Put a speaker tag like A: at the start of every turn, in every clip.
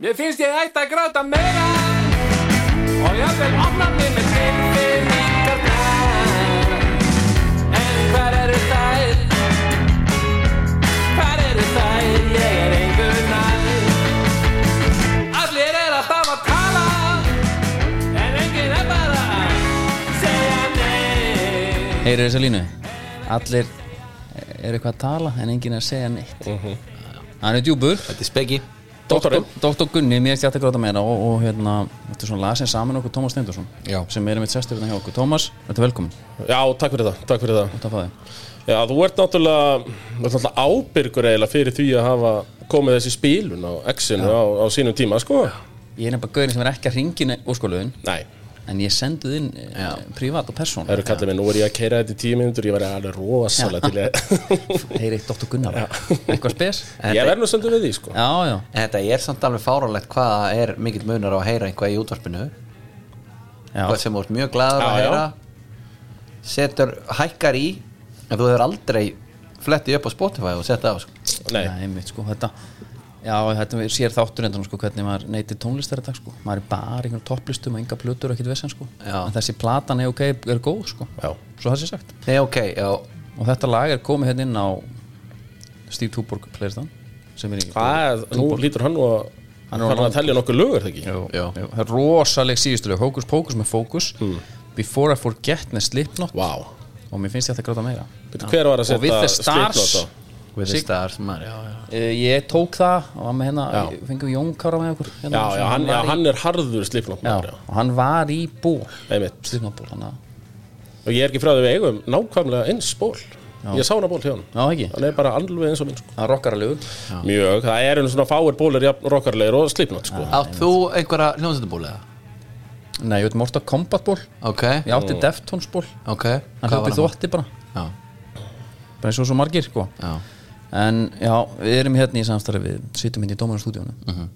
A: Mér finnst ég ætti að gráta meira Og ég vil opna mig með tilfinningarnar En hvar eru þær? Hvar eru þær? Ég er engu nær Allir er alltaf að tala En enginn er bara að segja nei
B: Heyrið þessa línu Allir eru eitthvað að tala en enginn er að segja neitt Hann er djúbur
C: Mhm. Þetta er speggi
B: Doktor, Doktor Gunni, mér eftir að gráta meira og, og hérna, þetta er svona lasin saman okkur Tómas Steindorsson
C: Já.
B: sem er mitt sestur hérna hjá okkur Tómas, þetta er velkomin,
D: Já, takk fyrir það, takk fyrir það
B: þetta fæði þig
D: Já, þú ert náttúrulega, þú ert náttúrulega ábyrgur eiginlega fyrir því að hafa komið þessi spílun á X-inu á, á sínum tíma, sko
B: Ég er nefnilega gaurin sem er ekki að ringin úrskolöðin
D: Nei,
B: en ég sendið inn Já. privat og persón
D: það eru kallið mig, nú er ég að keira þetta í tíu minnundur, ég væri alveg rosalega til að
B: Heyrið Dr. Gunnar, eitthvað spes
D: Ég verð nú stundum við því, sko
B: Já, já,
C: En þetta er samt alveg fáránlegt hvað það er mikill munar á að heyra einhvað í útvarpinu
B: já.
C: Hvað sem þú ert mjög glaður
D: Já, já.
C: að heyra Setur, hækkar í En þú hefur aldrei flettið upp á Spotify og sett á sko.
D: Nei,
B: Nei, einmitt, sko, þetta Já, þetta er- sér þáttur endan sko, hvernig maður neytir tónlist þetta sko. maður er bara einhverjum topplistum og enga plötur og ekkert vesen sko.
C: Já.
B: en þessi platan er ok, er góð sko.
D: Já.
B: svo það sé sagt
C: Nei, ok, já
B: og þetta lag er komið hérna inn á Steve Tuborg playlistan sem er í
D: hvað, nú lítur hann nú að
B: Hann
D: Hann
B: er
D: er að telja nokkuð lögur, þegar ekki?
B: Jú,
C: Já.
B: jú. það er rosaleg síðustu lög Hocus Pocus með Focus Before I Forget með Slipknot
D: Hmm. Vá
B: og mér finnst ég að gráta meira
D: Bíddu, Hver var að
B: Og With
D: setja
B: the Stars.
D: Slipknot á?
C: With the stars, maður já, já.
B: uh, ég tók það og var með hérna,
D: Já.
B: fengum Jón Kára með okkur
D: Já,
B: hérna,
D: já,
B: sem
D: hann, já,
B: var í-
D: hann er harður Slipknot
B: Já,
D: maður, já.
B: og hann var í bó
D: Einmitt.
B: Slipnaból, hann að
D: Og ég er ekki frá því við eigum nákvæmlega eins ból Ég sá hana ból hjá hann
B: Já, ekki?
D: Hann er bara alveg eins og minn sko.
B: Það rockar að lögur
D: Mjög, það eru svona fáir bólir jafn rockarleir og slipnátt sko.
C: Átt þú einhverja hljómsættabúlega?
B: Nei, ég veit Mortal Kombat ból
C: Ok,
B: Ég átti Deftones ból
C: ok
B: Hann hljópi
C: þú?
B: þótti bara
C: Já,
B: Bara eins og svo margir, sko
C: já,
B: En já, við erum hérna í samstarfi Við sittum hérna í Dómarastúdíónu mm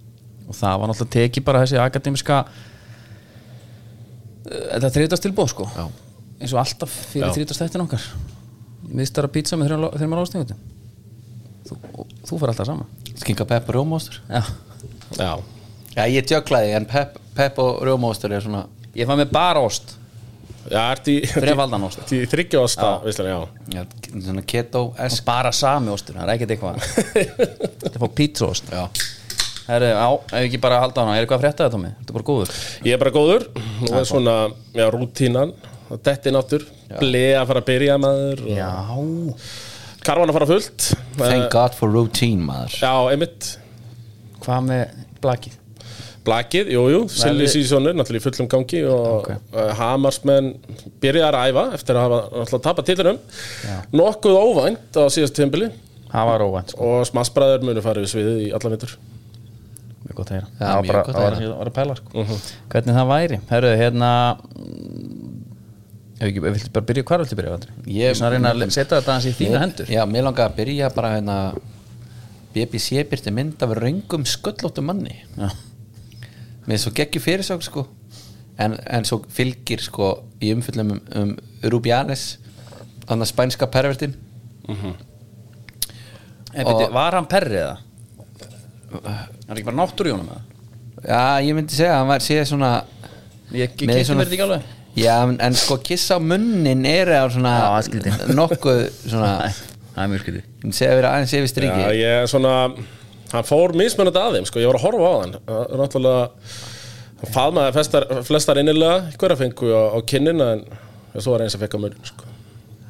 B: Og það var náttúrulega tekið bara þessi akademiska Þetta þriðtast tilbóð, sko
C: já
B: Eins og alltaf fyrir
D: Já.
B: þriðtast þættin okkar Mistara pizza með þreymar þreim ástingutum Þú, og þú fyrir alltaf sama
C: Skinka Pepp og Rjómóstur
B: Já
D: Já,
C: Já, ég tjöklaði, en Pepp, Pepp og Rjómóstur er svona
B: Ég fann mig bara ost
D: já ert í
B: Þrefaldan ost
D: Í þryggjásta, veistlega, já
C: Já, svona keto
B: Og bara sami ostur, það er ekkert eitthvað Þetta er fá pizza ost
C: Já,
B: Herru, já, ef ekki bara að halda á hana, er eitthvað að frétta það, Tómi? Þetta er bara góður
D: Ég er bara góður Nú er svona, já, rútínan Dettin áttur, blei að fara að byrja maður og
B: Já
D: Karvan að fara fullt
C: thank
D: Eh,
C: god for routine maður
D: Já, einmitt
B: Hvað með blakið?
D: Blakið, jú, jú, Silly
B: við-
D: Seasonu, náttúrulega í fullum gangi og okay. Hamarsmenn byrjaði að æfa eftir að hafa náttúrulega tapað titlunum Nokkuð óvænt á síðast tímbili
B: Það var óvænt, sko,
D: og smassbræður munu farið við sviðið í alla vindur
B: mjög gott að heyra
C: Já,
B: var
C: mjög gott að
B: það var-
C: heyra.
B: það var að pæla, sko Hvernig það væri? Herru, hérna mm, Ef ekki, ef viltu bara byrja, hvar viltu byrja, Andri?
C: Ég-
B: Ég er svona að reyna að setja þetta aðeins í þína hendur
C: Já, mér langaði að byrja bara hérna BBC byrti mynd af röngum sköllóttu manni
B: Já.
C: með svo geggjum fyrirsök sko en, en svo fylgir sko í umfyllum um, um Rubiales annars spænska pervertin
B: En byrju,
C: Og-
B: var hann perrið það? Uh. Var ekki bara náttúr í honum eða?
C: Já, ég myndi segja að hann var séð svona
B: Ég, ég
C: Með
B: kynnti mér þetta ekki alveg
C: Já, en, en sko kissa á munnin er á svona
B: Já, það er skrítið.
C: nokkuð svona,
B: Það er mjög skytið
C: ég myndi segja að vera aðeins yfir striki
D: Já, ég svona hann fór mismunandi að þeim, sko, ég var að horfa á hann Það er náttúrulega hann faðmaði flestar, flestar innilega hverja fengu á, á kinnina en en svo var eins að fekk á mun sko.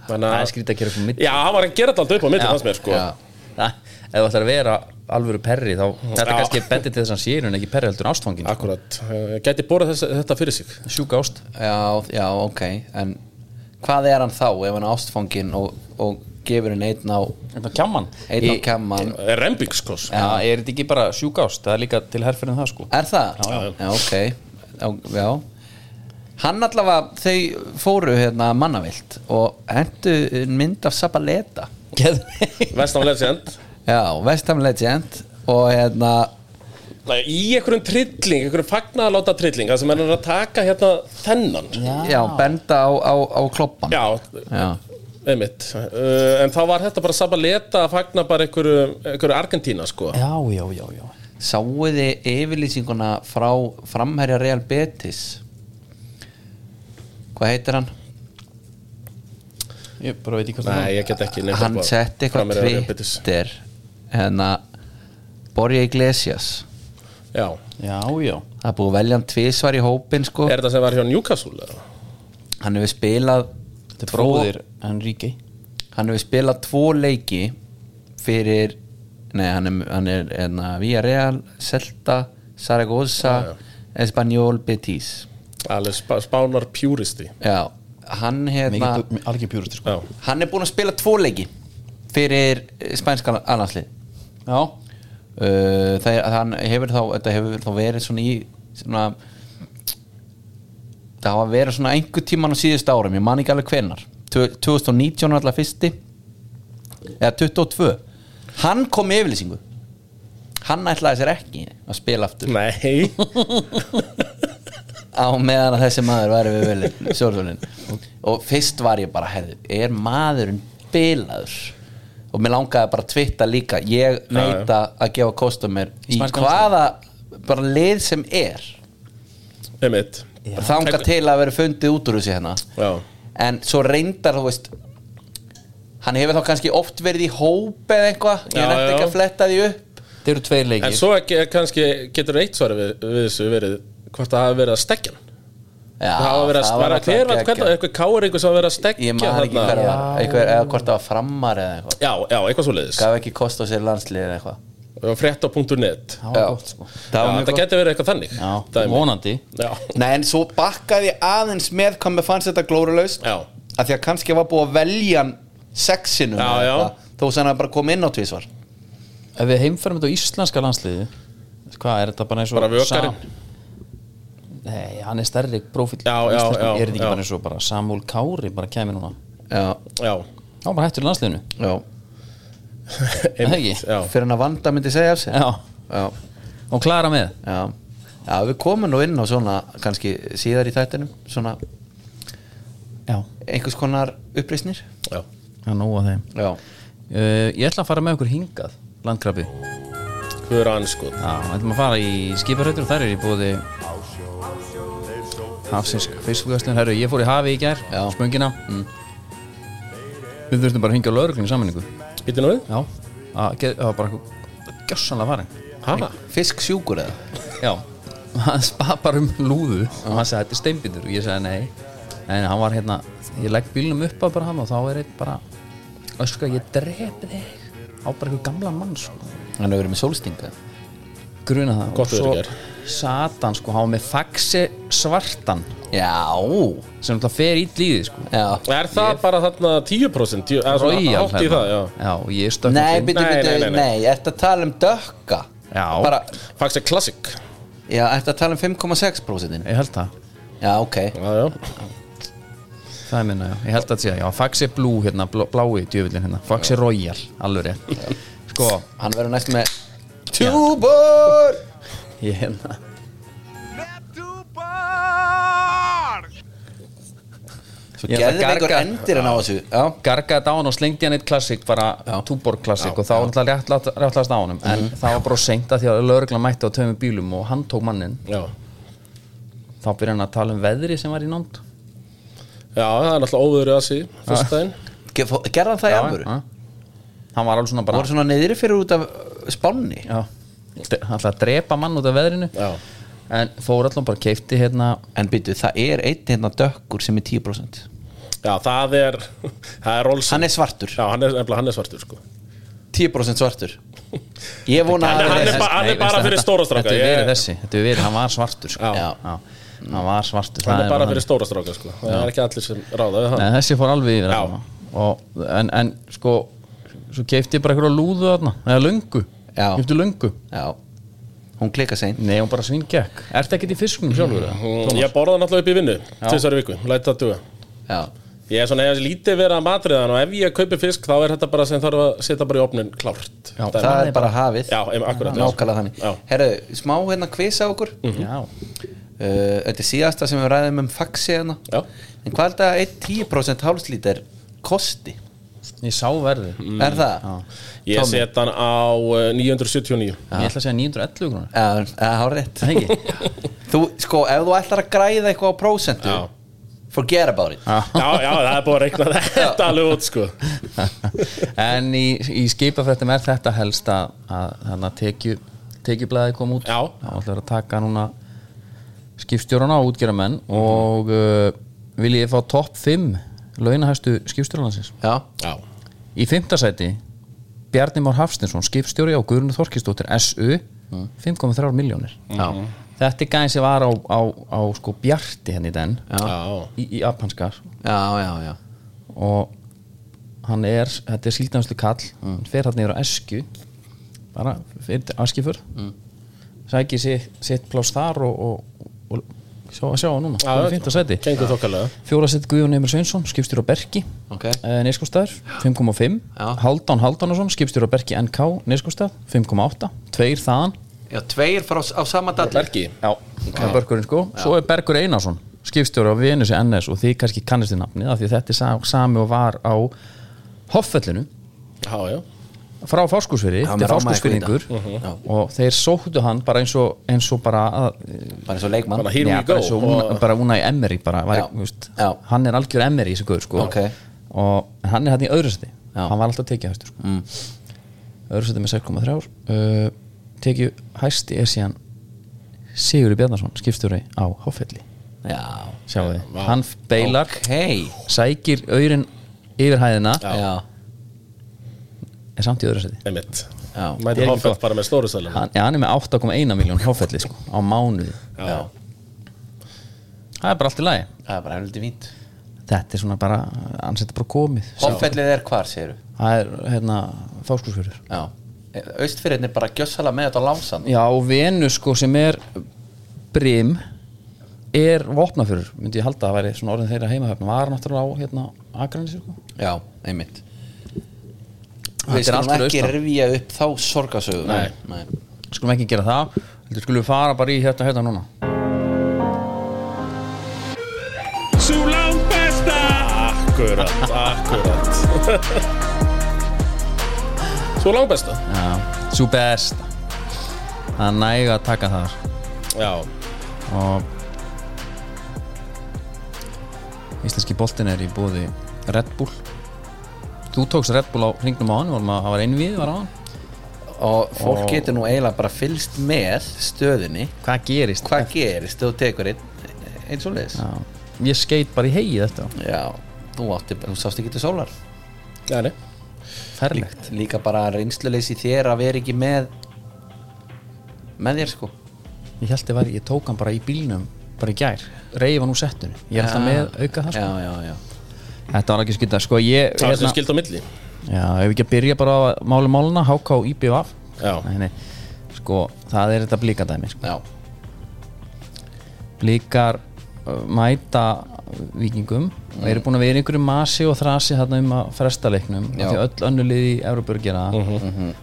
D: Þannig
B: Það er skrítið að gera eitthvað mitt
D: Já, hann var að gera þetta alltaf upp á mitt hans mér, sko
C: Já.
B: Það, ef þú ætlar að vera alvöru perri þá þetta
D: Já.
B: kannski bendir til þess að hann sé í rauninni ekki perri heldur en ástfangin
D: Akkurat, Eh, gæti borað þess, þetta fyrir sig
B: sjúk ást
C: Já, já, ok En hvað er hann þá ef hann er ástfangin og, og gefur hann einn á
B: Þetta kjamman
C: einn á
B: Í-
C: kemman
D: Eh, Rembings, sko sko.
B: Já, er þetta ekki bara sjúk ást? Það er líka til herfyrir en það sko
C: Er það? Já, já, ok Já, já. Hann allavega, þau fóru hérna mannavilt og hentu mynd af Sabaleta
B: Geð
D: Vestan Legend
C: Já, Vestham Legend og hérna
D: Nei, Í einhverjum trilling, einhverjum fagnaðaláta trilling það sem hann er að taka hérna þennan
C: já. benda á, á, á kloppan
D: Já,
C: já.
D: einmitt, Eh, uh, en þá var þetta bara sabaleta að fagna bara einhverju, einhverju Argentína sko
B: Já, já, já, já
C: sáuði yfirlýsinguna frá framherja Real Betis hvað heitir hann?
B: Ég bara veit ekki hvað
D: Nei, ég get ekki nefnt
C: hann
D: upp á-
C: setti
D: fram
C: eitthvað
D: meira Real Betis.
C: Twitter hérna Borja Iglesias
D: Já,
B: Já, já
C: það er búið að velja hann tvisvar í hópin sko.
D: er þetta sem var hjá Newcastle? eða?
C: hann hefur spilað
B: Þetta er bróðir Enrique
C: hann hefur spilað tvo leiki fyrir nei, hann er, hann er enna, Villarreal, Celta, Saragossa Espanyol, Betis
D: Alveg sp spánar pjúristi
C: já, hann hérna
B: Mikið algjör pjúrustur sko
D: Já,
C: hann er búinn að spila tvo leiki fyrir eh, spænska annarslið
B: Já,
C: uh, það, er- hann hefur þá, þetta hefur þá verið svona í svona það hafa verið svona einhver tíman á síðust árum, ég man ekki alveg hvenar 2019 alltaf fyrsti eða 22 hann kom með yfirlýsingu hann ætlaði sér ekki að spila aftur
D: nei
C: á meðan að þessi maður væri við vel sjóðsvölin og fyrst var ég bara herðu, er maðurinn bilaður og mér langaði bara að tvitta líka ég neita að gefa kostum mér í
B: Spænska
C: hvaða bara lið sem er
D: Einmitt
C: þanga til að vera fundið út úr þessu hérna
D: Já,
C: en svo reyndar þú veist hann hefur þá kannski oft verið í hóp eða eitthvað,
D: Já,
C: ég nætti ekki
D: já.
C: að fletta því upp
B: þeir eru tveir leikir
D: en svo ekki, kannski getur eitt svar við, við þessu verið hvort það hafa verið að stekja hann.
C: Já,
D: Það hafa verið að, var að
C: náttúrulega
D: hver var
C: geggjað.
D: hvernig, eitthvað káur einhver sem hafa verið að stekja
C: ég maður ekki hver það var, eitthvað, eða hvort það var framar eða eitthvað
D: Já, já, eitthvað svo leiðis
C: gaf ekki kost á sér landslið eða eitthvað
D: Frétta.net
B: Það var
C: Já.
B: gott sko
C: var mjög
D: Þetta
C: gott.
D: getur verið eitthvað þannig
B: Já,
D: Dæmi.
B: vonandi
D: Já,
C: Nei, en svo bakkaði ég aðeins með hvað mér fannst þetta glórulaust
D: já,
C: að því að kannski var búið að velja hann sexinum
D: Já,
C: eða
D: já.
C: eitthvað, þó sem hann bara kom inn á tvísvar
B: Ef við heimferðum þetta á íslenska landsliði Hvað er þetta bara eins og
D: Bara vökarinn.
B: Sam- Nei, hann er stærri prófíl
D: Já, já,
B: íslensku,
D: já,
B: Er þetta ekki
D: já.
B: bara eins og bara Samúl Kári bara kemur núna
C: Já,
D: já,
B: Já, bara hættur í landsliðinu
C: já
B: Er það ekki?
D: já.
C: Fyrir hann að vanda myndi segja af sér
B: Já,
C: já,
B: og klara með
C: já Já, við komum nú inn á svona kannski síðar í þættinum svona
B: Já,
C: einhvers konar uppreisnir
D: já.
B: já, nóg að þeim
C: Já,
B: uh, Ég ætla að fara með okkur hingað Landkrabbi
D: Hver anskot
B: Já, við ætlum að fara í skiparhautur og þær er í búði Hafsins fiskugastun Herru, ég fór í hafi í gær,
C: Já.
B: spöngina Við þurftum bara að hingja á lögreglun í sammenningu
D: Býttu nú við?
B: Já, að ge- það var bara gjössanlega farin
D: Hana?
C: fisk sjúkur eða
B: Já, hann spað bara um lúðu og hann sagði þetta er steinbítur og ég sagði nei en hann var hérna, ég legg bílnum upp að bara hann og þá er einn bara öskra ég drepi þig á bara eitthvað gamla mann sko
C: Hann hefur verið með sólstinga
B: gruna það
D: Gott
B: og
D: við
B: svo
D: þér.
B: satan sko, hann var með faxi svartan
C: Já,
B: sem alltaf fer í líði sko
C: já
D: Er það bara þarna 10%? Djú- eða svona
B: Royal
D: hátt í
B: hérna.
D: það, já
B: já, og ég stökk
C: Nei,
B: inn.
C: byrju,
D: Nei,
C: byrju,
D: nei, nei,
C: nei,
D: nei.
C: ertu að tala um dökka
B: Já.
C: Bara,
D: Fax er classic
C: já, ertu að tala um 5,6%
B: ég held það,
C: Já, ok
D: Já, já
B: það er minna já. ég held það sé, já, faxi blú hérna bló, blái djöfullin hérna, faxi royal alveg rétt, sko
C: Hann verður næst með Tjúbor
B: ég hérna
C: Svo
B: Ég ætla að
C: gerðum einhver
B: garga.
C: endir en á þessu Já,
B: gargaði þetta á hann og slengdi hann eitt klassik bara túborg klassik og þá var alltaf réttlast, réttlast á honum en það var bara seint að því að lögreglan mætti á tveimur bílum og hann tók mannin
D: Já,
B: þá byrja hann að tala um veðri sem var í nánd
D: já það er náttúrulega óvöður að sí Fyrst daginn
C: Ge- fó- gerði hann það í alvöru
B: Já. hann var alveg svona bara
C: Voru svona neyðri fyrir út af uh, spánni
B: Já, d- hann ætlaði að drepa mann út af veðrinu
D: Já.
B: En fór allan bara keipti hérna
C: En byrju, það er einn hérna dökkur sem er 10%
D: Já, það er Það er Rolls
C: Hann er svartur,
D: Já, hann er, nefnilega, hann er svartur sko
C: 10% svartur Ég vona
D: Hann er-
C: að
D: hann er
C: þessi-
D: bara-
B: veistu,
D: fyrir
B: þetta-
D: stóra stráka,
B: Þetta er
D: ég-
B: verið þessi, þetta er verið, hann var svartur sko.
D: Já.
B: Já, Hann var svartur það
D: Hann er bara
B: hann.
D: fyrir stóra stráka sko Það er ekki allir sem ráða við hann
B: Nei, þessi fór alveg yfir
D: Já.
B: þarna. og, en, en sko Svo keipti ég bara eitthvað lúðu þarna Eða löngu,
C: Já.
B: keipti löngu
C: Já, hún klika seint
B: Nei, hún bara svingekk Ertu ekkert í fiskum sjálfur? eða?
D: Mm, Ég borða hann alltaf upp í vinnu Tvisar í viku, læt það duga
C: Já,
D: Ég er svona, ég hef lítið verið að matriðan og ef ég kaupi fisk þá er þetta bara sem þarf að setja bara í opnin klárt
B: Já.
D: Það er-
C: það er bara hafið
D: Já, em- akkurat já.
C: Nákvæmlega þannig
D: Já. Mhm.
C: Herru, smá hérna kvisa á okkur
B: Já,
C: Uh, Þetta er síðasta sem við ræðum um faxi hérna
D: Já.
C: En hvað er þetta að 1-10% hálslítar kosti?
B: Ég sá verðið
C: Er það?
D: Ég
C: Tommy.
D: set hann á eh, 979
B: Ég ætla að segja 911 krónur
C: Já, það er rétt
B: Það ekki?
C: Þú, sko, ef þú ætlar að græða eitthvað á prósentu
D: Já.
C: Forget about it
D: Já, já, það er búið að reikna þetta alveg út sko
B: en í, í skipafrættum er þetta helst að, að þannig að tekju, tekjublaði kom út
D: Já.
B: Það ætlar að taka núna skipstjórana og útgerðamenn og uh, viljið þið fá topp 5 launahæstu skipstjóralansins
C: Já,
D: Já,
B: Í fimmtasæti Bjarni Már Hafstinsson, skipstjóri á Guðrunu Þorkistóttir SU 5,3 miljónir
C: já,
B: Mhm. Þetta er gæðin sem var á, á, á sko Bjarti henni den
C: já,
D: já,
B: í, í japanskar
C: já, já, já.
B: og hann er, þetta er síldanslu kall hann fer hann niður á Esku bara fyrir til Askifur sækir sitt, sitt pláss þar og, og, og sjá að sjá hann núna hann er fint að seti
D: kengur þokkalega
B: fjóra seti Guðjón Emil Sveinsson, skipstjóri á eh, Berki
C: Ok.
B: Neskostæður, 5,5
C: Já.
B: Haldán Haldánusson, skipstjóri á Berki NK Neskostæð, 5,8 tveir þaðan
C: Já, tveir frá, á sama dalli
D: Bergi
B: Já, okay. Bergurinn sko Svo er Bergur Einarsson, skipstjóri á Venusi NS og þið kannski kannist þið nafnið af því að þetta er sa- sami og var á Hoffellinu
D: Já, já,
B: frá Fáskursfyrði,
C: Já,
B: þetta er
C: mér rámaði eitthvað í
B: Fáskursfyrðingur og þeir sóttu hann bara eins og, eins og bara að,
C: Bara eins og leikmann
D: Bara hér- Here we
B: Já,
D: go.
B: bara eins og Una-
D: Og-
B: bara Unai Emery bara, var,
C: Já.
B: veist,
C: Já.
B: hann er algjör Emery í þessu guður sko
C: Ok.
B: og en hann er hann í öðru seti
C: Já.
B: hann var alltaf tekið hæstur sko. mm. öðru seti með 6,3 uh, tekið hæsti er síðan Sigurður Bjarnarsson, skipstjóri á Hoffelli
C: Já,
B: sjáu þið, hann beilar
C: hei
B: sækir auðrin yfir hæðina
C: Já, já,
B: en samt í öðru seti
D: einmitt
C: já,
B: er
D: Mæti
B: ekki
D: Hoffett
B: gott.
D: bara með stóru sælum
B: hann, ja, hann er með 8,1 miljón Hoffelli sko, á mánuði
D: Já,
B: það er bara allt í lagi
C: það er bara helviti fínt
B: þetta er svona bara, hann setur bara komið
C: Hoffellið er hvar, segirðu?
B: það er hérna fáskursfjörður
C: Já Austfyrirni bara gjössala með þetta á lánsan
B: já og Venus sko sem er brim er vopnafjörður, myndi ég halda að væri svona orðin þeirra heimahöfn, var náttúrulega á hérna Akranis sko.
C: Já, einmitt
B: Þetta
C: Við
B: er allt fyrir
C: skulum ekki
B: austan.
C: rifja upp þá sorgasögu
D: Nei.
C: Nei.
B: skulum ekki gera það, heldur skulum við fara bara í hérna hérna núna
A: Sú langt besta
D: akkurat, akkurat Svo langbesta
B: já, svo besta það er næg að taka þar
D: Já,
B: og íslenski boltin er í bóði Red Bull þú tókst Red Bull á hringnum á hann vorum að það var einvið var á hann
C: Og fólk getur nú eiginlega bara fylgst með stöðinni
B: hvað gerist?
C: Hvað gerist ef þú tekur einn einn svo leiðis
B: Já, ég skeit bara í hegi þetta
C: Já, þú átti, þú sást ekki til sólar
D: já, nei
B: ferlegt
C: Líka bara reynsluleysi þér að vera ekki með með þér sko
B: ég held ég var, ég tók hann bara í bílnum bara í gær, reyfa nú settinu ég er alltaf með auka það sko.
C: Já, já, já
B: þetta var ekki skilta, sko ég
D: Það er sem skild á milli
B: já, ef ekki að byrja bara á að máli máluna HK og IPVaf
D: Já.
B: nei, nei, sko, það er þetta blíkadæmi sko.
C: Já,
B: blíkar uh, mæta vikingum
C: Mm.
B: og eru búin að vera í einhverju masi og þrasi þarna um að fresta leiknum af
C: Já. Mhm.
B: því öll önnur lið í Európa eru að gera það Mhm.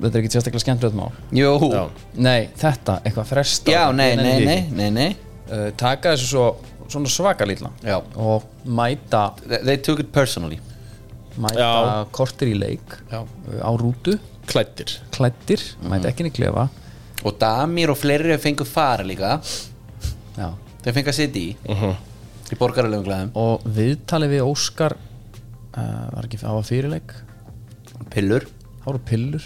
B: þetta er ekki sérstaklega skemmtilegt mál
C: jú
D: Já.
B: nei, þetta, eitthvað fresta
C: Já, nei,
B: Ég nenni
C: nei,
B: því
C: nei,
B: ekki.
C: nei, nei
B: uh, taka þessu svo svona svaka lítla
C: Já.
B: og mæta,
C: They- They took it personally
B: mæta
D: Já.
B: kortir í leik
D: Já.
B: uh, á rútu,
D: Klættir
B: klættir mæta ekki niður klefa
C: Og Damir og fleiri fengu fara líka
B: Já.
C: Þeir fengu að sitja í
D: Mhm.
C: Í borgaralegum glæðum
B: og viðtalið við Óskar uh, var ekki það var fyrirleik
C: Pillur
B: það voru pillur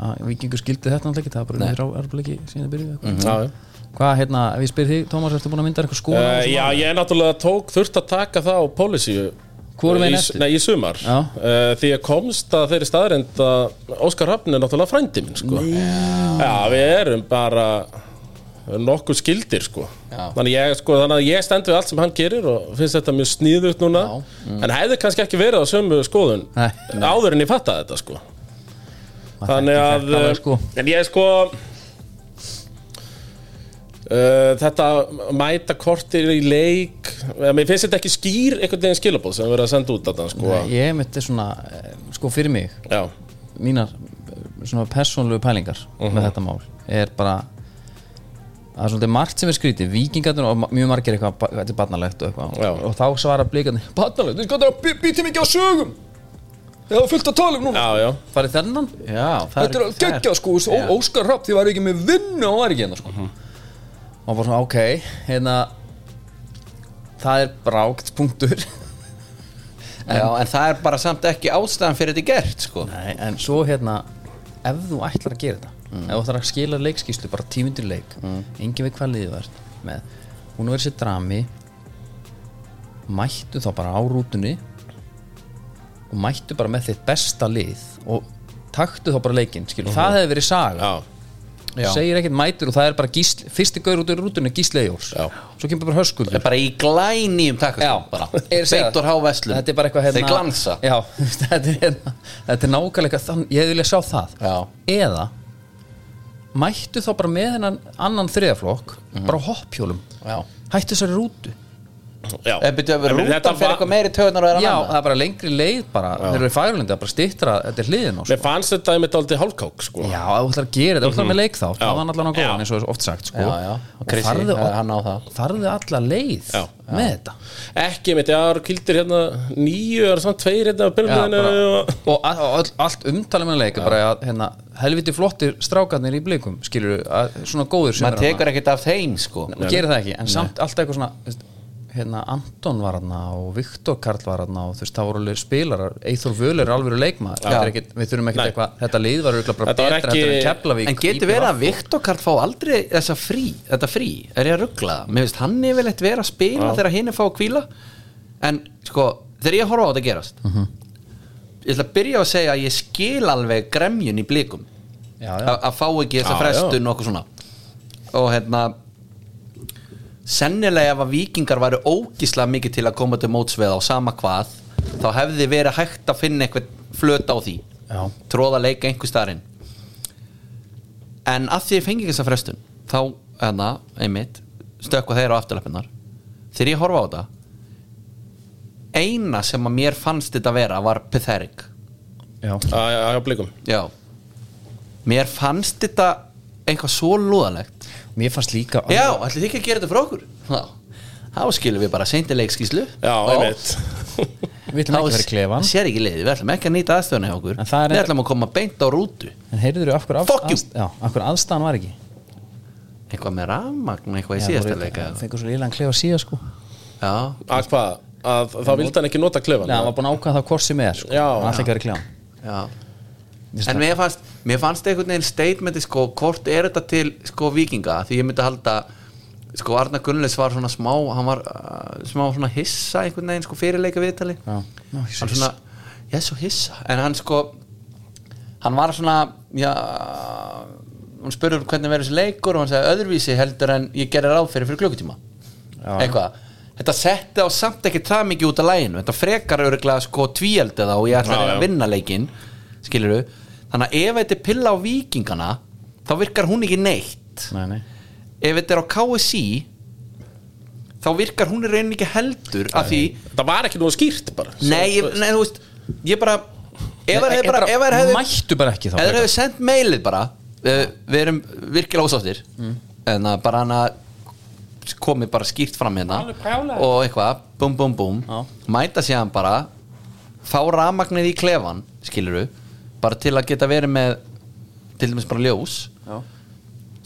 B: að vikingur skildi þetta náttúrulega ekki, það var bara undir á erbleiki síðan að byrja mm.
D: Já, já
B: hvað hérna, ef ég spyr þig Tómas, ertu búin að mynda þér eitthvað skoða
D: Uh, já, ég er náttúrulega tók, þurft að taka það á policy eh,
B: Hvorum
D: Í-
B: einn eftir?
D: Nei, í sumar
B: Já.
D: uh, Því ég komst að þeirri staðrind að Óskar Hafn er náttúrulega frændi minn sko. Já, við erum bara nokkuð skildir sko.
C: Já.
D: þannig, ég, sko, þannig að ég stend við allt sem hann gerir og finnst þetta mjög sníðut núna en hefði kannski ekki verið á sömu skoðun
B: Mm. Nei.
D: áður en ég fattaði þetta sko.
B: Maður
D: Þannig
B: þekkir
D: að eh,
B: þetta alveg, sko.
D: En ég sko Uh, þetta mæta kortir í leik eh, mér finnst þetta ekki skýr einhvern veginn skilabóð sem verið að senda út þetta sko.
B: Nei, ég myndi svona, eh, sko fyrir mig
D: já,
B: mínar svona persónlegu pælingar með þetta mál er bara það er svolítið margt sem er skrítið vikingarnir og ma- mjög margir eitthvað ba- þetta er barnalegt og
D: Já.
B: eitthvað og þá svara blíkarnir barnalegt, þú skoður að býtum ekki á sögum
E: það var fullt að tala um núna
D: Já, já,
B: farið þennan
C: Já, það
E: Þetta er að gegja sko, þú veist, Ó- Óskar Rapp því var ekki með vinnu og var ekki hérna sko
B: og bara svona ok hérna það er brákt punktur
C: Já, en það er bara samt ekki ástæðan fyrir þetta gert, sko
B: Nei, en svo hérna ef þú ætlar að gera þetta
D: Mm.
B: ef þú ætlar að skila leikskíslu bara tímundur leik engin við hvað liðið var með hún verið sér drami mættu þá bara á rútunni og mættu bara með þitt besta lið og taktu þá bara leikinn skilur, það hefði verið saga
D: Mhm. já,
B: Þú segir ekkert mætur og það er bara gísl, fyrsti gaur út úr rútunni gíslega jórs
D: Já.
B: svo kemur bara höskuldur
C: Það er bara í glænýjum takk
B: Já,
C: bara
B: er að segja.
C: Beitur háveslum
B: Þetta er bara eitthvað hérna
C: Þeir glansa
B: Já, þetta er hérna Þetta er nákvæmlega eitthvað þann Ég vilja sjá það
C: Já.
B: Eða Mættu þá bara með hennan annan þriðaflokk Bara á hoppjólum
C: Mhm. Já.
B: Hættu þessari rútu
D: já.
C: En byrjuðu að vera
D: En þetta
C: rútan fyrir
D: var-
C: eitthvað meiri töðunar og
B: Já,
C: er
B: það er bara lengri leið bara Þeir eru í færulendi að bara stýttra Þetta er hliðin á sko.
D: Mér fannst þetta einmitt aldrei hálfkák sko.
B: Já, ef þú ætlar að gera þetta, ef þú ætlar með leik þá Það
D: Já.
B: var hann allan á
D: Já.
B: góðan, eins og er oft sagt sko.
C: Mhm. Já, já.
B: Og
C: Krissi,
B: farðu
C: það er
B: á-
C: hann á það.
B: Farðu alla leið
D: Já.
B: með þetta
D: Ekki einmitt, já, það eru kildir hérna Nýju, það eru samt tveir hérna á byrjunliðinu og-
B: og all, all, allt umtalið með leik er bara að hérna, helviti flottir strákarnir í blikum skilur að svona góður sem
C: Maður
B: eru þarna.
C: tekur ekkert af þeim, sko
B: Maður gerir það ekki, en samt allt eitthvað svona þú veist, hérna Anton var hann og Viktor Karl var hann og þú veist, það voru alveg spilarar Eithor Völu er alveg leikmaður Þetta er ekkit, við þurfum ekkert
D: Nei.
B: eitthvað, þetta lið var örugglega bara
D: Þetta var
B: betra
D: ekki-
B: heldur en Keflavík
C: En getur verið að Viktor Karl fá aldrei þessa frí, þetta frí, er ég að ruggla það? Mér finnst hann yfirleitt vera að spila þegar hinn er fá að kvíla En sko, þegar ég horfa á þetta gerast Ég ætla að byrja á að segja að ég skil alveg gremjun í blikum
B: Já, já.
C: Að að fá ekki þessa
D: Já,
C: frestun og okkur svona Og hérna Sennilega ef að vikingar væri ógislega mikið til að koma til mótsveða á sama hvað Þá hefði verið hægt að finna eitthvað flöt á því
B: Já.
C: Tróða leika einhver starinn en að því ég fengi ekki þessa frestun þá, hérna, einmitt stökkva þeir á afturleppinnar þegar ég horfa á þetta eina sem að mér fannst þetta vera var pathetic
B: Já,
D: Já, já, já, blikum
C: já mér fannst þetta eitthvað svo lúðalegt
B: mér fannst líka
C: já, ætli þið ekki að gera þetta frá okkur já, þá skilum við bara seintileikskíslu
D: Já, einmitt
B: við ætlum ekki að vera í klefan
C: sér ekki leiði, við ætlum ekki að nýta aðstöðuna hjá okkur
B: En það er-
C: við ætlum að koma beint á rútu
B: en heyrður þú af hverju
C: Fuck you.
B: aðst- já, af hverju aðstæðan var ekki
C: eitthvað með rafmagn, eitthvað í
B: Já,
C: síðasta
B: voru-
C: leika
B: fengur svo lílan klefa síða sko
C: já,
D: Að hvað? Að þá vildi hann ekki nota klefan
B: Nei, hann var búin að ákvæða það hvort sem er sko.
D: Já.
B: hann ætla ekki að vera í klefan
C: já
B: Vist
C: En
B: það?
C: mér fannst, mér fannst einhvern veginn statementi sko, hvort er þetta til sko vikinga því ég myndi halda sko Arna Gunnleis var svona smá hann var uh, smá svona hissa einhvern veginn sko fyrirleika viðtali
B: Já. Ná, ég er svo
C: hann svona, ég er svo hissa en hann sko hann var svona, já hún spurði um hvernig verður þessi leikur og hann sagði öðruvísi heldur en ég gerir ráð fyrir fyrir klukkutíma
B: Já.
C: eitthvað þetta setti á samt ekki það mikið út af læginu þetta frekar örglega sko tvíeldi þá og ég ætla
D: Já,
C: að reyna
D: já.
C: að vinna leikinn skilur þannig að ef þetta er pilla á vikingana þá virkar hún ekki neitt
B: Nei, nei.
C: ef þetta er á KSI þá virkar hún í rauninni ekki heldur af því
D: Það var ekki nú skýrt bara
C: Nei, ég, nei, þú veist Ég bara Ef þær hefði
B: Ég
C: bara Ef þær hefði Ef
B: mættu bara ekki þá
C: þær hefði sendt mailið bara uh, Við erum virkilega ósáttir
B: Mm.
C: En að bara hann að komi bara skýrt fram hérna og eitthvað, búm búm búm
B: Já.
C: mæta síðan bara fá rafmagnið í klefan, skiluru bara til að geta verið með til dæmis bara ljós
B: Já.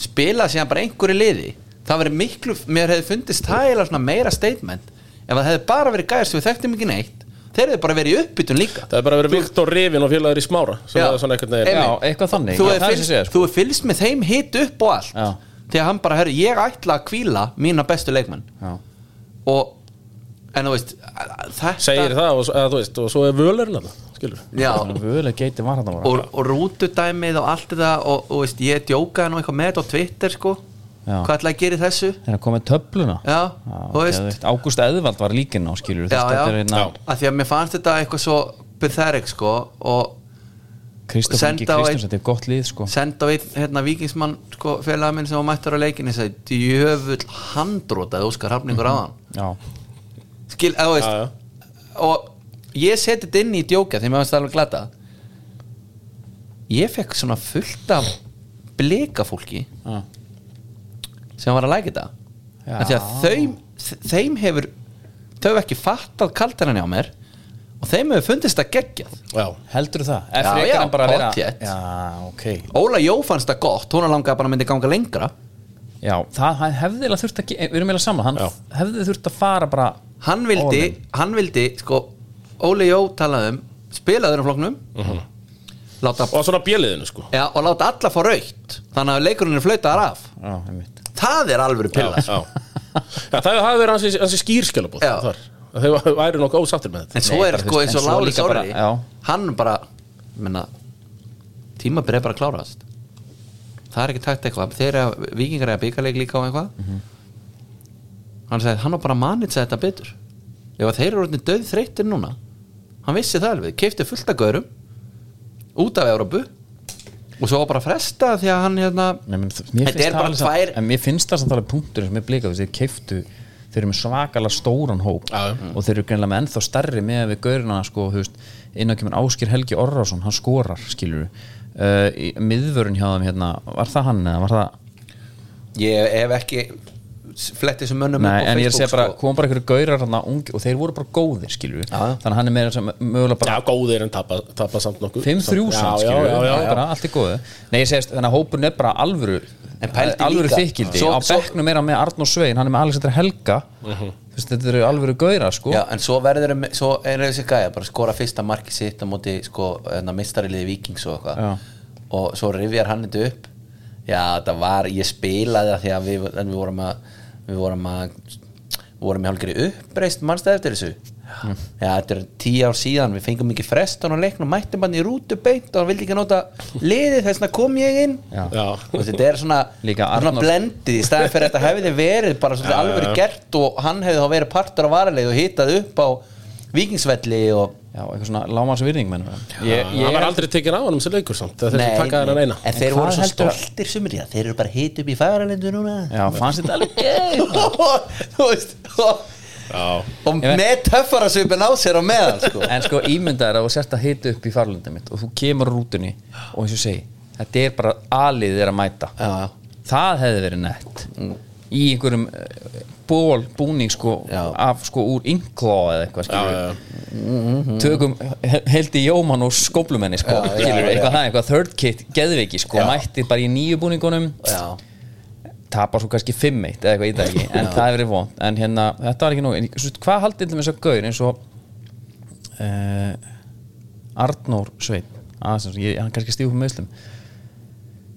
C: spila síðan bara einhverju liði það verið miklu, mér hefði fundist það eiginlega svona meira statement ef það hefði bara verið gæðir sem við þekktum ekki neitt þeir hefði bara verið í uppbytun líka
D: Það er bara verið Viktor Rifin og félagur í smára sem
C: Já.
D: það er svona einhvern veginn
C: Einmitt.
B: Já, eitthvað þannig.
C: þú
B: Já, það er
C: hefur
B: sem
C: fylgst,
B: segja, sko.
C: þú hefur fylgst með þeim hitt upp og allt
B: Já.
C: þegar hann bara, herru, ég ætla að kvíla mína bestu leikmenn
B: Já.
C: og, en þú veist þetta,
D: Segir það, og, svo- eða, þú veist, og svo er völerinn að það Skilur
C: já,
B: Völu geiti var hann að
C: og, og rútudæmið og allt þetta og, og veist, ég djókaði nú eitthvað með þetta á Twitter sko,
B: Já.
C: hvað ætla að gera í þessu
B: Þegar að koma með töfluna
C: Já, þú veist.
B: geðveikt. Ágúst Eðvald var líkin á skilur
C: já, já,
B: Þetta er hérna
C: að því að mér fannst þetta eitthvað svo pathetic sko og
B: Kristof Ingi
C: Senda á
B: Kristjáns
C: einn-
B: Þetta er gott lið sko
C: senda á einn hérna vikingsmann sko félaga minn sem var mættur á leikinni sagði, djöfull handrótaði Óskar Hafningur á hann
B: Já,
C: skil, að
D: Já, Mhm. já.
C: þú veist og ég seti þetta inn í djóka því mér fannst það alveg glata ég fekk svona fullt af blika fólki
B: Já.
C: sem var að læka þetta
B: Já.
C: af því að þeim, þeim hefur þau hefur ekki fattað kaldarann á mér og þeim hefur fundist það geggjað
D: Já,
B: Heldur það? Er
C: Já,
B: frekar
C: já,
B: en bara að vera-
C: pottþétt.
B: Já, ok
C: Óla Jó fannst það gott, hún langaði bara að myndi ganga lengra
B: Já, það hann hefði eiginlega þurft að ge- Við erum eiginlega saman, hann
D: Já.
B: hefði þurft að fara bara
C: hann vildi,
B: All
C: hann vildi sko, Óli Jó talaði um spilaður um flokknum láta,
D: og svona bjöliðinu sko
C: ja, og láta alla fá raukt þannig að leikurinn er flautaðar af
B: Já, einmitt
C: það er alveg
D: Já,
C: pilla sko.
D: já. Já, það hafi verið ansi, ansi skýrskjálabótt
C: Já.
D: þar Þeir væri nokkuð ósáttir með
C: en
D: þetta
C: svo
B: Nei,
C: er
B: bara, þú
C: sko
B: veist,
C: eins
B: en
C: og
B: svo
C: Lári
B: líka bara-
C: Sárari
B: já.
C: hann bara menna, tímabil er bara að klárast það er ekki takt eitthvað þeir eru að vikingar eða byggarleik líka og eitthvað
B: Mhm.
C: hann sagði hann var bara að manitsa þetta betur ef að þeir eru orðin döð þreyttir núna hann vissi það alveg, keipti fullt af gaurum út af Európu og svo var bara að fresta því að hann hérna
B: Nei, menn, þ-
C: Þetta
B: mér finnst
C: er
B: það
C: bara
B: alveg samt-
C: tvær-
B: en mér finnst það samt alveg punktur sem er blikað þessi keiftu þeir eru með svakalega stóran hóp
D: Já, já.
B: og þeir eru greinlega með ennþá stærri með við gaurina sko, þú veist, inn á kemur Áskir Helgi Orrason hann skorar, skilur við uh, miðvörun hjá þeim hérna var það hann eða var það
C: ég hef ekki fletti sem mönnum
B: Nei, en ég sé bara,
C: sko.
B: kom bara einhverju gaurar hana, ungi, og þeir voru bara góðir, skilur við
C: já.
B: þannig að hann er meira sem mögulega
D: Já,
B: bara
D: góðir en tapa, tapa samt nokkuð
B: 5-3
D: Já,
B: samt,
D: já,
B: skilur við
D: já, já,
B: Það er
D: já.
B: bara allt í góðu Nei, ég segist, þannig að hópurinn er bara alvöru eh,
C: En pældi
B: alvöru
C: líka-
B: þykildi
C: Svo-
B: á
C: svo-
B: bekknum er hann með Arnór Svein, hann er með Alexander Helga Þú veist, þetta eru alvöru gaurar, sko
C: Já, en svo verður þeim- svo er þessi gæja bara að skora fyrsta marki sitt á móti sko, mistariliði vikings og
B: Já.
C: eitthvað og svo rifjar hann þetta upp já, þetta var, ég spilaði það því að við, en við vorum að við vorum að vorum í hálfgeri uppreist mannstæð eftir þessu já, þetta er tíu ár síðan við fengum ekki frestan á leiknum, mættum hann í rútu beint og hann vildi ekki nota liðið þess vegna kom ég inn
B: Já.
D: Já.
C: og þetta er svona,
B: Líka
C: svona
B: Arnór-
C: blendið í staðan fyrir að þetta hefði verið bara
D: Já,
C: svolítið
D: já,
C: alveg
D: já.
C: gert og hann hefði þá verið partur af varalegi og hittað upp á vikingsvelli og
B: Já, eitthvað svona lámarsvirðing, mennum ég,
D: Hann var aldrei tekin á hann um sér leikur samt Það þurfti að taka hann
C: en
D: eina
C: þeir
B: En
C: voru
B: hvað
C: svo
B: heldur-
C: stoltir sumir í það þeir eru bara hitt upp í fæðaralindu núna
B: Já, fannst þetta alveg
C: þú veist og,
D: Já,
C: og með töffara svipin á sér og meðan sko.
B: En sko, ímyndaður að þú sért að hita upp í farlundum mitt og þú kemur úr rútunni og eins og ég segi, þetta er bara aðlið er að mæta
C: já, já
B: það hefði verið nett í einhverjum eh, ból búning sko
C: Já.
B: af sko úr inkló eða eitthvað skilur
D: já, já.
B: tökum he- heildi jómann og skóplumenni sko
C: Mm. Já, já,
B: skilur
C: já.
B: eitthvað það eitthvað third kit geðveiki sko mætti bara í nýju búningunum
C: Já.
B: tapar svo kannski 5-1 eða eitthvað í dag en það hefur verið vond en hérna þetta var ekki nóg en ég- svo, hvað haldið með þess að gaur eins og uh, Arnór Sveinn aðeins, ég, hann er kannski stíð upp með meðslum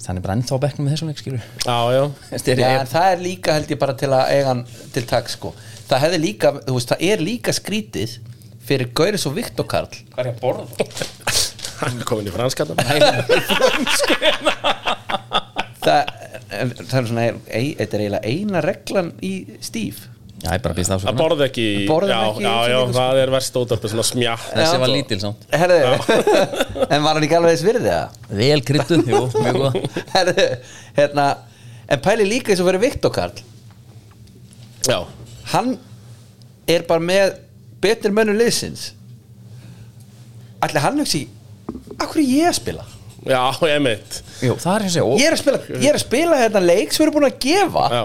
B: þannig bara ennþá á bekknum með þessum leik skilur
D: já, já
C: Já, en það er líka held ég bara til að eiga hann til takk sko það hefði líka, þú veist, það er líka skrítið fyrir Gauris og Viktor Karl
B: hvað er ég að borða?
D: Hann er komin í franskarnar
C: það, en það er svona ei, þetta er eiginlega eina reglan í stíf
B: Já, ég bara býst
D: Að
B: afsökunar
D: borða ekki í-
C: Borða
D: Já,
C: ekki í
D: já, já,
C: útsendingu, sko.
D: það er verst ótöpið Svona smjá
B: Þessi
C: Já.
B: var lítil samt
C: Herðu, en var hann ekki alveg þess virðið það?
B: Vel kryttuð, jú, mjög góð
C: Herðu, hérna en pæli líka eins og fyrir Viktor Karl
D: Já,
C: hann er bara með betur mönnum liðsins allir hann hugsi akkur er ég að spila?
D: já, emitt
B: Jú, það er þessi
C: Ég er að spila, ég er að spila hérna leik sem við erum búin að gefa
D: Já,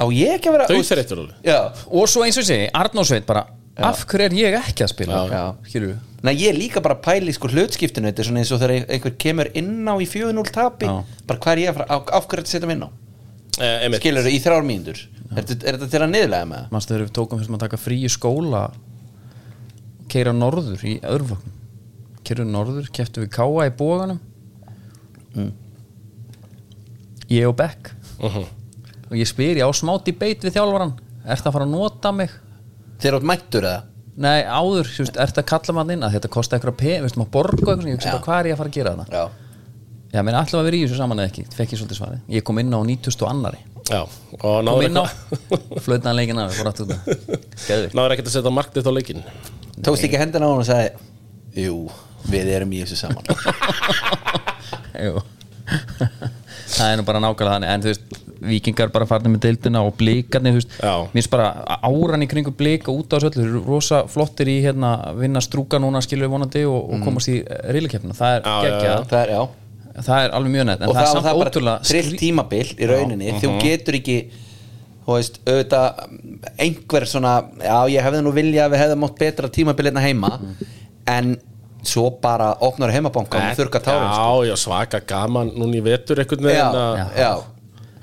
C: á ég ekki að vera
D: þau þreyttur alveg
C: Já,
B: Og svo eins og þessi, Arnórsveit bara Af hverju er ég ekki að spila?
C: Já.
B: Skilur við
C: Nei, ég er líka bara að pæla í sko hlutskiptinu Þetta er svona eins og þegar einhver kemur inn á í 4-0 tapi
B: Já.
C: Bara hvað er ég að fara, á, af hverju er þetta að setja mig inn á?
D: Eh, Emitt
C: Skilur í þrjár mínútur er, þetta- er þetta til að niðurlega með það?
B: Manstu þegar við tókum þessum að taka frí í skóla Keira norður í öðruvögnum Keira norður, keftum við káa í bóganum
C: Mm.
B: Ég og Beck Og ég spyr, ég á smá debate við þjálfaran Ertu að fara að nota mig?
C: Þeir átt mættur eða?
B: Nei, áður, þú veist, ertu að kalla mann inn að þetta kosti eitthvað pe, veist, maður borga eitthvað, svona, ég veist,
C: Já.
B: bara, hvað er ég að fara að gera þetta?
C: Já
B: Já, menn, ætlum við að vera í þessu saman eða ekki, fekk ég svolítið svarið. Ég kom inn á 90 og annari,
D: Já, og
B: kom
D: náður
B: inn á,
D: eitthvað-
B: flötnaði leikin af, fór aftur þetta. Geðvikt.
D: náður ekkert að setja marknið á leikinn
C: Tókst ekki hendina á hann og sagði Jú, við erum í þessu saman
B: Jú. það er nú bara nákvæmlega þannig, en þú veist, vikingar bara farnir með deildina og blikarnir, þú veist,
D: Já.
B: mér finnst bara áran í kringu blika út á þessu öllu, þeir eru rosa flottir í hérna, vinna strúka núna, skilur við vonandi og, og komast í reylikeppinu, það er
D: Mhm. Já, já, já.
B: geggjað,
C: Það er, já
B: það er alveg mjög nett, en það,
C: Og
B: er
C: það, það,
B: samt
C: það er bara
B: ótrúlega
C: mhm. trill tímabil í rauninni Þú getur ekki þú veist, auðvitað einhver svona, já ég hefði nú vilja að við hefðum átt betra tímabiliðna heima en svo bara opnar heimabanka og þurka tárum sko.
D: Já, já, svaka gaman núna í vetur einhvern
C: já,
D: veginn að
C: já, já.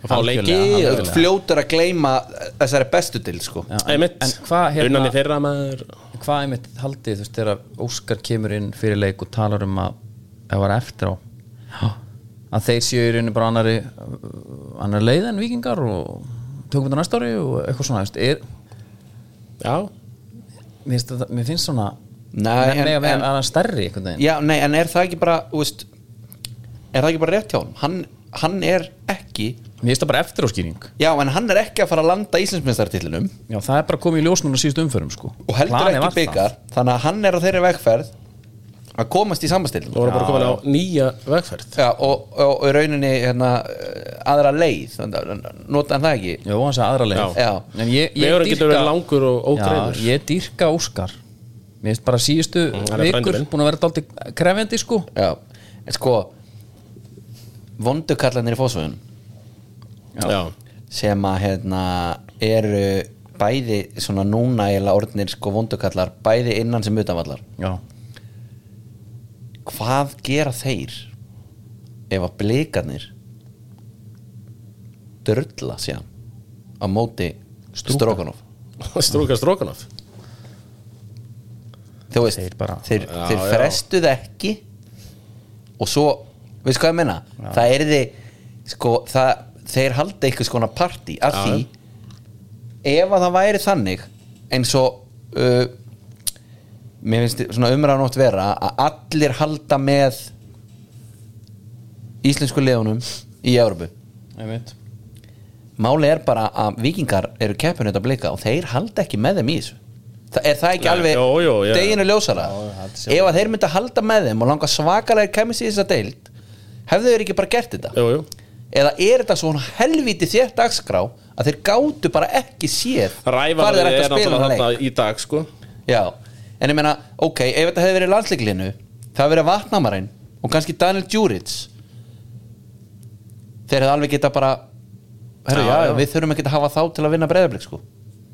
D: að fá leiki
B: Algjörlega,
D: og-
B: algjörlega.
C: fljótur að gleyma þessari bestu til sko.
B: Já, en,
D: Einmitt,
B: en hvað hérna
D: unnan í fyrra maður
B: hvað einmitt haldið þú veist þegar Óskar kemur inn fyrir leik og talar um að það var eftir á að þeir séu í rauninu bara annari annar leið en vikingar og tökum þetta næsta ári og eitthvað svona þú veist, er,
D: Já,
B: mér, finnst þetta, mér finnst svona
C: Nei,
B: menn
C: en-
B: mega vera
C: en-
B: að vera stærri einhvern veginn
C: Já, nei, en er það ekki bara þú veist, er það ekki bara rétt hjá honum? hann hann er ekki
B: mér finnst það bara eftir áskýring
C: já, en hann er ekki að fara að landa Íslandsmeistartillinum
B: já það er bara komið í ljós núna síðust umförum sko
C: og heldur
B: Planið
C: ekki
B: var það.
C: byggar þannig að hann er á þeirri vegferð að komast í
D: þú
C: samastillinu
D: voru bara komin á nýja vegferð
C: Já, og, og, og í rauninni hérna, eh, aðra leið nota hann það ekki
B: Jó, hans er aðra leið
C: Já.
B: En ég, ég
D: Vegurinn getur verið langur og ógreiður.
B: Já, ég dýrka Óskar Mér finnst bara síðustu
D: Mm, hann er frændi
B: vikur
D: minn.
B: búin að vera dálítið krefjandi sko
C: já, en sko vondukallanir í fósvöðunum
D: Já,
C: sem að hérna eru bæði svona núna eiginlega orðnir sko vondukallar bæði innan sem utanvallar
B: Já,
C: hvað gera þeir ef að blikarnir drulla síðan á móti Strókanov
D: Strúka Strókanov
C: þú veist,
B: Þeir bara-
C: þeir,
D: Já,
C: þeir
D: já.
C: frestuð ekki og svo, veist hvað ég menna það er þið, sko það, þeir halda einhvers konar partí að
D: Já,
C: því ef að það væri þannig eins og uh, mér finnst svona umræðan oft vera að allir halda með íslensku leðunum í Európu
B: einmitt
C: máli er bara að vikingar eru keppinu þetta blika og þeir halda ekki með þeim í þessu Þa, er það ekki
D: Nei,
C: alveg
D: jú, jú, ég-
C: deginu ljósara
B: Já, ég held sjálf.
C: ef að þeir mynda halda með þeim og langa svakalega kemist í þessa deild hefðu þeir ekki bara gert þetta
D: Jú, jú
C: eða er þetta svona helviti þér dagskrá að þeir gátu bara ekki séð hvar
D: Ræfan
C: þeir
D: er
C: ættu að spila
D: náttúrulega
C: þennan
D: þarna
C: leik
D: í dag sko
C: Já, en ég meina, ok, ef þetta hefði verið landsleiklinu það hefði verið vatnamarinn og kannski Daniel Djuric þeir hefði alveg geta bara herru,
D: Já,
C: já,
D: já.
C: við þurfum ekki að hafa þá til að vinna breyðarblik sko,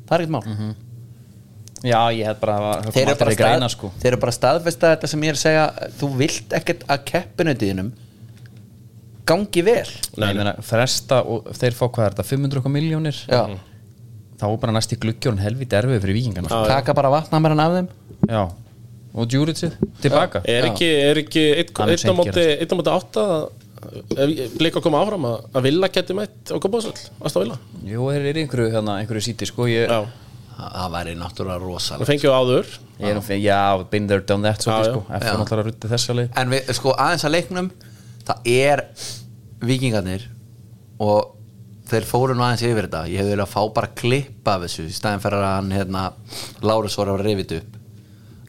C: það er ekkert mál
B: Já, ég hef bara það kom
C: Mhm. þeir, eru
B: aldrei
C: bara
B: til greina,
C: stað,
B: sko.
C: þeir eru bara staðfesta þetta sem ég er að segja þú vilt ekkert að keppinu þínum gangi vel
B: Nei, ég meina, fresta og þeir fá hvað er þetta 500 okkar miljónir
C: já,
B: þá er bara næst í gluggjórn helviti erfið fyrir vikingarna sko.
C: taka bara vatnamarinn af þeim
B: Já, og djúritsið tilbaka
D: Er ekki, er ekki einn-
B: Hann er
D: einn á móti
B: seingerast.
D: einn á móti átta ef Blika koma áfram að, að Villa geti mætt og koma ásvöld, aðstá Villa
B: Jú, þeir eru í einhverju, hérna, einhverju síti sko ég,
D: Já,
C: það væri náttúrulega
D: það
C: rosalega
D: fengið áður
B: ég er, nú- já, been there, done that
D: Já, já.
B: svolítið, sko. eftir náttúrulega að rutta þessa leið
C: en við, sko, aðeins að leiknum það er vikingarnir og þeir fóru nú aðeins yfir þetta ég hefði viljað fá bara klipp af þessu í staðin fyrir að hann, hérna, Lárus voru að reyfið upp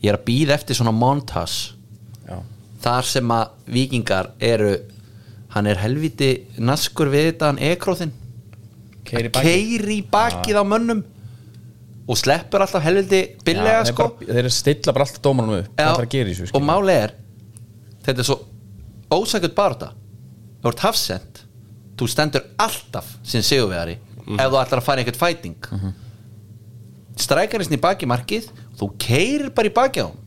C: ég er að býða eftir svona montas
B: Já.
C: þar sem að vikingar eru hann er helviti naskur við þetta hann ekróðinn
B: Keyrir í bakið.
C: keiri í bakið á mönnum og sleppur alltaf helviti billega
B: Já, þeir
C: sko
B: bara- þeir stilla bara alltaf dómarum upp
C: Já,
B: það er að gera í þessu
C: og
B: skilur.
C: máli er þetta er svo ósækjöld barða þú ert hafsend þú stendur alltaf sem sigurvegari
B: Mhm.
C: ef þú ætlar að fara í einhvern fæting mm -hmm. strækarinn í baki markið þú keirir bara í baki á hann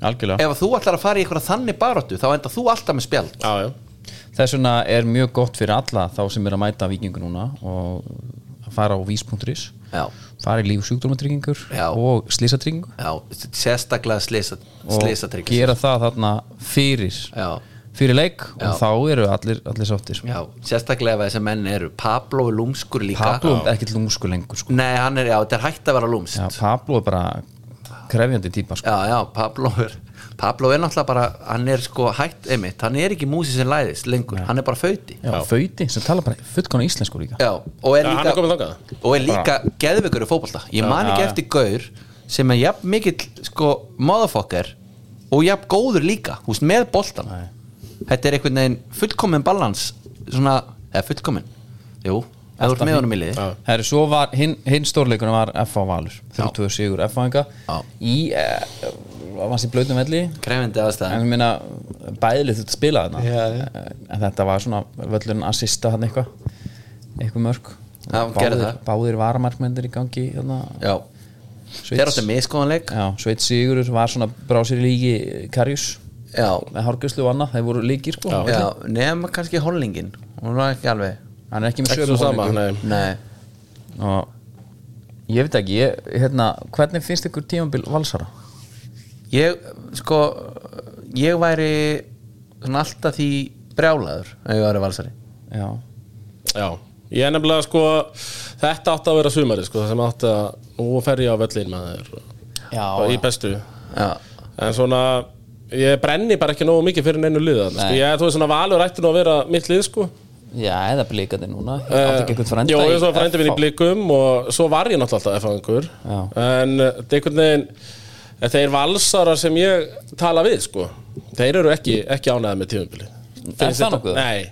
B: algjörlega
C: ef þú ætlar að fara í einhverja þannig baróttu þá enda þú alltaf með spjald
D: Já, já
B: þess vegna er mjög gott fyrir alla þá sem er að mæta vikingu núna og að fara á vís.is
C: Já.
B: fara í líf sjúkdómatryggingur
C: Já.
B: og slísatryggingu
C: Já, sérstaklega slisa,
B: og
C: slisa
B: gera það þarna fyrir
C: Já.
B: fyrir leik
C: Já.
B: og þá eru allir, allir sáttir sko.
C: Já, sérstaklega ef þessi menn eru Pablo er lúmskur líka
B: Pablo er ekkert lúmsku lengur sko.
C: Nei, hann er, já, þetta er hægt að vera lúmst
B: Já,
C: Já,
B: Pablo er bara krefjandi típa sko.
C: já, Pablo er Pablo er náttúrulega bara, hann er sko hægt einmitt, hann er ekki músi sem læðist lengur hann er bara fauti
B: Já, Föyti sem tala bara fullkona íslensku líka
C: Já, og
D: Já,
C: er
D: hann er
C: líka,
D: kominn þangað.
C: og er líka geðveikur í fótbolta, ég man ekki eftir gaur sem er jafn mikill sko motherfucker og jafn góður líka, þú veist, með boltan þetta er einhvern veginn fullkomin balans svona, eða fullkomin jú, ef þú ert með honum í liði
D: Já.
B: Herri, svo var hinn hin stórleikunum var FH Valur 32 sigur FH enga
C: Já.
B: í, eh, var í blöðnum velli
C: krefindi
B: en
C: aðstæðan
B: ég minna, bæðilið þurft að Eh, spila þarna en þetta var svona völlurinn að sista hann eitthvað eitthvað mörg
C: hann gerði
B: báðir,
C: það
B: báðir varamarkmendir í gangi hérna,
C: já, þeir áttu miskoðanleik
B: Já, Sveit Sigurur var svona brá sér í líki Karjus
C: já,
B: með Hárgjörslu og annað, þeir voru líkir sko
C: já, nema kannski hollingin hún var ekki alveg
B: hann er ekki með
D: Ekki svo
B: sömu
D: sama,
B: holdingu.
D: nei.
C: nei,
B: og ég veit ekki, ég, hérna hvernig finnst ykkur tímabil valsara?
C: ég sko ég væri svona alltaf því brjálaður ef ég væri valsari
B: Já,
D: Já, ég er nefnilega sko þetta átti að vera sumari sko það sem átti að, nú fer ég á völlin með þér
B: já,
D: og í bestu
C: já,
D: en svona, ég brenni bara ekki nógu mikið fyrir neinu liða sko. ég, þú veist svona valur ætti nú að vera mitt lið sko Eh,
B: já eða blíkandi núna ég átti ekki eitthvað frænda
D: Jó,
B: í
D: ég svo frændi minn í
B: FH.
D: blikum og svo var ég náttúrulega alltaf F-angur
B: Já.
D: en eh, þetta er einhvern veginn eh, þeir valsarar sem ég tala við sko, þeir eru ekki, ekki ánæðið með tífumbili
B: Er það nokkuð?
D: Nei,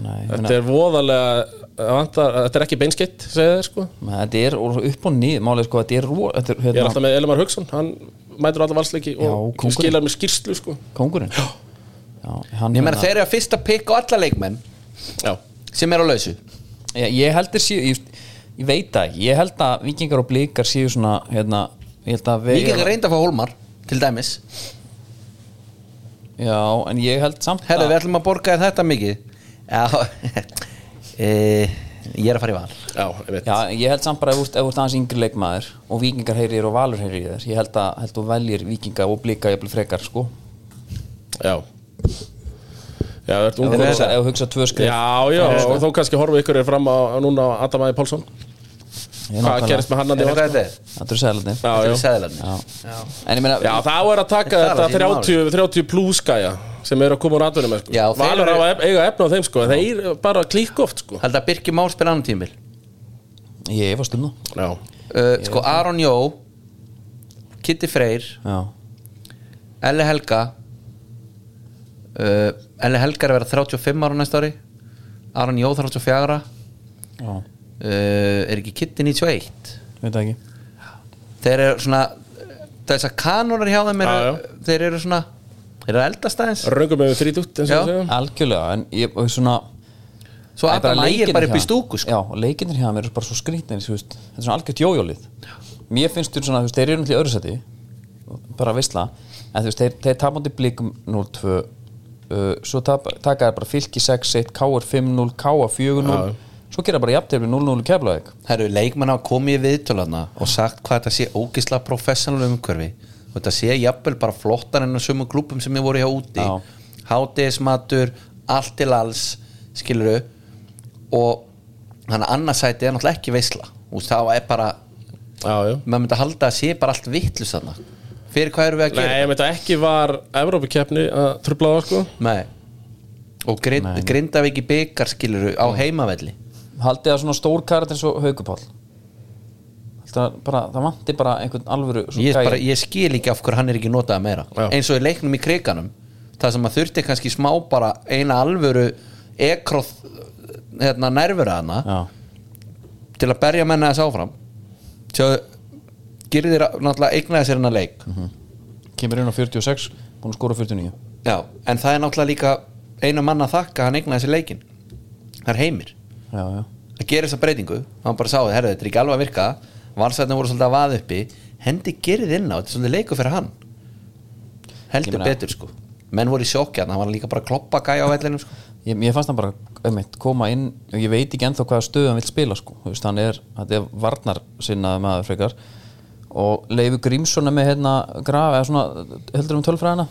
B: Nei, ég meina,
D: þetta er voðalega vantar, þetta er ekki beinskitt, segja þeir sko
B: þetta er og upp og nýð, málið sko, þetta er rú þetta er
D: Ég er
B: hérna,
D: alltaf með Elmar Hugson, hann mætur alltaf valsleiki og
B: Já, kóngurinn.
D: skilar mér skýrslu sko
B: kóngurinn Já, hann,
C: ég meina
B: hérna-
C: þeir eru að fyrsta pikk á alla leikmenn
D: Já,
C: sem eru á lausu
B: Já, ég held þér síðu ég, ég veit það ekki, ég held að vikingar og blíkar síðu svona hérna, ég held að við-
C: Víkingar reynda að fá hólmar til dæmis
B: Já, en ég held samt
C: Herðu,
B: að
C: við ætlum að borga þér þetta mikið Já e, Ég er að fara í val
D: já, ég veit
B: Já, ég held samt bara ef þú ert- ef þú ert aðeins yngri leikmaður og vikingar heyrir þér og valur heyrir í þér ég held að held þú veljir vikinga og blika jafnvel frekar sko
D: Já, já það ert
B: ef
D: ungur
B: þú
D: og-
B: hugsa, ef þú hugsa tvö skrif
D: Já, já, og þó kannski horfa ykkur er fram á núna á Adam Aði Pálsson Hvað gerist með hann að
C: Er
D: þér?
C: þetta?
B: Það er sæðlega
D: Já, já
C: Þetta er seðlarnir
B: Já. En ég meina,
D: Já, það er að taka
C: Það er
D: þetta
C: að sínu
D: 30, 30 plus gæja sem eru að koma úr atvinnum sko.
C: Já, þeir
D: Valur á
C: eru-
D: að eiga efna á þeim sko, en þeir bara klík oft sko.
C: Haldið að Birki Már spila annan tímil
B: ég var stum það
D: Já,
C: uh, Sko Aron Jó Kitty Freyr
B: Já,
C: Elli Helga uh, Elli Helga er að vera 35 ára næsta ári Aron Jó 34 uh,
B: já,
C: Er ekki Kitty 91?
B: veit það ekki
C: Þeir eru svona Þess að kanónar hjá þeim eru,
D: Já,
C: Þeir eru svona Þeir eru að eldast aðeins
D: röngum við 30 eins og
C: Já.
D: við segjum
B: Algjörlega, en ég og svona
C: Svo
B: Nei,
C: Adam Ægir
B: leikirnir
C: bara upp í
B: hjá-
C: stúku sko.
B: Já, leikinir hjá mér er bara svo skrýtnir þú veist, Þetta er svona algjört jójólið Mér finnst þú svona, þú veist, þeir eru náttúrulega í öðru seti bara visla en þú veist, þeir, þeir tapandi blikum 0-2 uh, svo tap, taka þeir bara fylki 6-1 KR 5-0, KR 4-0 svo gera bara jafntefni 0-0 keflaðið
C: Það eru leikmenn að koma í viðtölana og sagt hvað þetta sé ógisla professional umhverfi og þetta sé jafnvel bara flottar enn á sömu klúpum sem ég voru hjá úti
B: Já.
C: hátíðismatur, allt til alls skiluru og þannig að annarsæti er náttúrulega ekki veisla og það er bara
D: Já, já
C: maður myndi að halda að sé bara allt vittlust þarna fyrir hvað eru við að
D: Nei,
C: gera
D: ég veit að ekki var Evrópukeppni að trubla á sko.
C: Nei. og grind, grindavík í byggar skiluru á heimavelli
B: Haldið að svona stór karat eins og haugupál Það, bara, það vanti bara einhvern alvöru svo
C: ég,
B: gæja.
C: bara, ég skil ekki af hver hann er ekki notað meira
D: Já.
C: eins og í leiknum í kriganum það sem að þurfti kannski smá bara eina alvöru ekroð hérna, nærvöru hana
B: Já,
C: til að berja menna þess áfram svo gerðir náttúrulega eignaði sér hennar leik
B: kemur inn á 46 búin að skora 49
C: já, en það er náttúrulega líka einu manna að þakka að hann eignaði sér leikin það er heimir
B: Já, já
C: að gera þessa breytingu hann bara sáði, herðu, þetta er ekki alveg að virka valsætna voru svolítið að vaða uppi hendi gerið inn á, þetta er svolítið leiku fyrir hann
B: Ég
C: heldur
B: meina-
C: betur sko menn voru í sjokki hann, hann var líka bara að kloppa gæja á vellinum sko.
B: ég, ég fannst hann bara einmitt, koma inn og ég veit ekki ennþá hvaða stöðu hann vil spila sko. Þú veist, hann er, þetta er varnar sinnaði maður frekar og Leifu Grímsson er með hérna graf eða svona heldur um tölfræðina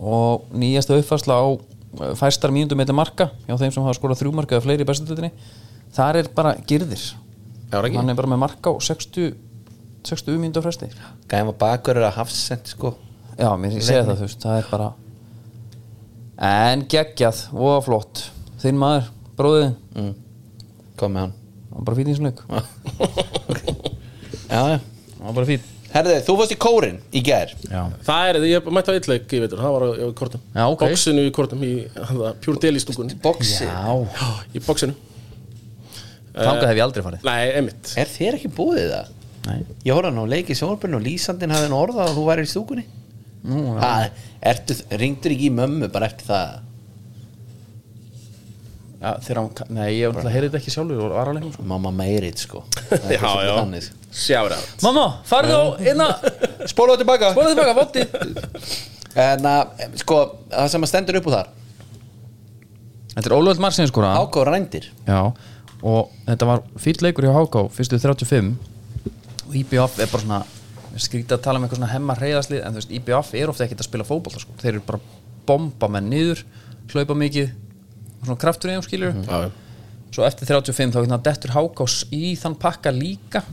B: og nýjasta uppfærsla á eh, fæstar mínúndum eitthvað marka hjá þeim sem hafa skorað þrjú marka eða fleiri í bestudutinni þar er bara girðir
C: Já, er ekki?
B: hann er bara með marka á 60 60 mínúndu fresti
C: gæja var bakur að hafsend sko.
B: já, mér ég segja það, þú veist, það er bara en geggjað og flott, þinn maður bróðið,
C: kom með hann
B: hann bara fýtt í þessum leik
C: já, já.
B: Það var bara fín
C: herðu, þú fost í kórin í gær
B: Já,
D: Það er, ég mætti á eitthleik, ég veitur, það var á, á kortum
B: Já, ok.
D: Boxinu í kortum, í hana, pure deli stúkunni
C: boxi,
D: Í boxinu
B: þangað hef ég aldrei farið
D: Nei, einmitt
C: er þér ekki búið það?
B: Nei.
C: ég horfði hann á leik í sjónarbyrnu og lýsandinn hafði hann orðað að þú væri í stúkunni Nú, ha, ertu, ringdur ekki í mömmu bara eftir það
B: ja, þegar hann, nei, ég náttúrulega heyrði þetta ekki sjálfur og var alveg sko.
C: Mamma meirit sko
D: Já, já, sjára
B: mamma, farðu á, hérna, einna,
C: Spólaðu tilbaka
B: borða tilbaka, votti
C: En að, sko, það sem að stendur upp úr þar
B: þetta er Ólöld Marsin skora
C: Ákóð rændir
B: já, og þetta var fýll leikur hjá Háká, fyrstu 35 og IBF er bara svona skrítið að tala um eitthvað svona hemmar reyðaslið en þú veist, IBF er ofta ekkert að spila fótbolta sko. þeir eru bara að bomba menn niður hlaupa mikið, og svona kraftur í þeim skilur
D: Já,
B: svo eftir 35 þá getur hann dettur Hákás í þann pakka líka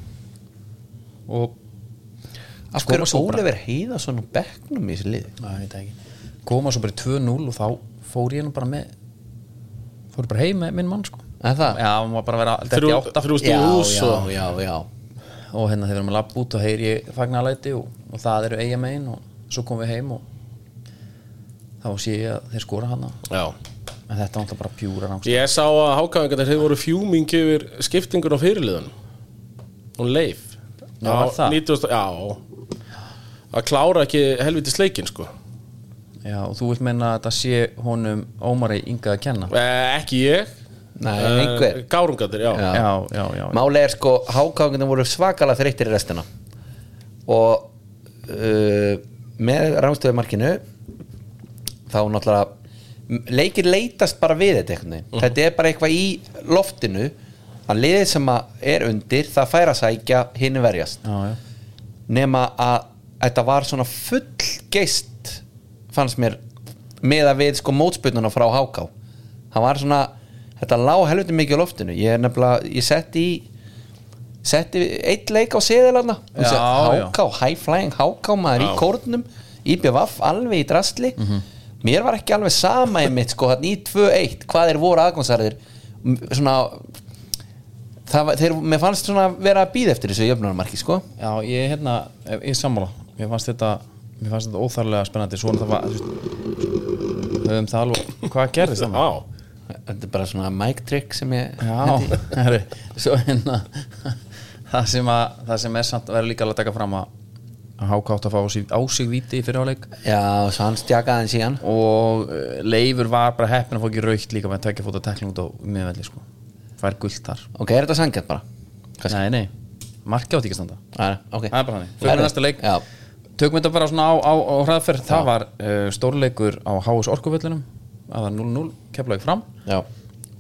B: og
C: Af
B: Sko,
C: hverju
B: svo bara-
C: Ólefur heiða svona bekknum í þessu liði
B: Nei, ég veit það ekki. koma svo bara í 2-0 og þá fór ég nú bara með fór bara heim með minn mann sko
C: Er það?
B: Já, hann var bara að vera að detta í
D: Þrjú,
B: átta
D: þrjú stíð ús
C: já,
D: og
C: já, já
B: og hérna þegar við erum að lappa út og heyr ég fagnalæti og, og það eru eiga megin og svo komum við heim og þá sé ég að þeir skora hana
D: Já,
B: en þetta var alltaf bara pjúra rangst
D: ég sá að hákaðingar þeir voru fjúming yfir skiptingun á fyrirliðan og leif
B: Já, var það?
D: 90, Já, að klára ekki helviti sleikin sko
B: Já, og þú vilt meina að þetta sé honum Ómari Inga að kenna Já,
D: eh, Ekki ég
C: Nei,
D: Eh,
C: einhver
D: Gárungarnir, já,
C: Já.
B: já, já, já.
C: Máli er sko, hákáðingin voru svakalega þreyttir í restina og uh, með rámstöðumarkinu þá náttúrulega leikir leitast bara við þetta einhvern veginn þetta er bara eitthvað í loftinu að liðið sem að er undir það fær að sækja hinn verjast
B: Já, já.
C: nema að þetta var svona full geist fannst mér með að við sko mótspyrnuna frá Háká það var svona, þetta lá helviti mikið á loftinu, ég er nefnilega, ég setti í setti eitt leik á seðilana
B: Já, já.
C: Háká, high flying Háká maður í kórnum IBVF alveg í drastli
B: Mhm.
C: mér var ekki alveg sama einmitt sko, þarna í 2-1 hvað þeir voru aðgómsarðir svona það, var- þeir, mér fannst svona vera að býða eftir þessu jöfnunarmarki sko
B: Já, ég hérna, eh, ég er sammála Mér fannst þetta, mér fannst þetta óþarlega spennandi Svona það var, þú veist Höfum það alveg, hvað gerðist það?
D: Já,
C: Þetta er bara svona mic trick sem ég
B: Já, herri, svo hérna Það sem að, það sem er samt verður líka alveg að taka fram að að háka átt að fá á sig, á sig víti í fyrirháleik
C: Já, svo hann stjakaði hann síðan
B: og eh, Leifur var bara heppin að fá ekki raukt líka með tvekja fóta tekling út á miðvelli sko fær gult þar
C: Ok, er þetta sangjart bara? Hvað
B: Nei, nei, marki átt ekki að standa
C: Nei, ok
B: Það er bara þannig, fyrir
C: Herri,
B: næsta leik
C: Já,
B: Tökum þetta bara svona á, á, á hraðferð Það var uh, stórleikur á HS Orkuvöllunum Það var 0-0, keflaði fram
C: já,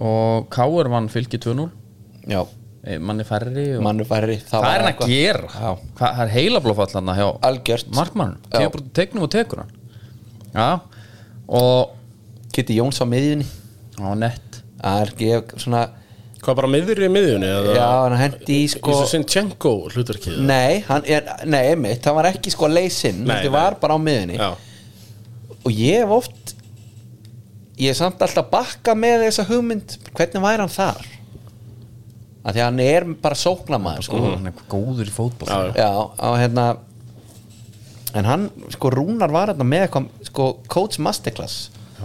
B: Og Káur vann fylgi 2-0
C: já
B: Eh, Manni færri og...
C: Mannu færri
B: Hvað er hann að
C: eitthvað.
B: gera?
C: Já.
B: Hvað, það er heilablófall hann hjá
C: Algjört.
B: Markmannum,
C: Já.
B: kemur bara tegnum og tekur hann Já Og
C: Kitty Jóns á miðjunni
B: á nett
C: Það er ekki svona
D: hvað bara miður í miðjunni eða?
C: Já, hann hendi í
D: Sko,
C: sko
D: Ísa Sinchenko hlutarkið
C: Nei, hann er, nei, mitt, það var ekki sko leysinn
D: Nei,
C: Þetta
D: nei.
C: var bara á miðjunni
D: Já,
C: Og ég hef oft Ég hef samt alltaf bakka með þessa hugmynd Hvernig væri hann þar? Af því að hann er bara sóknamaður sko.
B: Hann er góður í fótboll
D: já, já.
C: Já, á hérna En hann, sko, Rúnar var hérna með eitthvað, sko, Coach Masterclass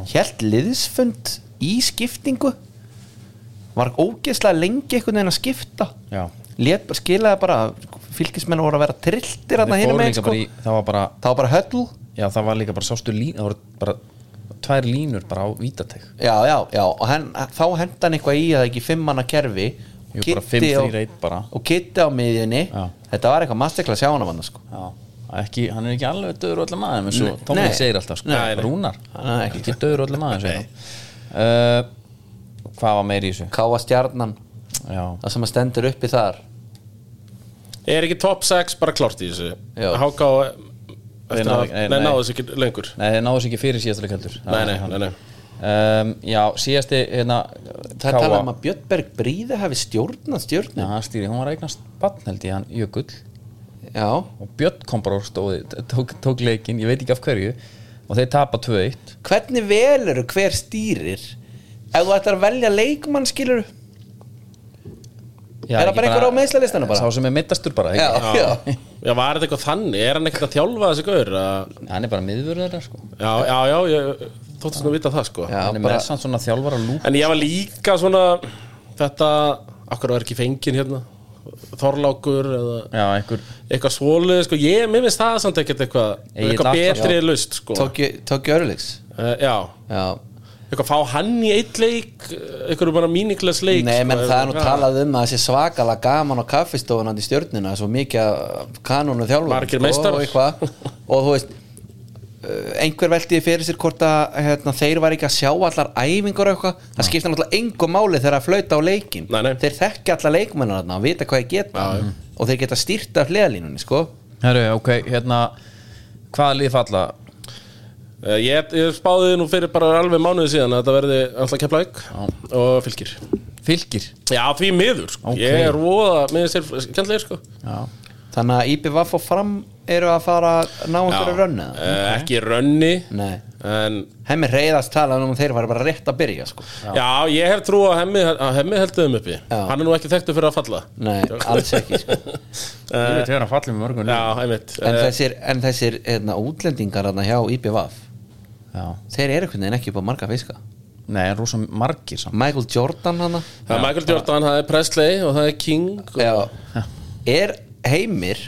C: Hjælt liðsfund í skiptingu Var ógeðslega lengi einhvern veginn að skipta
B: Já.
C: Lét, skilaði bara, sko, fylgismenn voru að vera trilltir hérna
B: Þeir
C: hérna
B: fóru
C: með,
B: líka
C: sko
B: bara í, það var bara
C: Það var bara höll
B: Já, það var líka bara sástu lín Það voru bara tvær línur bara á vítateg
C: Já, já, já, og hann, þá henda hann eitthvað í að ekki fimmanna kerfi
B: Jú, bara
C: Kiddi
B: 5-3-1
C: á-
B: bara.
C: Og kitti á miðjunni
B: Já.
C: Þetta var eitthvað Masterclass hjá hann að sko
B: Já, ekki, hann er ekki alveg döður öllum aðeins eins og
C: Nei.
B: Tómi
C: Nei.
B: segir alltaf sko.
C: Nei,
D: nei.
B: Rúnar,
C: Nei, ekki.
B: ekki döður öllum aðeins uh, Hvað var meir í þessu?
C: Káa stjarnan
B: Já,
C: það sem að stendur uppi þar
D: Er ekki top 6 bara klárt í þessu?
C: Já.
D: Háká
B: Þeir
D: eftir
B: náðu-
D: að-
B: nei,
D: Nei,
B: nei.
D: náðu þessu ekki lengur
B: nei, þeir náðu sér ekki fyrir síðasta leik heldur
D: Nei, nei, nei, nei
B: Um, Já, síðasti hérna
C: það er talað um að Björnberg Bríði hafi stjórnað stjórnum
B: Já, hann stýri, hún var að eignast batn held ég, hann Jökull
C: já,
B: og Björn kom bara og stóði, tók, tók leikinn, ég veit ekki af hverju og þeir tapa 2-1
C: hvernig velur hver stýrir ef þú ætlar að velja leikmann skilur
B: Já,
C: Er það
B: ekki
C: bara einhver á meiðslalistanum bara?
B: Sá sem er mittastur bara,
C: já,
B: ekki?
C: já.
D: Já, var þetta eitthvað þannig? Er hann ekkert að þjálfa þessi gaur? að-
B: Hann er bara miðvörður þeirra, sko
D: Já, já, já, ég þóttist nú að vita það, sko
C: Já,
B: Hann er
C: bara-
B: með samt svona þjálfara lúk
D: En ég var líka svona Þetta, akkur var ekki fengin hérna Þorlákur eða
B: Já, einhver
D: eitthvað svolu sko. Ég, mér finnst það samt ekkert eitthvað
B: Egill
D: Eitthvað
B: Atlason.
D: betri lust, sko
C: tók ég örlíks
D: Eh, Já,
C: já,
D: eitthvað fá hann í eitt leik eitthvað bara míniglas leik
C: Nei, menn
D: sko,
C: það er nú
D: eitthvað.
C: talað um að það sé svakala gaman á kaffistofan í stjörnuna, svo mikið kanónu þjálfur
D: Margir meistarar.
C: og, eitthvað. og þú veist eh, einhver veltiði fyrir sér hvort að hérna, þeir var ekki að sjá allar æfingar og eitthvað, það skipta náttúrulega engu máli þegar að flauta á leikin
D: Nei, nei.
C: þeir þekki alla leikmennar þarna og vita hvað þeir geta og þeir geta stýrt af hliðalínunni sko.
B: Herru, ok, hérna Hvaða lið falla?
D: Eh, ég, ég spáði nú fyrir bara alveg mánuði síðan að þetta verði alltaf keflaug og fylgir
B: Fylgir
D: Já, því miður, sko.
B: Ok.
D: ég er voða með sér kjandlegir sko
B: Já,
C: þannig að IBVF og fram eru að fara að ná einhverju rönni
D: Eh, Ekki rönni
C: Nei,
D: en
C: hemmi reyðast talað um að þeir var bara rétt að byrja sko.
D: Já. ég hef trú að hemmi, að hemmi heldur um uppi
C: Já.
D: Hann er nú ekki þekktu fyrir að falla
C: Nei, alls ekki sko.
B: ég veit hefur að falla með mörgum
D: Já, einmitt
C: En
D: Eh,
C: þessir, en þessir hérna, útlendingar hérna, hjá IBVF
B: Já.
C: Þeir eru einhvern veginn ekki upp á marga fiska
B: Nei, en rosa margir samt
C: Michael Jordan hana
D: Það er Michael Jordan, það er Presley og það er King og...
C: Já. Er heimir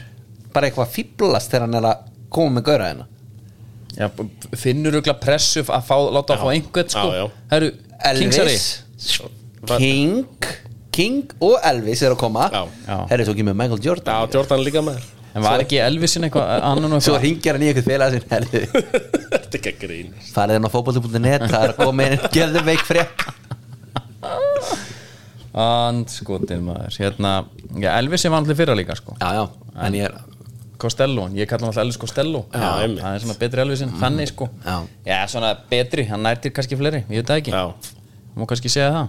C: bara eitthvað fíblast þegar hann er að koma með gaura hérna
B: Já, b- finnur ögla pressu að fá, láta að fá einhvern sko
D: Já, já.
B: Herru, Kingsari
C: Elvis King King og Elvis er að koma
D: Já.
B: Já.
C: Herri tók ég með Michael
D: Já,
C: Jordan
D: Jordan líka maður
B: En var ekki Elvisin eitthvað annan og
C: Svo
B: eitthvað
C: ringjar hann í eitthvað félag sinn Herri,
D: Þetta er ekki að grín
C: farið hann á fótbolti.net Það er að koma inn, gerðum veik frétt
B: Andskotin maður Hérna, já, Elvisin var allir fyrra líka sko
C: Já, já, en ég er
B: Costello, ég kalla hann alltaf Elvis Costello
D: Já,
B: hann
D: einmitt.
B: er svona betri Elvisin, þannig sko
C: Já.
B: svona betri, hann nærtir kannski fleiri ég veit það ekki,
D: Já,
B: má kannski segja það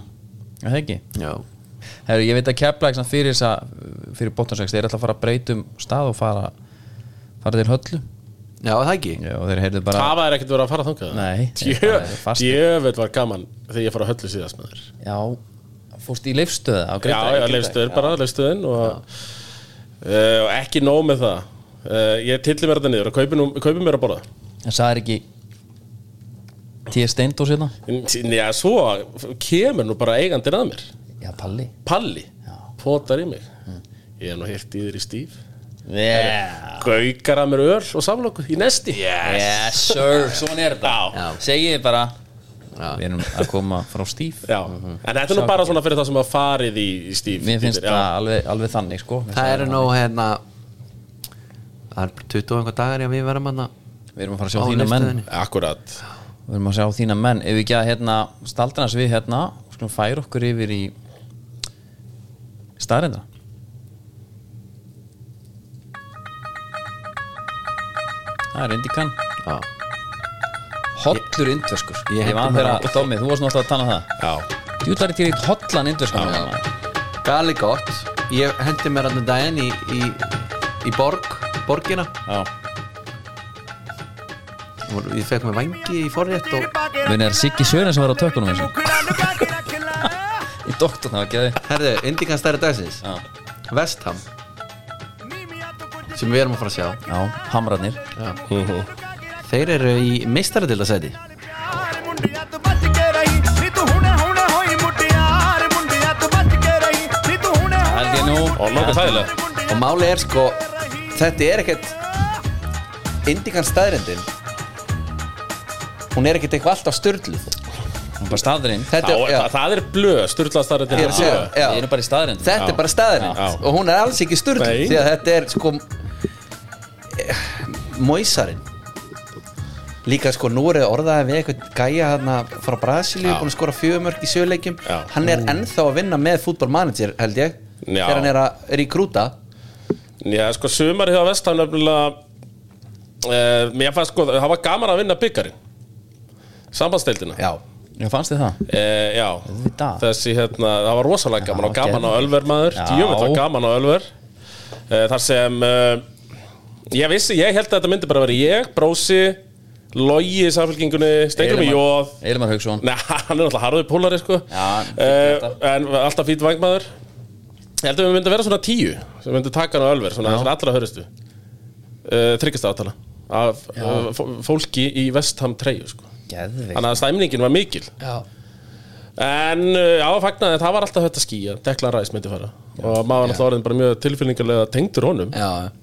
B: Já, það ekki
C: Já,
B: Herru, ég veit að kepla ekki fyrir þess að fyrir bóttansvækst, þeir ætla að fara að breytum stað og fara, fara til höllu
C: já það ekki
B: Já, og þeir heyrðu bara
D: hafa er ekkert verið að fara þangað
B: Nei, það er fast.
D: Djöfell var gaman þegar ég fór að höllu síðast með þér
B: Já, fórst í leifstöða á
D: Já,
B: Grindavík,
D: já,
B: Grindavík.
D: leifstöður bara, leifstöðin og, uh, og ekki nóg með það uh, Ég tilli mér þetta niður og kaupi, nú, kaupi mér að borða
B: En það er ekki T.S. Steindós hérna
D: En- Já, svo kemur nú bara eigandinn að mér
B: Já, Palli
D: Palli, potar í mig Ég er nú heilt í þér í stíf
B: Yeah,
D: Gaukar að mér öl og samlokku í nesti yes.
B: yes sir, svona er þetta
C: Já.
B: Segið þið bara Við erum að koma frá stíf
D: Já, en þetta er nú bara svona fyrir það sem að farið í, í stíf
B: Mér finnst
D: Já.
B: það alveg, alveg þannig sko Mér
C: Það
B: finnst
C: eru nú hérna Það er bara 20 og einhver dagar í að við verðum hérna. hann
B: það- Við erum að fara að sjá
C: á
B: þína menn
C: leifstöðinni.
D: Akkurat
B: Við erum að sjá þína menn Ef við ekki að hérna, staldranas við hérna og Skulum færa okkur yfir í Starindra Það er Indikan
C: Já.
B: Hollur indverskur
C: ég
B: Ég
C: hendi
B: var
C: mér
B: þeirra,
C: á-
B: Tommy, þú varst náttúrulega að tala um það
D: Já,
B: Djúlar er til í hollan hérna. indverskur maður.
C: Gali gott Ég hendi mér hann um daginn í, í, í borg Borgina
B: Já.
C: Og Ég fekk mér vangi í forrétt og
B: Munið er Siggi Sjören sem var á tökunum þessu Í doktorn hafa geði
C: Herðu, Indikan stærri dagsins Vestham Sem við erum að fara að sjá
B: Já, hamrarnir
C: Þeir eru í meistaradildasæti
B: Held ég nú
D: og nokkuð þægilega
C: Og máli er sko Þetta er ekkert Indikan staðrendin Hún er ekkert eitthvað alltaf störluð
B: Hún er bara staðurinn
D: Þá,
C: Þetta,
D: það, það er blöð, sturðlastar
C: Ég er að segja, já.
B: Við erum bara í staðurinn
C: Þetta er bara staðurinn
D: Já.
C: og hún er alls ekki sturgl
D: Nei.
C: því að þetta er sko eh, Moisarinn Líka sko nú er orðaði við eitthvað gæja hérna frá Brasilíu búin að skora fjögumörk í sjöleikjum
D: Já.
C: hann er ennþá að vinna með fútbolmanager held ég
D: Já.
C: þegar hann er að rekrúta
D: Já, sko, sumar hjá Vestham nefnilega uh, Mér fannst sko, það var gaman að vinna byggarinn Sambandsdeildina
C: Já,
B: Já, fannst þið það?
D: Eh, já,
B: Auðvitað.
D: þessi hérna, það var rosalega gaman og gaman á Ölver maður,
B: Já.
D: djöfum var gaman á Ölver eh, þar sem eh, ég vissi, ég held að þetta myndi bara vera ég, Brósi Logi í samfélkingunni, Stengrum í Jóð
B: Eilmar Hauksson
D: Nei, hann er alltaf harður pólari sko
B: Já,
D: Eh, En alltaf fýtt vangmaður Ég held að við myndum vera svona tíu sem myndum taka hann á Ölver, svona þessar allra hörustu uh, Tryggasta átala af uh, fó- fólki í Vestham treyju sko
B: Geðvig
D: Þannig að stæmningin var mikil
C: Já.
D: En uh, já, fagnaði, það var alltaf þetta skýja Deklan Ræs myndi fara Og maður var alltaf orðin bara mjög tilfinningarlega tengdur honum
C: já,
D: Mhm.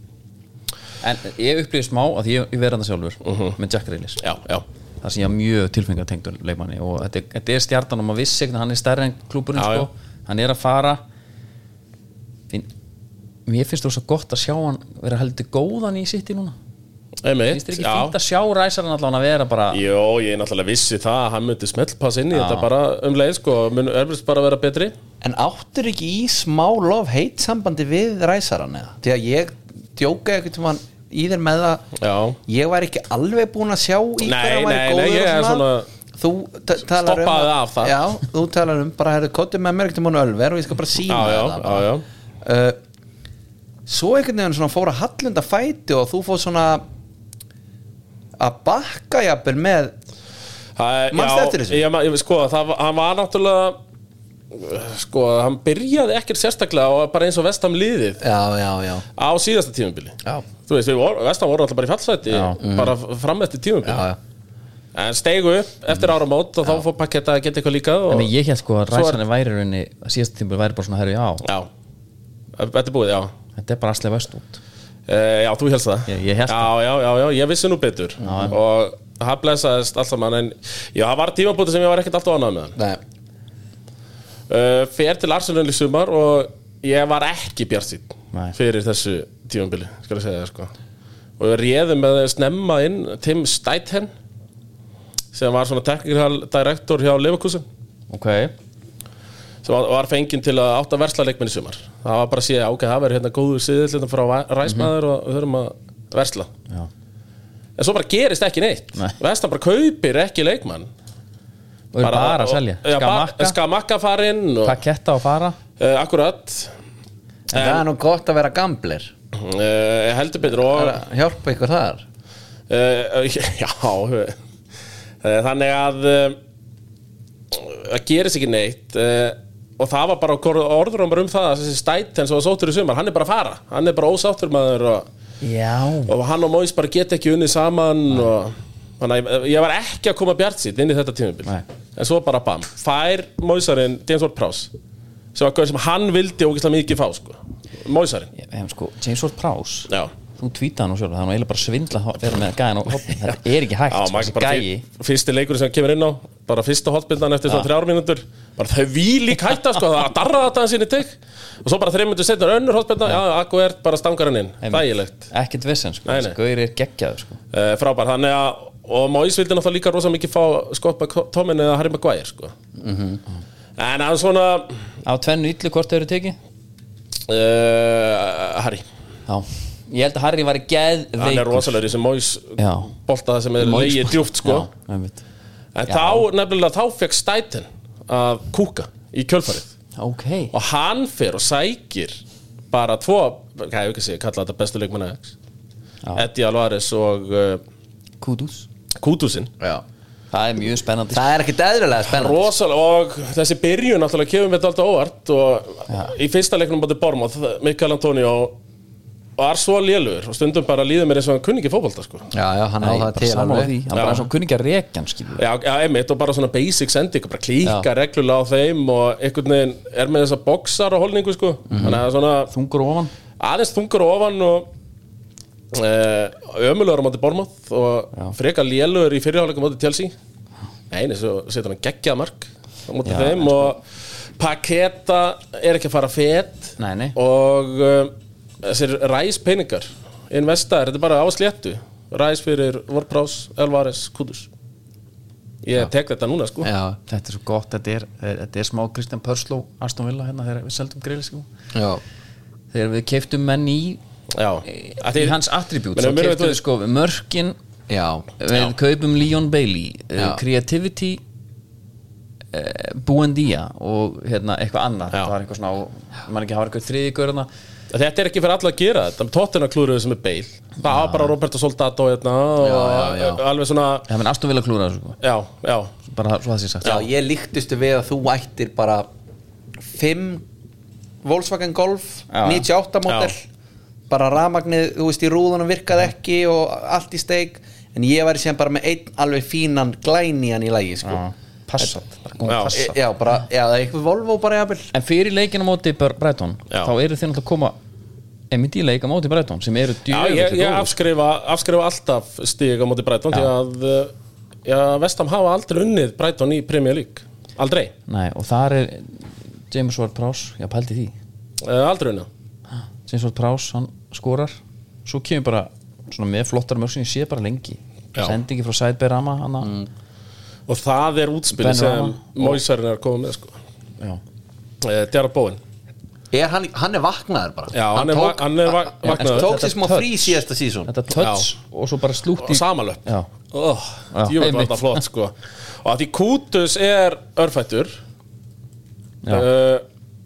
B: En ég upplýði smá að ég, ég verði hann sjálfur Með Jack Reelis
D: Já, já
B: það sem ég var mjög tilfengatengdur leikmanni og þetta, er- þetta er stjartan og maður vissi ekki að hann er stærri en klúburinn
D: Já,
B: sko. hann er að fara Finn, mér finnst þú svo gott að sjá hann vera heldur góðan í sitt í núna
D: Einmitt,
B: finnst þér ekki
D: já.
B: fínt að sjá ræsarinn allan að vera bara
D: Jó, ég er náttúrulega vissi það að hann myndi smellpass inn í þetta bara um leið sko, mun erfist bara vera betri
C: En áttur ekki í smá lof heit sambandi við ræsaran eða? Því að ég djóka eitthvað til mann í þér með það
D: Já.
C: Ég var ekki alveg búinn að sjá í
D: Nei,
C: hverju hann væri
D: nei,
C: góður
D: nei, ég
C: og
D: er svona-
C: Þú t- talar um
D: Stoppaði af það.
C: Já, þú talar um bara, herðu, kottu með mér ekkert um hann ölver og ég skal bara sína
D: Já, já,
C: það
D: já, já.
C: já. Svo einhvern veginn svona fór að hallunda fæti og þú fór svona að bakka jafnvel með
D: Það-
C: Manstu
D: já,
C: eftir þessu?
D: Ég, ég, sko, það, var- hann var náttúrulega sko, hann byrjaði ekkert sérstaklega og bara eins og vestam liðið
C: Já, já, já,
D: á síðasta tímabili
C: já.
D: Þú veist, við vorum, vestam voru alltaf bara í fallsæti
C: Mm.
D: bara fram eftir tímabili
C: Já, já.
D: en steigu upp eftir áramót og þá fór pakketta að geta eitthvað líka og,
B: Nei, ég held sko að
D: Svo er-
B: ræsarinn væri í rauninni að síðast tímpur væri bara svona herri já,
D: Já, þetta er búið, já
B: þetta er bara allir vest út
D: Uh, já, þú helst það
B: Ég- ég hélt
D: já,
B: það.
D: Já, já, já, ég vissi nú betur Og það blessaðist allt saman En já, það var tímabúti sem ég var ekkert alltaf ánað með hann
C: Nei,
D: uh, Fer til Arsenal í sumar Og ég var ekki bjartsýtt
B: Nei.
D: Fyrir þessu tímabili, skal ég segja það sko Og ég réði með að snemma inn Tim Stæthen Sem var svona technical director hjá Leverkusen
B: ok,
D: sem var- var fenginn til að átta versla leikmenn í sumar það var bara að sé ok, það verður hérna góður siðill hérna frá
B: Mhm.
D: Va- ræsmaður og við höfum að versla
B: Já.
D: en svo bara gerist ekki neitt
B: Nei.
D: vestan bara kaupir ekki leikmann
B: og er bara, að selja
D: og- já, bara-
B: skamakka,
D: skamakka farinn og,
B: hvað ketta og fara
D: uh, akkurat
C: en það er nú gott að vera gamblir
D: uh, heldur betur og
C: Bara hjálpa ykkur þar
D: uh, já uh, þannig að uh, það gerist ekki neitt uh, og það var bara orðrumar um það að þessi stætt eins og sóttur í sumar, hann er bara að fara hann er bara ósáttur maður og,
B: já,
D: og hann og Móis bara geta ekki unnið saman og Þannig að ég- ég var ekki að koma bjart sitt inn í þetta tímubil
B: Nei.
D: En svo bara bam Fær Móisarinn James Ward Prowse Sem var gaur sem hann vildi ógeðslega mikið fá sko. Móisarinn
B: Ég- en sko, James Ward Prowse
D: Já,
B: þú tvítar hann og sjálf, það er nú eiginlega bara svindla að vera með gæðan og hoppin, þetta er ekki hægt
D: Já,
B: sko,
D: maður
B: þessi
D: bara
B: gæi,
D: fyr, fyrsti leikur sem kemur inn á bara fyrsta hotbindan eftir svona þrjár mínútur bara þau vílík hætta sko það darraði þetta hans inn í tigg og svo bara þreim mínútur setna önnur hotbindan, já, akku er bara stangar hann inn þægilegt,
B: ekkert vissin sko,
D: Nei,
B: þessi
D: nei.
B: gaur er geggjaður sko
D: uh, frábær þannig að, og Móis vildi náttúrulega líka rosa mikið fá Scott McTomin eða Harry Maguire sko
B: Mhm.
D: en hann svona
B: á tvennu yllu hvort þau eru tekið
D: uh, Harry,
B: já, ég held að Harry var
D: hann er
B: geðveikur
D: rosalegur í sem Móis
B: Já.
D: bolta það sem er
B: Moyes-
D: leigið djúft sko
B: Já, einmitt.
D: en þá nefnilega þá fekk Stætin að kúka í kjölfarið
B: ok,
D: og hann fer og sækir bara tvo, hvað ég ekki sé, kalla þetta bestu leikmanna Ajax. Eddie Alvarez og uh,
B: kúdús
D: Kudusin
C: Já.
B: það er mjög spennandi sko.
C: Það er ekkit eðlilega spennandi
D: rosalega og þessi byrjun náttúrulega kemur við þetta alltaf óvart og í fyrsta leiknum bátti Bormóð, Mikael Antonio var svo lélur og stundum bara líður mér eins og hann kunni ekki fótbolta sko
C: Já, já, hann
B: Nei,
C: á það
B: bara
C: til
B: sammála því,
C: alveg
B: hann bara svona kunni ekki að rekja hann skilur
D: Já, já, einmitt og bara svona basic sending bara klíka reglulega á þeim og einhvern veginn er með þessa boxar og holningu sko þannig að það er svona
B: þungur ofan
D: aðeins þungur og ofan og uh, ömulegur á móti Bormoth og frekar lélugur í fyrirháleikum móti Chelsea einu svo setur hann geggjað mark á móti
B: Já,
D: þeim og Paketa er ekki að fara fet
B: Nei, nei.
D: og uh, þessir ræs peningar investaðir, þetta er bara á sléttu ræs fyrir Vorprás, Elvares, Kudus ég tek þetta núna sko
C: Já,
B: þetta er svo gott, þetta er, þetta er smá Kristján Pörsló, Aston Villa hérna þegar við seldum greilis sko.
C: já,
B: þegar við keiftum menn í
D: Já. Að
B: í
D: þið-
B: hans attribút,
D: Menna,
B: svo
D: munum við-
B: keiftum við sko mörkin,
C: já
B: við kaupum Leon Bailey, uh,
C: Já.
B: creativity uh, Buendia og hérna eitthvað annað
D: Já.
B: það var eitthvað svona, á- mann ekki hafa eitthvað þriði görna
D: Þetta er ekki fyrir alla að gera þetta Tóttina klúruðu sem er beil Það var bara Roberto Soldato hérna, og
C: já, já.
D: alveg svona
B: það menn Aston Villa klúra þessu sko.
D: Já, já,
B: bara svo það sé sagt
C: Já, ég líktustu við að þú ættir bara 5 Volkswagen Golf
B: Já.
C: 98 model bara rafmagnið, þú veist, í rúðunum virkaði ekki og allt í steik en ég væri sem bara með einn alveg fínan glænían í lagi, sko E,
B: passat, bara góð
D: Já.
B: passat
C: Já, bara, já, það er eitthvað Volvo bara jafnvel
B: En fyrir leikina móti Br- Brighton
D: Já.
B: þá eru þeir náttúrulega að koma einmitt í leika móti Brighton sem eru
D: já
B: djöfull
D: Ég, ég
B: góðir.
D: afskrifa, afskrifa alltaf stig á móti Breitón Því að uh, já, Vestam hafa aldrei unnið Brighton í Premier League Aldrei,
B: Nei, og þar er James Ward Prowse, já pældi því
D: uh, aldrei unnið
B: James Ward Prowse, hann skorar svo kemur bara svona með flottar mörg sem ég sé bara lengi
D: Já. Mm.
B: sendingi frá Sædberg Rama hana,
D: Og það er útspil
B: Ben
D: sem
B: Rama.
D: Móisverðin er að koma með sko
B: já.
D: uh, Djarra Bóin
C: er hann, hann er vaknaður bara
D: Já, hann, er,
C: tók,
D: tók, hann er va-
B: Já,
D: vaknaður
C: tók
B: Þetta
C: sér smá
B: touch.
C: frí síðasta sísón
B: þetta touch og svo bara slútt
D: og
B: í
D: samalöp
B: Já.
D: oh,
B: Já,
D: djúvel var
B: einmitt.
D: þetta flott sko og að því Kútus er örfættur
B: Já.
D: uh,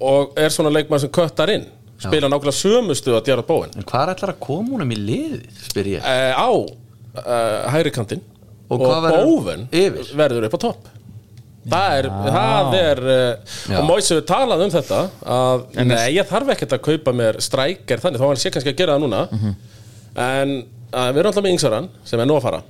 D: og er svona leikmann sem köttar inn spila nákvæmlega sömustu að djara bóin uh,
C: en hvað ætlar að koma honum í liðið, spyr ég
D: Eh, á uh, hægri kantinn
C: Og
D: og,
C: hvað verður
D: bóven
C: yfir?
D: verður upp á topp það er, það er uh,
C: Já.
D: og Móis hefur talað um þetta að nei, ég þarf ekkert að kaupa mér strækjar þannig, þá hann sé kannski að gera það núna en uh, við erum alltaf með Yngsaran sem er nú að fara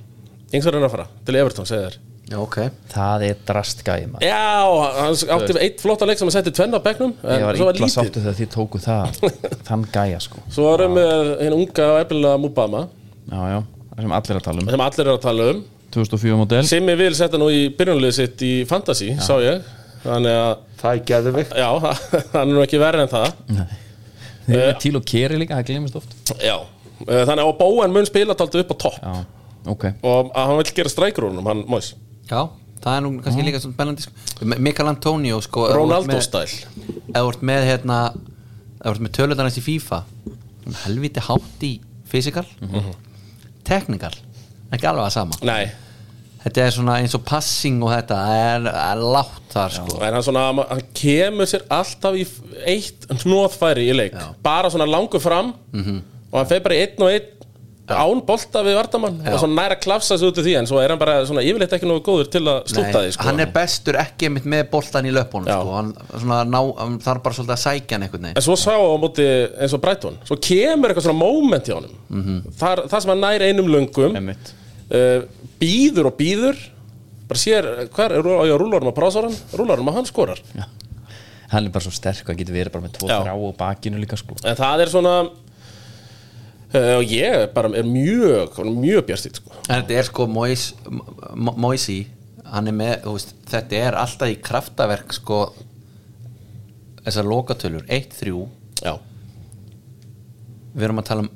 D: Yngsaran er að fara til Evertón, segir þér
C: já, ok
B: það er drastgæði maður
D: Já, hann átti eitt flotta leik sem hann setti tvenna á bekknum
B: ég
D: en
B: var
D: svo var
B: illa
D: lítið
B: sáttu þegar þið tóku það þann gæja sko
D: Svo varum við hinn unga og efnilega Mubama
B: já, já, það sem allir að tala um
D: sem allir eru að tala um
B: 2004 model
D: sem ég vil setja nú í byrjunlið sitt í Fantasy, sá ég Þannig að,
C: það er geðvikt
D: já, hann er nú ekki verri en það
B: Þeir eru með Tíl og Keri líka, það glemist oft
D: Já, eh, þannig að Bóen mun spila taldi upp á topp
B: já, ok
D: og að hann vill gera strækurunum, hann Móis
C: já, það er nú kannski líka svona spennandi sko. M- Mikael Antonio sko, ef þú ert
D: Ronaldo
C: með-
D: stæl
C: ef þú ert með hérna ef þú ert með tölutarnast í FIFA svona helviti hátt í fysikal
D: Mhm.
C: teknikal ekki alveg að sama
D: Nei,
C: þetta er svona eins og passing og þetta það er, er látt þar sko
D: en hann, svona, hann kemur sér alltaf í f- eitt hnoðfæri í leik
C: Já. Mhm.
D: bara svona langu fram og hann feir bara í einn og einn án bolta við vartamann og svona næra klafsa sig út af því en svo er hann bara svona yfirleitt ekki nógu góður til að slúta
C: Nei,
D: því sko.
C: hann er bestur ekki mitt með boltan í löpunum
D: Já.
C: sko. hann, svona, ná, hann þarf bara svolítið að sækja hann einhvern
D: en
C: veginn
D: svo sá á móti eins og Brighton svo kemur eitthvað svona moment í honum þar, þar sem hann nær einum löngum
B: Einmitt.
D: uh, býður og býður bara sér, hvað er, á ég að rúlarum að prása hann rúlarum að hann skorar
B: já. hann er bara svo sterk hann getur verið bara með tvo
D: Já.
B: þrá og bakinu líka sko
D: en það er svona eh, og ég bara er mjög mjög bjartýtt sko
C: en þetta er sko Mois, Mo- Moisi hann er með, þú veist, þetta er alltaf í kraftaverk sko þessar lokatölur, 1-3
D: já,
C: við erum að tala um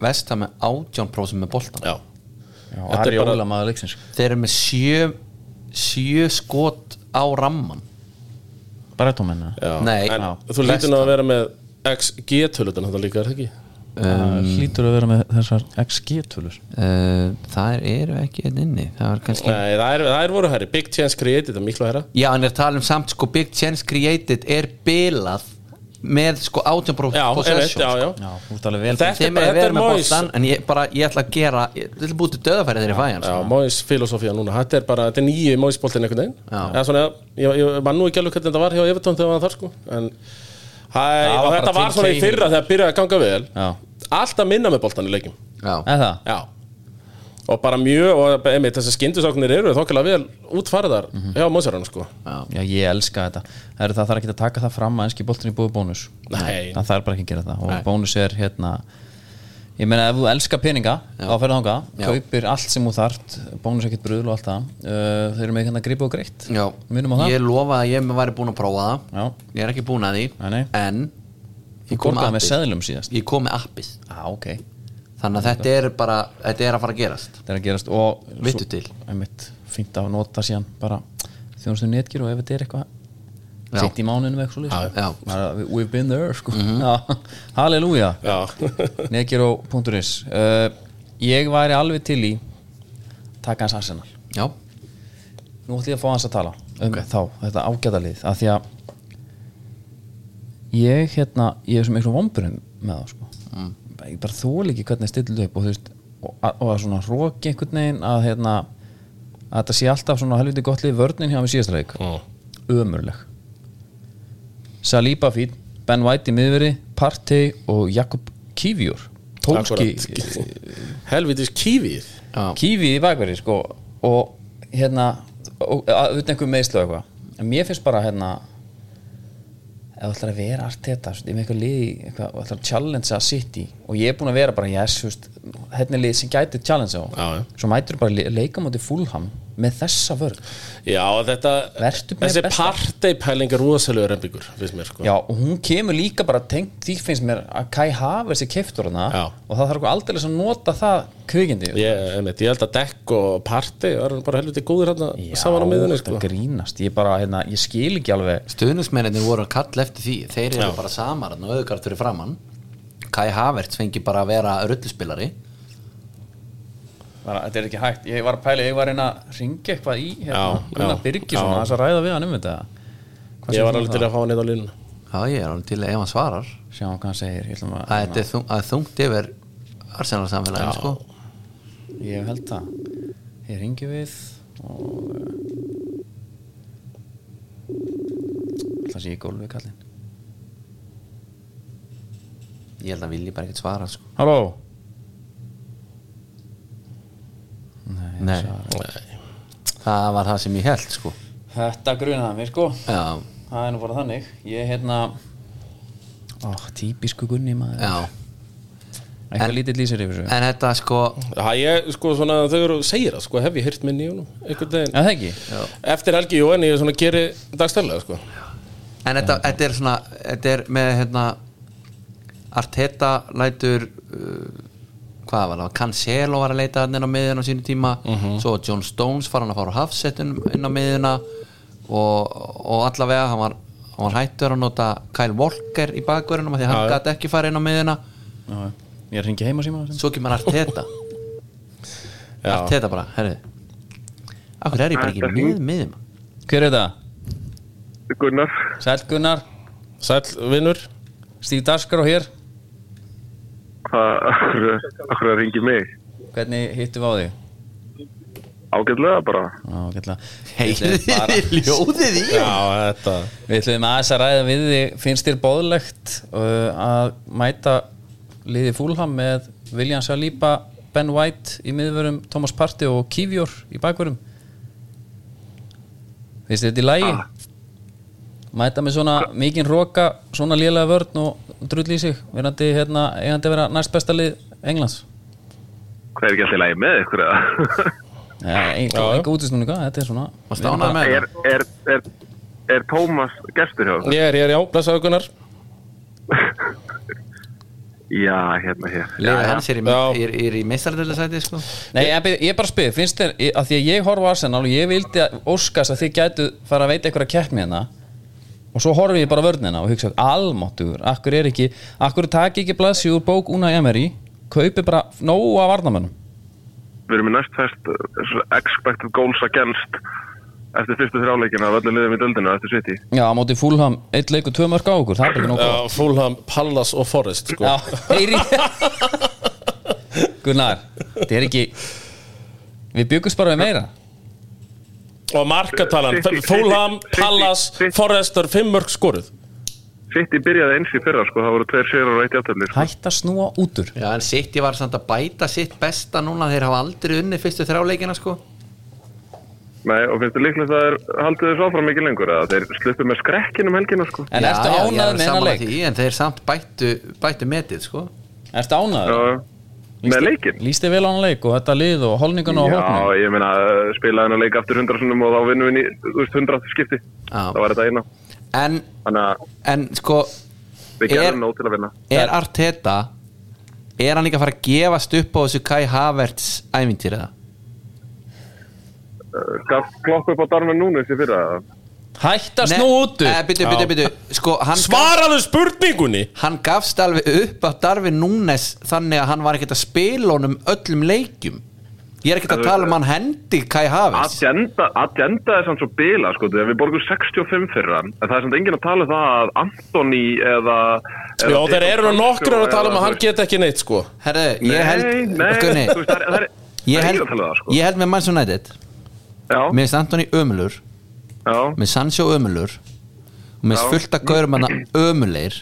C: vestam með 18% með boltan
D: já,
B: já,
D: er
B: Ari
D: bara-
B: Óla maður leiksins sko.
C: þeir eru með 7 7 skot á ramman
B: bara tóma hennar
D: já.
C: Nei,
D: en
C: já.
D: þú lítur nú
C: Vestan.
D: að vera með XG-tölutin þetta líka er það ekki
B: um, hlýtur að vera með þessar XG-tölur
C: uh, það eru ekki einn inni það er kannski
D: Nei, það er, það er voru herri, Big Chance Created það er miklu herra
C: Já, en ég er að tala um samt sko Big Chance Created er bilað með sko 18%
D: já, einmitt,
C: possession
D: já, já.
B: já, þú ert alveg vel
D: Þetta-
C: Þeim er
D: Þetta
C: að
D: er
C: vera með
D: Moyes.
C: bóttan en ég bara, ég ætla að gera ég ætla að búti döðafæri þeirri fæjan
D: Já,
C: sko.
D: Móis filosófía núna, þetta er bara, þetta er nýju Móisbóltinn einhvern veginn
C: Já.
D: Eða svona, ég, ég man nú ekki alveg hvernig þetta var hjá Evertón þegar hann var þar sko en, hæ,
B: Það
D: og
B: var
D: þetta
B: bara
D: var
B: Tim
D: svona í
B: Cahill.
D: fyrra þegar byrjaði að ganga vel
B: Já.
D: alltaf minna með bóltan í leikim
C: já.
B: eða það
D: Já Og bara mjög, og einmitt þessi skyndusáknir eru þokkilega vel útfærðar mm
B: Mhm.
D: hjá Mósarán sko
B: Já, ég elska þetta Það eru það þarf ekki að taka það fram að enski boltin í búið bónus
D: Nei.
B: Það þarf bara ekki að gera það og bónus er hérna Ég meina ef þú elskar peninga á ferða þanga,
C: Já.
B: kaupir allt sem þú þart bónus ekkert bruðl og allt það uh, þeir eru með hérna grípa og greitt
C: Já.
B: Minnum á það
C: Ég lofa að ég væri búin að prófa það
B: Já.
C: Ég er ekki búin að því
B: Nei, nei.
C: En
B: Þú
C: ég kom
B: borgaði með
C: með appið
B: seðlum síðast
C: Ég kom með appið
B: Á, ok
C: Þannig að þetta er bara, þetta er að fara að gerast
B: Það er að gerast og
C: Vittu
B: svo-
C: til.
B: einmitt, Fínt að nota síðan bara þjónustu netgir og ef þetta er eitthvað
C: Já.
B: sitt í mánunum eitthvað
C: Já. Mhm.
B: svo We've been there sko. mm Halleluja
D: Já,
B: Negiro.is uh, Ég væri alveg til í taka hans Arsenal
C: Já,
B: Nú ætlum ég að fá hans að tala um þá, þetta ágæðalið af því að ég hérna, ég er sem eitthvað vomburum með það sko. ég bara þól ekki hvernig stillu upp og þú veist og, og að svona róki einhvern veginn að hérna, að þetta sé alltaf svona helviti gott lið vörnin hjá mig síðasta leik ömurleg Saliba fín, Ben White í miðveri Partey og Jakob Kivjur Tólski
D: helvitis kífið
C: já,
B: Kívi í bakverði sko og hérna og- að- utan einhver meðslu og eitthvað en mér finnst bara hérna ef þú ætlar að vera arteta þú veist, ég er með eitthvað lið í eitthvað, og ætlar að challenge að sitt í og ég er búin að vera bara yes, þú veist, hérna er lið sem gæti challenge á
D: Já, já.
B: svo mætur bara leika móti fúlham með þessa vörn
D: Já, þetta,
B: Vertu með
D: þessi
B: besta.
D: parteipæling er rosalegu rembingur, finnst mér sko.
B: Já, og hún kemur líka bara tengt því finnst mér að Kai Havers er keiftur hana
D: Já.
B: og það þarf aldrei að nota það kvikindi
D: Ég, einmitt, ég held að dekk og partei er bara helviti góðir hann saman á miðunni
B: þetta
D: sko.
B: grínast ég, bara, hérna, ég skil ekki alveg
C: Stuðningsmenninni voru að kalla eftir því Þeir eru
D: Já.
C: bara samar og auðvitað fyrir framann Kai Havertz fengi bara að vera rulluspilari
B: bara, þetta er ekki hægt, ég var að pæla ég var að reyna að ringa eitthvað í hérna,
D: Já,
B: Gunnar
D: já,
B: Birgisson
D: já.
B: og þess að ræða við hann um þetta Hvað segir
D: Ég
B: þú
D: var
B: um
D: alveg
B: það?
D: til að fá hann einn á línu
C: Já, ég er alveg til ef hann svarar
B: sjáum hvað hann segir ég, ætlum að,
C: að þetta er þung, að þungt yfir Arsenal samfélagin sko.
B: ég held það ég ringi við og alltaf sé ég gólfið kallinn
C: Ég held að vilji bara ekkert svara sko.
B: halló
C: Nei, það var það sem ég held sko.
B: þetta grunaði mér sko
C: Já,
B: það er nú bara þannig ég hérna ó, típisku gunni maður
C: já
B: eitthvað lítið lýsir yfir þessu
C: En þetta sko
D: Já, ég, sko, svona, þau eru segir það, sko, hef ég heyrt minni í honum einhvern
B: Já,
D: veginn
B: það ekki
D: Eftir Helgi Jóhann, ég svona geri dagstæðlega, sko
C: En þetta, þetta er svona Þetta er með hérna Arteta lætur uh, Hvað var það? Cancelo var að leita hann inn á miðuna á sínu tíma
D: Mhm.
C: Svo John Stones var hann að fara á hafsettun inn á miðuna og, og allavega hann var, hann var hættur að nota Kyle Walker í bakverðunum af Því að hann
D: Já, já.
C: gæti ekki fara inn á miðuna
B: Já, já. ég er hringi heima síma
C: Svo kemur Arteta
D: Já.
C: Arteta bara, herriði Akkur er ég bara ekki með miðum
B: hver er þetta?
F: Gunnar
B: Sæl Gunnar,
D: Sæll, vinnur
B: Stíf Daskar og hér
F: hvað akkur, akkur að ringi mig
B: hvernig hittum við á þig? hérna,
F: ágætlega bara
B: Já, gætla
C: Heyrði þið ljóðið í
D: Já, þetta
B: Við ætlum aðeins að ræða við þig finnst þér bóðlegt uh, að mæta liði fúlham með William Saliba, Ben White í miðvörum, Thomas Partey og Kivjór í bakvörum Finnst þér þetta í lagi? Mæta með svona mikinn roka, svona lélega vörn og drull í sig, verandi hérna, eigandi að vera næst besta lið Englands
F: hvað er ekki alltaf í lagi með ykkur eða?
B: Já,
D: Já, já.
B: eitthvað útisnúninga, þetta er svona
C: Varstu ánægður með
F: er, er, er, er Tómas gestur hjá okkur?
D: Ég er, ég er, já, blessaðu Gunnar
F: já, hérna hér
C: Leifur Hans er í,
D: Já.
C: er, er í meistardöldasæti sko.
B: Nei, ég, ég bara spyr, finnst þér að því að ég horfa á Arsenal og ég vildi að óskast að þið gætu fara að veita einhverja keppni hérna og svo horfi ég bara á vörnina og hugsa almáttugur, akkur er ekki akkur taki ekki blassi úr bók Una Emery kaupi bara nógu af varnamönnum
F: við erum í næst fest expected goals against eftir fyrstu þrjáleikina af öllum liðum í döldinu eftir City
B: Já, á móti fúlham, eitt leik og tvö mörg á okkur það er ekki nógu
D: Já, Fulham, Pallas og Forrest, sko
B: Já, heyri Gunnar, þetta er ekki Við byggumst bara við meira
D: Og markatalan,
F: City,
D: Fulham,
F: City,
D: Pallas,
F: City.
D: Forrestur, fimm mörg skoruð
F: City byrjaði eins í fyrra sko, það voru tveir sérar og eitt játtöfli sko.
B: Hætt að snúa útur
C: Já, en City var samt að bæta sitt besta núna þeir hafa aldrei unni fyrstu þráleikina sko.
F: Nei, og finnst þið líklega það er haldið þess áfram ekki lengur eða þeir sluppu með skrekkin um helgina sko.
B: En
C: já,
B: ertu
C: já, ég
B: ánægð
C: er
B: með
C: sammála
B: hennar leik?
C: því, En þeir samt bættu, bættu metið sko.
B: Ertu ánæður?
F: Já, með leikinn
B: Lýst þið vel á hann leik og þetta lið og holningun og hóknum
F: Já, ég meina, uh, spilaði hennar leik aftur hundrasunum og þá vinnum við ný- þú veist, hundrað skipti
C: Já.
F: það var þetta eina
C: en,
F: þannig að
C: en sko
F: við
C: Er-
F: gerðum nóg til að vinna
C: er Arteta er hann líka að fara að gefast upp á þessu Kai Havertz ævintýriða
F: Uh, gaf klokk upp á darminn núna þessi fyrra
B: Hætt að snú útur
C: Byttu, byttu, byttu sko, hann gaf-
D: Svaraðu spurningunni
C: hann gafst alveg upp á Darvin Núnes þannig að hann var ekkert að spila honum öllum leikjum ég er ekkert að tala um hann hendi Kai Havers
F: agenda, agenda er samt svo bila sko, þegar við borgum 65 fyrra en það er samt enginn að tala um það að Antoni eða, eða
D: Já, þeir eru nú nokkur að tala um að hann get ekki neitt, sko
C: herðu,
F: Nei,
C: ég held
F: nei,
C: Gunni,
F: þú veist, það er- það er- það
C: ég
F: er
C: held,
F: ekki að tala um það, sko.
C: ég held með Manson United
F: já,
C: með Antoni ömulur
F: já,
C: með Sancho ömulur og með
F: Já.
C: fullt að gaurum hann ömuleir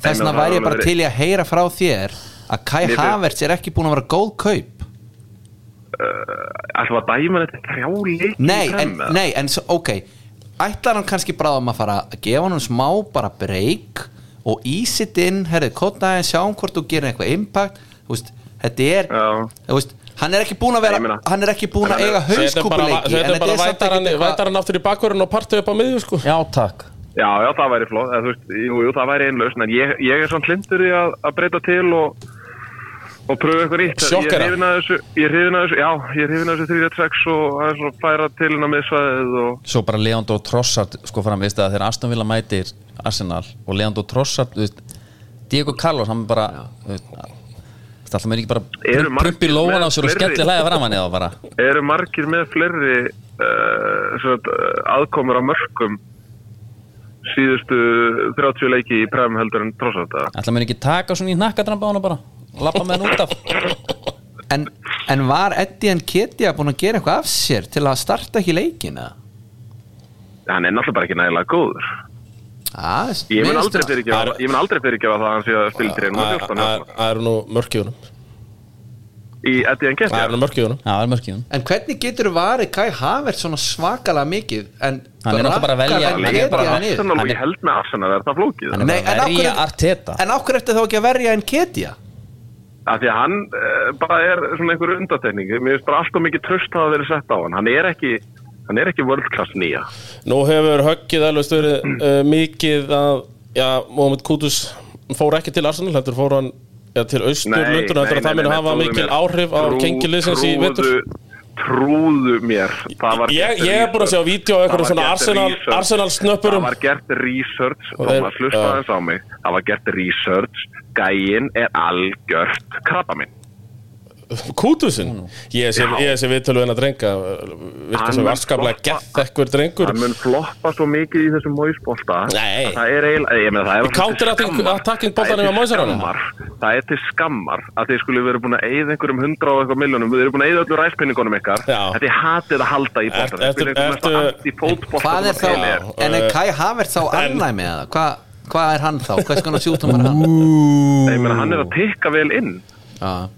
C: þess
F: Nei,
C: vegna
F: menn, það
C: væri
F: er
C: ég bara
F: alveg
C: til í að heyra frá þér að Kai
F: Mér finnst-
C: Havers er ekki búin að vera góð kaup
F: alltaf að dæma þetta þrjá leik
C: Nei, en, nei, en svo, ok Ætlar hann kannski bráðum að fara að gefa hann smá bara break og ease it in, herrið, kóta aðeins sjáum hvort þú gerir eitthvað impact, þú veist, þetta er
F: Já.
C: þú veist, Hann er ekki búin að
F: Ég
C: vera
F: meina-
C: Hann er ekki búin að eiga
D: Þetta er bara,
C: hauskúpuleiki
D: þetta er
C: en
D: bara
C: samt
D: vætar hann,
C: ekkert
D: vætar hann aftur í bakvörun og partur upp á miðju sko
B: Já, takk
F: Já, já, það væri flott, eða, þú veist, jú, jú, það væri einlausn, en ég, ég er svona hlindur í að, að breyta til og, og pröfa eitthvað nýtt.
D: Sjokkera.
F: Ég er hrifinn af þessu, ég er hrifin að þessu, já, ég er hrifin að þessu 3-6 og aðeins svona færa til hennar miðsvæðið og...
B: Svo bara Leandó Trossard sko fram, veist það, þegar Aston Villa mætir Arsenal og Leandó Trossard þú veist, Diego Carlos, hann bara þú veist, það alltaf með ekki
F: Eru
B: bara
F: margir
B: prumpi lóan á
F: með
B: sér og
F: fleiri?
B: skellir hlæða fram hann eða bara
F: Eru margir með fleiri uh, sagt, aðkomur á mörgum síðustu 30 leiki í præm heldur en tross að þetta?
B: alltaf með ekki taka svona í nakkadrampa á hann bara lappa með hann út af
C: eitthvað- en, en var Eddie en Ketja búin að gera eitthvað af sér Til að starta ekki leikina
F: Hann er náttúrulega bara ekki nægilega góður.
C: ah,
F: Ég mun aldrei fyrirgefa
D: Ar-
F: ég mun aldrei fyrirgefa það að hann sé að spila í 3 og 14
D: Það
F: hérna.
D: það eru nú mörkjónum
F: í Eddie
D: Það
F: Nketiah.
D: eru nú mörkjónum
B: það var mörkjum
C: En hvernig getur varið Kai Havert svona svakalega mikið En
B: Hann er náttúrulega bara að velja-
C: rakkar hann
B: hann er bara-
C: Ketja niður?
F: Arsenal og
B: Hann
F: ég
B: er-
F: held með Arsenal er það flókið
B: hann er
C: Nei,
B: bara að
C: en af hverju-
B: verja Arteta
C: En okkur eftir þá ekki að verja en Ketja
F: af því að hann uh, bara er svona einhver undatekning mér finnst bara alltaf mikið tröst hafa verið sett á hann hann er ekki, hann er ekki world class nýja
D: Nú hefur höggið alveg stöðið
F: Mm.
D: uh, mikið að, já, Mohamed Kudus fór ekki til Arsenal, heldur fór hann ja, til Austurlundun, heldur að það muni hafa
F: trúðu
D: mikil
F: mér.
D: áhrif á
F: Trú-
D: gengiliðsins í vetur.
F: trúðu- trúðu mér það var
D: Ég,
F: gert
D: ég er búin að sjá
F: research.
D: vídeo á
F: Það
D: einhverjum
F: var
D: svona
F: gert
D: Arsenal,
F: research.
D: Arsenal
F: það
D: snöppurum
F: var gert research
D: Og þeir-
F: Thomas, hlusta
D: Já.
F: aðeins á mig það var gert research gæinn er algjört krabba minn
D: Kudusin. Ég sé,
F: Mm. Já.
D: ég sé viðtölu hennar drenga, uh,
F: Hann
D: virka sem
F: mun
D: varskaplega
F: floppa.
D: gett ekkur drengur.
F: hann mun floppa svo mikið í þessum móisbolta
D: Nei.
F: að það er eiginlega ég meina, það er
D: Í counter-attacking-
F: skammar-
D: attacking
F: það er
D: boltanum
F: til
D: á Moisaranum.
F: skammar það er til skammar að þið skulle verið búin að eyða einhverjum hundra og eitthvað miljónum við erum búin að eyða öllu ræspinningunum ykkar
D: Já.
F: þetta er hatið að halda í
D: Ert-
F: boltanum
D: ertu-
F: Þetta er
D: ertu-
C: Hvað
F: anti-fótbolta sem
C: er
F: að
C: þá
F: til
D: Já.
C: En
B: Eh,
C: er Kai Havert þá annæmi eða Hvað hva er hann þá? Hvers konar sjúkdóm er hann?
F: Ég meina, hann er að tikka vel inn
C: Já.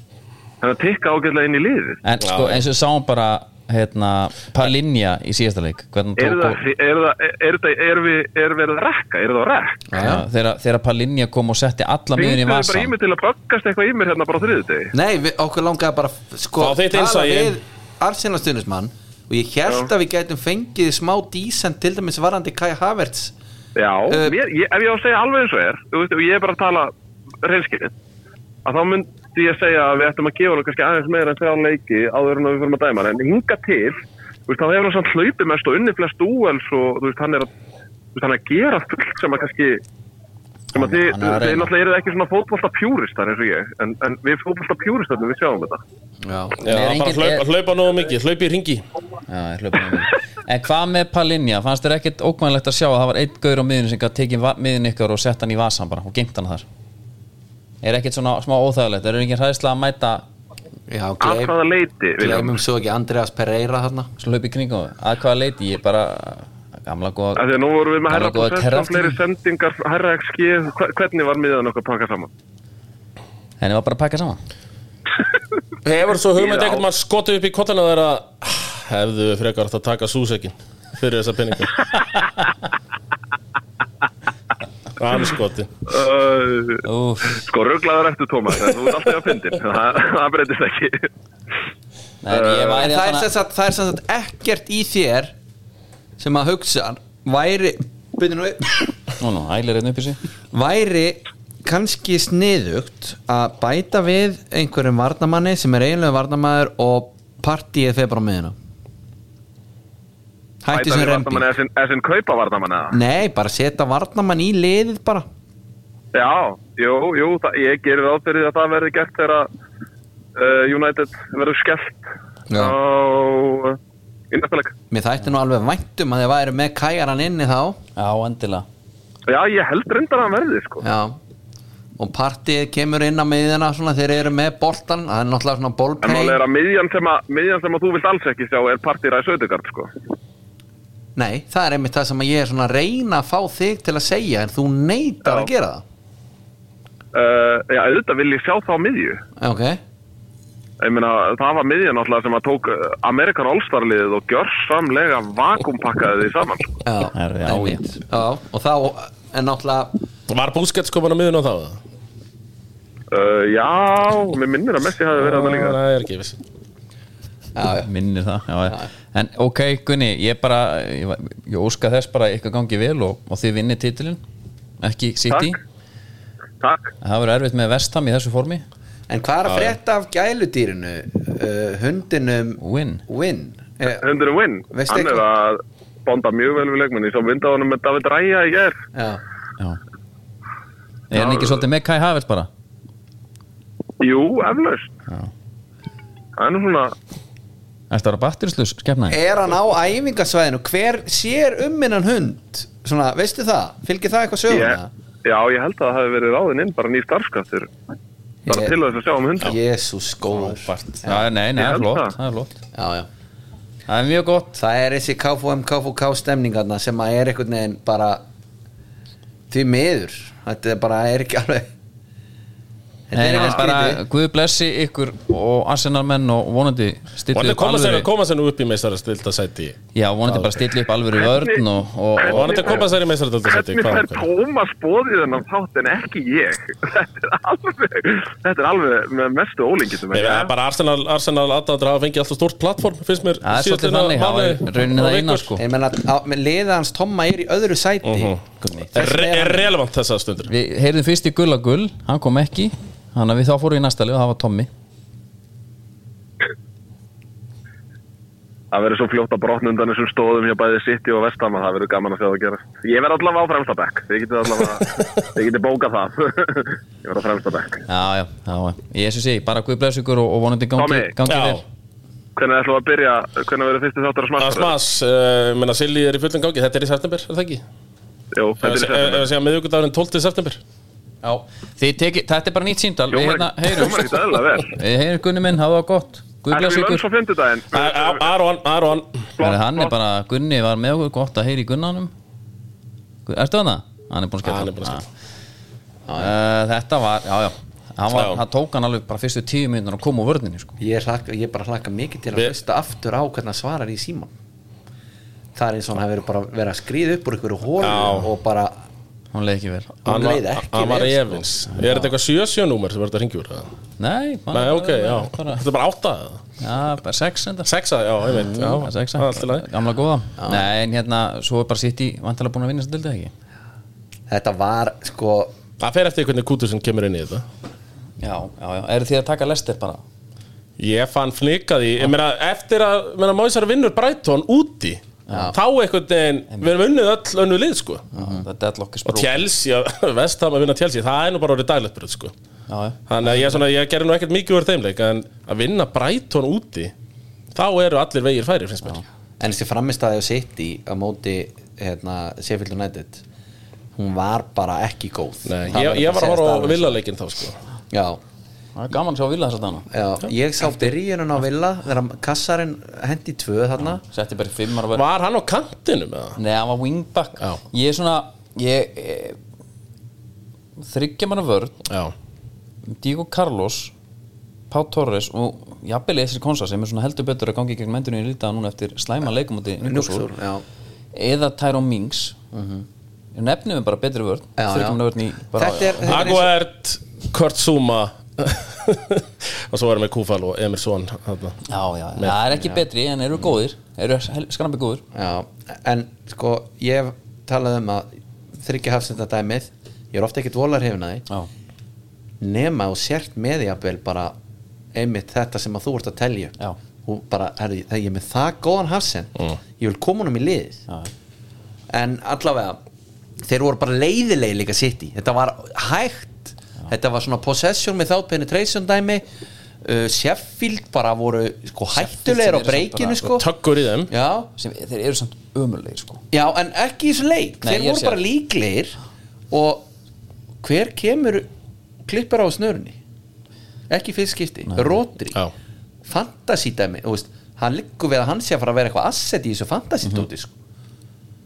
F: hann er að tikka ágætlega inn í liðið
B: en sko eins og við sáum bara hérna Palinja í síðasta leik hvernig
F: er
B: hann tók og-
F: það- er það- er það- er við- er verið að rekka er það að rekka
B: Já, þegar þegar Palinja kom og setti alla miðun
F: Þingdu
B: í
F: bara í
B: vasan
F: mig til að böggast eitthvað í mér hérna bara á þriðudegi
C: Nei, við, okkur langaði bara sko,
D: Fá þitt
C: tala
D: innsæi.
C: við Arsenal stuðnismann og ég held að við gætum fengið smá dísent til dæmis varandi Kai Havertz
F: Já,
B: Eh,
F: mér, ég, ef ég á að segja alveg eins og er þú veist, og ég er bara að tala reynskilin að þá myndi ég segja að við ættum að gefa hann kannski aðeins meira en þrjá leiki áður en að við fyrir að dæma hann, en hinga til þú veist, þá hefur hann samt hlaupið mest og unni flest úels og þú veist, hann er að þú veist, hann er að gera fullt sem að kannski sem að þið,
B: Hann- hann er að
F: þið
B: reyna.
F: náttúrulega eru ekki svona fótbolta pjúristar eins og ég, en, en við fótbolta pjúristarnir við sjáum þetta
C: Já.
D: Já,
B: Er
D: bara
B: engin-
D: hlaupa,
B: er-
D: hlaupa nógu mikið, hlaupa í ringi.
B: Já, ég hlaupa með mig. en hvað með Palinja, fannst þér ekkert ókvæmlegt að sjá að það var einn gaur á miðinu sem gæti tekið va- miðin ykkar og sett hann í vasan bara og gengt hann þar er ekkert svona smá óþægilegt er engin hræðislega að mæta
C: Já,
F: að
C: gleym,
F: hvaða leiti, Viljum
C: gleymum svo ekki Andreas Pereira þarna
B: svona hlaup í kringum þau? að hvaða leiti, ég bara gamla góða
F: að því að nú vorum við með
B: Hann er
F: herra
B: góður
F: prosent og fleiri
B: kerraftur.
F: sendingar, herra XG hver- hvernig var miðan okkar pakkað saman?
B: henni var bara að pakka saman
D: Hefur svo hugmynd
F: Já.
D: ekkert maður skotið upp í kollinu þeirra "Ah, hefðu við frekar átt að taka súsekin fyrir þessa penninga Hann skoti
F: Uh,
B: Úf,
F: Sko, rugglaður eftir Tómas, en þú ert alltaf að fyndin, það, það breytist ekki.
B: nei, ég
C: En
B: væri
C: það er sem
B: þarna
C: sagt, það er sem sagt ekkert í þér sem að hugsa væri byrju nú við
B: nú, nú, ælir einn upp í sig
C: væri kannski sniðugt að bæta við einhverjum varnamanni sem er eiginlega varnamaður og partíið fer bara á miðina hætti sem rembi
F: Er sinn, er sinn kaupa vardamanna?
C: nei, bara setja varnamann í liðið bara
F: Já, jú, jú, það, ég gerir ráð fyrir að það verði gert þegar að uh, United verður skellt
C: Já.
F: á uh, í næsta leik.
C: mér þætti nú alveg væntum að þið væri með kæjaran inni þá
B: já, endilega
F: Já, ég held reyndar að hann verði, sko.
C: já og partíið kemur inn á miðina svona þeir eru með boltan það er náttúrulega svona
F: En
C: bólpein
F: málega er að miðjan sem að, miðjan sem að þú vilt alls ekki sjá er partýra í Södegard, sko.
C: nei, það er einmitt það sem að ég er svona að reyna að fá þig til að segja en þú neytar
F: Já.
C: að gera það
F: Uh, já, auðvitað vil ég sjá þá miðju.
C: ok,
F: Ég meina, það var miðjan alltaf sem að tók uh, Amerikan All-Star-liðið og gjörsamlega vakumpakkaði því saman, sko.
C: Já,
B: Það eru- já,
C: einmitt. já, og þá er náttúrulega
D: Var búskett skoman á miðun á þá? eða?
F: Uh, já, mér Eh, minnir að Messi hafi verið að það líka.
C: Ah.
D: Nei, er ekki viss
C: Já, já.
B: minnir það já, já. en ok Gunni, ég bara ég, ég óska þess bara að ykkur gangi vel og, og þið vinnir titilin, ekki City
F: Takk. Takk.
B: En það verður erfitt með vestam í þessu formi
C: En hvað er að frétta af gæludýrinu? Uh, hundinum
B: Win.
C: Win. Eh,
F: Hundurinn Wynn,
C: Veistu
F: um hann er
C: eitthvað?
F: að bonda mjög vel við leikmenni, svo vinda honum með David Ræja í gerð.
C: Já,
B: já. er hann ekki svolítið með Kai Havert bara
F: Jú, eflaust. Það er nú svona,
B: Þetta var að batterislus, skefnaði
C: er hann á æfingasvæðinu hver sér um minnan hund svona, veistu það, fylgir það eitthvað söguna
F: ég, já, ég held að það hefði verið ráðin inn bara ný starfskaftur. Bara til þess að sjá um hundar.
C: Jésús góður já,
B: Já, nei, nei,
F: Ég
B: það er
F: held
B: flott,
F: það.
B: það er flott
C: já, já.
B: Það er mjög gott
C: það er þessi KFM, KFK stemningarna sem að er einhvern veginn bara því miður þetta er bara er ekki alveg þetta
B: Nei,
C: er
B: nei,
C: eitthvað
B: bara,
C: skrítið
B: Guð blessi ykkur og Arsenal menn og vonandi
D: Og
B: stilli
D: hann er
B: upp
D: koma sér,
B: alvöru
D: koma sér nú upp í meistarastilda sæti
B: Já, vonandi bara stilli upp alvöru vörn og, og,
D: Og hann er að koma sér í meistarastilda sæti
F: Hvernig fer Tómas bóðið þennan þátt en ekki ég? Þetta er alveg, þetta er alveg með mestu ólingitum.
D: Nei, það er bara Arsenal, Arsenal aðdæðandra hafa fengið alltaf stórt plattform finnst mér
B: Það er svolítið
D: síðastliðna
B: þannig, það
D: mánuði
B: er rauninni
D: og
B: það
D: vikur.
B: eina sko
C: Ég meina, á- með liða hans Tomma er í öðru sæti
D: Mhm.
C: Gummi.
D: Það er,
C: Þess vegna
D: re-
C: er
D: er
C: hann-
D: relevant þessa stundur
B: Við heyrðum fyrst í Gulla Gull, hann kom ekki Þannig að við þá fórum í næsta lið og það var Tommy
F: Það verður svo fljótt að brotna undan þessum stóðum hjá bæði City og Vestam að það verður gaman að sjá það að gera. Ég verð allavega á fremsta bekk. Þið getið allavega, þið getið bókað það. Ég verð á fremsta bekk.
B: Já, já, já, já. ég sem segi, bara Guð blessi ykkur og, og vonandi gangi,
F: Tommy.
B: gangi
D: Já,
B: vel
F: Hvernig ætlum við að byrja, hvernig verður fyrstu þáttur að
D: að
F: smasta?
D: smas, uh, menna Silji er í fullum gangi Þetta er í september, er það ekki?
F: Jú, þetta
D: Þetta
F: er í september.
D: er eh, síðan miðvíkudagurinn 12. september
B: Já, þið teki, þetta er bara nýtt síndal Við
F: Hljómar
B: hérna
F: ekki-
B: heyrum
F: hljómar ekki eðlilega vel.
B: Við heyrum Gunni minn, hafa það gott Guð
F: Ætlum
B: blessi
F: við lönns
B: ykkur
F: á fymtudaginn?
D: Eh, Aron, Aron
B: Herri, Hann er bara, Gunni var með okkur gott að heyri Gunnanum Guð- Ertu hann það? Hann er búin að skella Uh,
D: Ah, hann er búinn að
B: Þetta var, já, já Hann, var,
D: Já.
B: hann tók hann alveg bara fyrstu tíu minnur og kom úr vörninni sko.
C: ég, hlakka, ég bara hlakka mikið til að
D: Við-
C: hlusta aftur á hvernig hann svarar í síman það er eins og hann hefur bara verið að skrýða upp úr ykkur hólu
D: Já.
C: og bara
B: Hún leið ekki vel
C: hann
D: var-
C: leið ekki
D: Hann var
C: vel, sko. Ah,
D: efins Er þetta eitthvað 7-7 númer sem verður að ringja úr? eða?
B: Nei, bara,
D: Nei, ok, já
B: bara,
D: Þetta er bara 8
B: Já, bara sex enda
D: 6, já, ég veit Já,
C: Mm,
B: Já, sexa.
D: það er Mm. allt í lagi
B: Gamla góða Nei, en hérna, svo er bara sitt í vantilega búin að vinna sem dildið ekki
C: þetta var sko
D: Það fer eftir hvernig kútur sem kemur inn í þetta
B: Já, já, já, eru þið að taka lestir bara?
D: Ég fann flikað í, ég meina eftir að meina, Móisar vinnur Brighton úti þá einhvern veginn, við erum unnið öll önnu lið sko,
B: Já, Það er deadlock is
D: og
B: broken.
D: Chelsea vestam að vinna Chelsea, það er nú bara orðið daglegt bröð sko,
B: Já, já,
D: þannig að ég, svona, ég gerði nú ekkert mikið úr þeimleik, en að vinna Brighton úti, þá eru allir vegir færir finnst mér,
C: en þessi framistæði á City á móti hérna, Sheffield United hún var bara ekki góð
D: Nei,
C: Það
D: Eh, ég, ég var að
C: bara
D: horfa
C: segja
D: á
C: staðar.
D: villaleikin þá sko,
C: já,
B: það er gaman að sjá vilja þess að dana
C: Já, ég sá byrjunum á Villa þegar kassarinn hendi tvö þarna
B: Setti bara í fimmar og verð
D: var hann á kantinum eða?
B: Nei, hann var wingback
D: Já.
B: Ég er svona, ég e, Þryggja manna vörn
D: Já,
B: Diego Carlos Pá Torres og jafnvel Esri Konsa sem er svona heldur betur að gangi gegn mendunni í lítið núna eftir slæma leikumóti
C: Núksúr, já,
B: eða Tyrone Mings mm nefnum við bara betri vörn
C: já, já.
B: þurfum við vörn í bara
C: Þetta er, þetta er eins og-
D: Aguert Kurt Zuma og svo erum við Kúfal og Emil Són þarna.
B: já, já, já, það er ekki betri en eru góðir eru skrambi góðir
C: já, En sko, ég hef talað um að þryggja hafsenda dæmið ég er ofta ekkert volar hefina því
B: já,
C: nema og sért með jafnvel bara einmitt þetta sem að þú ert að telja
B: Já.
C: og bara, herri, þegar ég er með það góðan hafsend
D: Mm.
C: ég vil koma honum í liðið
B: já,
C: en allavega þeir voru bara leiðilegi líka sitt í þetta var hægt þetta var svona possession without penetration dæmi uh, Sheffield bara voru sko, hættulegir
B: sem eru
C: á
B: samt
C: breykinu
B: bara-
C: sko.
D: tökkur í þeim
C: já,
B: sem, þeir eru samt ömulegir sko
C: já, en ekki í þessu leik
B: Nei,
C: þeir
B: ég
C: voru
B: sé
C: bara
B: það.
C: líklegir og hver kemur klippar á snörunni ekki fyrst skipti, Rodri
D: Já.
C: fantasy dæmi, þú veist hann liggur við að hann sé að fara að vera eitthvað asset í þessu fantasy
B: Mhm.
C: dóti sko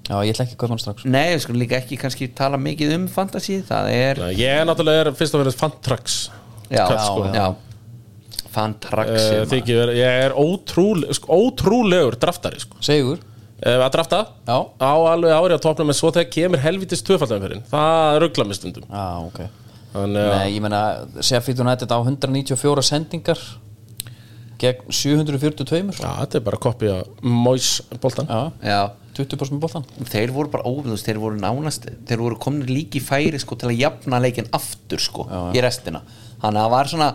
B: já, ég ætla ekki að kaupa hann strax
C: Nei, við skulum líka ekki kannski tala mikið um fantasy Það er
D: Nei, Eh, Ég er náttúrulega er fyrst og finnast fantrax
C: já,
D: Kall, sko.
C: já, já. Fantraxi
D: uh,
C: maður.
D: Þykir verið, ég er ótrúle, sko, ótrúlegur draftari sko.
B: segur,
D: uh, Að drafta
B: já,
D: á alveg ári á topnum En svo þegar kemur helvitis tvöfaldumferðin Það ruggla mig stundum
B: já, ok
D: Þannig að
B: nei, ég meina, Sheffield United á 194 sendingar gegn 742
D: Já, þetta er bara að kopja Mois boltan
B: Já,
C: Já,
B: 20% með boltan
C: þeir voru bara óvinnust, þeir voru nánast þeir voru komin líki færi sko til að jafna leikin aftur sko í restina þannig að það var svona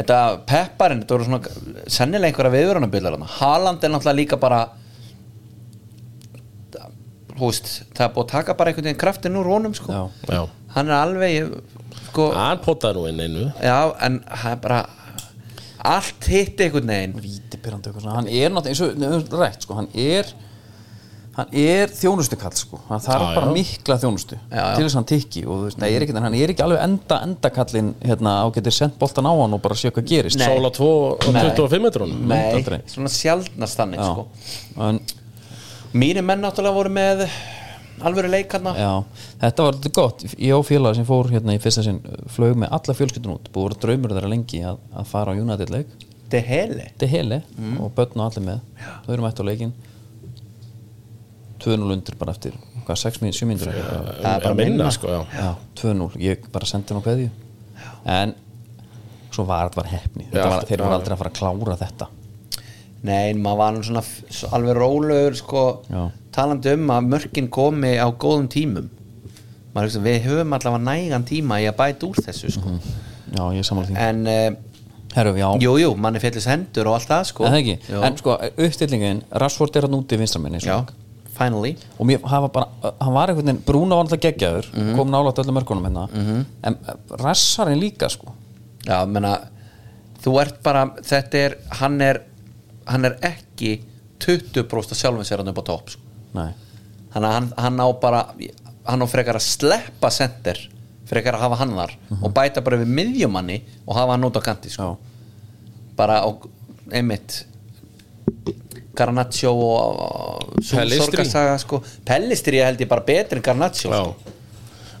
C: þetta pepparinn, þetta voru svona sennilega einhverja viðvörunarbillar þarna Haaland er náttúrulega líka bara þú veist, það er búið að taka bara einhvern veginn kraftin úr honum sko
B: Já.
D: Já, Ah.
C: hann er alveg sko,
D: hann potaði nú inn einu
C: já, en það er bara allt hitti einhvern veginn
B: vítipyrrandi eitthvað svona hann er náttúrulega eins og við höfum rætt sko hann er hann er þjónustukall sko hann þarf
D: Já,
B: bara
D: já.
B: mikla þjónustu
C: já.
B: til þess að hann tikki og þú veist það er ekki hann er ekki alveg enda endakallin hérna á getur sendt boltan á hann og bara séu hvað gerist
C: Nei.
D: Sóla 2 og
C: Nei.
D: 25 metrunum
C: Nei,
B: aldrei.
C: svona sjaldnast þannig
B: já
C: sko
B: en
C: Mínir menn náttúrulega voru með alvöru leikarna
B: já þetta var þetta gott ég og félag sem fór hérna í fyrsta sinn flög með alla fjölskyldun út búið að vera draumur þeirra lengi að, að fara á United leik
C: De Hele
B: þetta er heli
C: Mm.
B: og börn og allir með þau eru mætt á leikin 2-0 undir bara eftir hvað 6 minn, 7 minnur
D: Það er bara minna sko, já
B: já, 2-0, ég bara sendi hann á kveðju en svo var þetta var hefni
D: Já,
B: þetta var, þeir
D: já,
B: voru
D: já.
B: aldrei að fara að klára þetta
C: Nei, en maður var nú svona f- svo alveg rólegur sko,
B: Já.
C: talandi um að mörkin komi á góðum tímum maður, hugsa, við höfum allavega nægan tíma í að bæta úr þessu sko.
B: já, ég samanlega því
C: en uh,
B: herru, já,
C: jú, jú, manni fjallis hendur og allt það sko.
B: en það ekki
C: Jú.
B: en sko, uppstillingin, Rashford er hann úti í vinstramenni
C: Já, finally
B: og mér, hann var bara, hann var einhvern veginn Brúna var alltaf geggjaður, kom nálægt öllum mörkunum hérna, en rassarinn líka sko,
C: Já, menna, þú ert bara þetta er, hann er hann er ekki 20% sjálfum sér hann upp á topp sko.
B: nei
C: þannig að hann, hann á bara hann á frekar að sleppa sendir frekar að hafa hann þar og bæta bara við miðjumanni og hafa hann út á kanti sko.
B: Mhm. já,
C: bara á einmitt Garnaccio og og- sú
D: Pellistri.
C: sorgarsaga, sko. Pellistri held ég bara betri en Garnaccio
D: Já.
C: sko.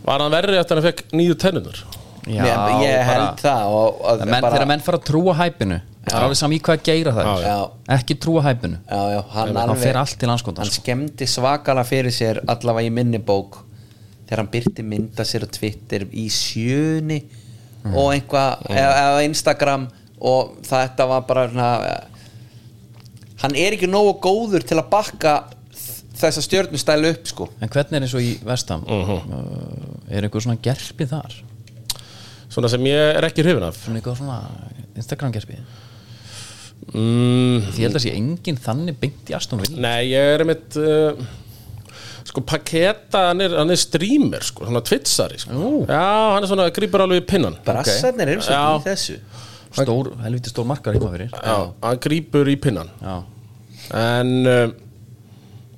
D: Var hann verri eftir að hann fekk nýju tennunur
B: já
C: ég, ég held það og, og
B: menn,
C: bara,
B: þegar menn fara að trúa hæpinu það er alveg saman í hvað geira það er.
D: Já,
C: já.
B: ekki trúa hæpinu
C: já, já, hann,
B: það fer
C: alveg,
B: allt til anskotan
C: hann
B: sko.
C: skemmdi svakala fyrir sér allavega í minni bók þegar hann byrti mynda sér á Twitter í sjöni
B: Mm.
C: og einhvað eða, eða Instagram og þetta var bara svona, hann er ekki nógu góður til að bakka þ- þessa stjörnustælu upp sko
B: en hvernig er eins og í vestam uh, er einhver svona gerpi þar
D: Svona sem ég er ekki hrifin af
B: svona eitthvað svona Instagram gerpi
D: mm,
B: því ég held að sé enginn þannig beint í Aston Villa
D: Nei, ég er einmitt uh, Sko, Paketa, hann er, hann er streamer sko, Svona twitsari sko. Já, hann er svona, grípur alveg í pinnan
C: Brassarnir eru svo
D: Já.
C: í þessu
B: stór, helviti stór markar heima fyrir
D: Já, hann grípur í pinnan
B: já,
D: En uh,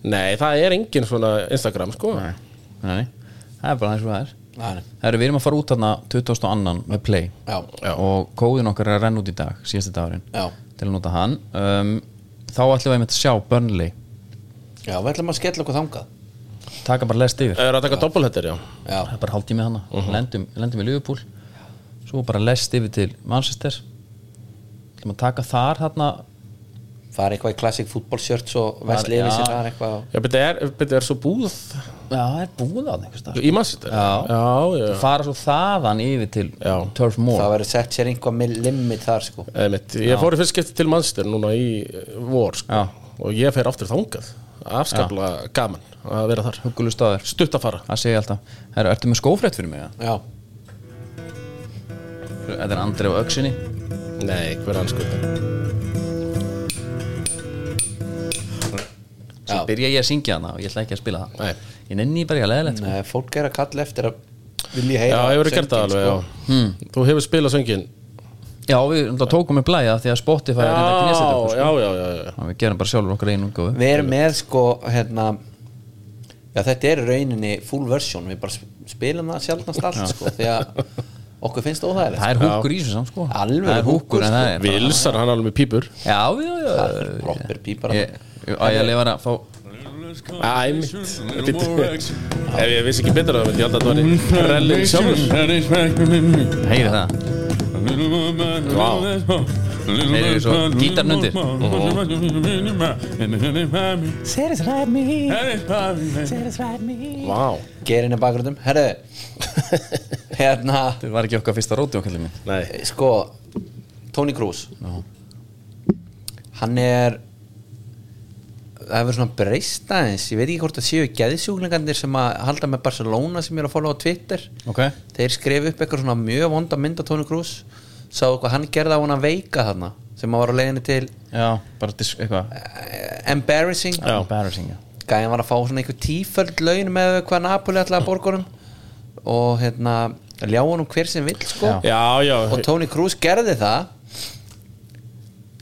D: Nei, það er engin svona Instagram sko
B: nei, nei, nei. það er bara eins og það er
C: Nei.
B: Heru, við erum að fara út þarna 2002 með Play
C: Já.
D: Já.
B: og kóðin okkar er að renna út í dag síðasti dagurinn
C: Já.
B: til að nota hann um, þá ætlum við einmitt að sjá Burnley
C: Já, við ætlum að skella okkur þangað
B: taka bara lest yfir
D: Það er að taka doppelhettir, já
B: það
C: Já,
B: er bara hálftími hana uh lendum, lendum í Liverpool svo bara lest yfir til Manchester ætlum að taka þar þarna
C: það er eitthvað í Classic Football Shirts og
B: Það-
C: Vesli yfir
B: já.
C: sér það er eitthvað
D: Já, beti er, beti er svo búð
B: já, það er búið að einhvers þar
D: í Manchester
B: Já.
D: já, já.
B: fara svo þaðan yfir til
D: Já.
B: Turf
C: Það
B: Moor
C: verður sett sér einhvað mil- limit þar sko
D: Einmitt, ég fór í fyrst skipti til Manchester núna í eh, vor sko.
B: Já.
D: og ég fer aftur þangað afskapla gaman að vera þar
B: hugguleg staður,
D: stutt að fara
B: það segi ég alltaf Herra, ertu með skófrétt fyrir mig? eða?
C: Já,
B: Þetta er Andri á öksinni
D: Nei, hver hann sko
B: svo byrja ég að syngja hana og ég ætla ekki að spila það
D: Nei.
B: ég nenni bara ekki að leðilegt
C: Nei, fólk er að kalla eftir að vilja
D: Já,
C: heyra
D: ég verið gert það alveg
C: sönginn,
D: já. Þú hefur spilað söngin
B: já, við um, tókum með blæja því að Spotify er reynda að knesa þetta okkur,
D: já, já, já, já.
B: sko. Þannig við gerum bara sjálfur okkar einu útgáfu.
C: Við erum með sko hérna Já, þetta er í rauninni full version Við bara sp- spilum það sjálfnast allt sko Því að okkur finnst óþægilegt
B: það er húkur í þessu samt sko
C: Alveg
B: það er húkur
C: húkkur,
B: en það
C: sko.
B: er
D: Vilsar hann alveg með pípur
B: já, já, já,
C: Það er proper pípar
B: Ég, að ég lefa að fá
D: Æmitt Ef ég vissi ekki betur að það myndi ég held að það var Rellin sjálfur
B: heyri það Þeir eru svo gítarnundir
D: Vá
C: Gerin er bakgröndum Herðu Hérna
B: Þetta var ekki okkar fyrsta róti okkar minn
D: Nei
C: Sko Tony Cruz hann er það hefur svona breyst aðeins ég veit ekki hvort það séu geðsjúklingarnir sem að halda með Barcelona sem ég er að followa á Twitter
B: Ok.
C: þeir skrif upp eitthvað svona mjög vonda mynd á Toni Kroos sá hvað hann gerði á hann að veika þarna sem að var á leiðinni til
B: Já, bara disk, eitthvað
C: eh, embarrassing
B: Já. Embarrassing, já
C: gæðin var að fá svona einhver tíföld laun með hvað Napoli ætlaði borgurum og hérna ljá honum hver sem vill sko
B: Já.
D: Já, já,
C: og Tony Cruz gerði það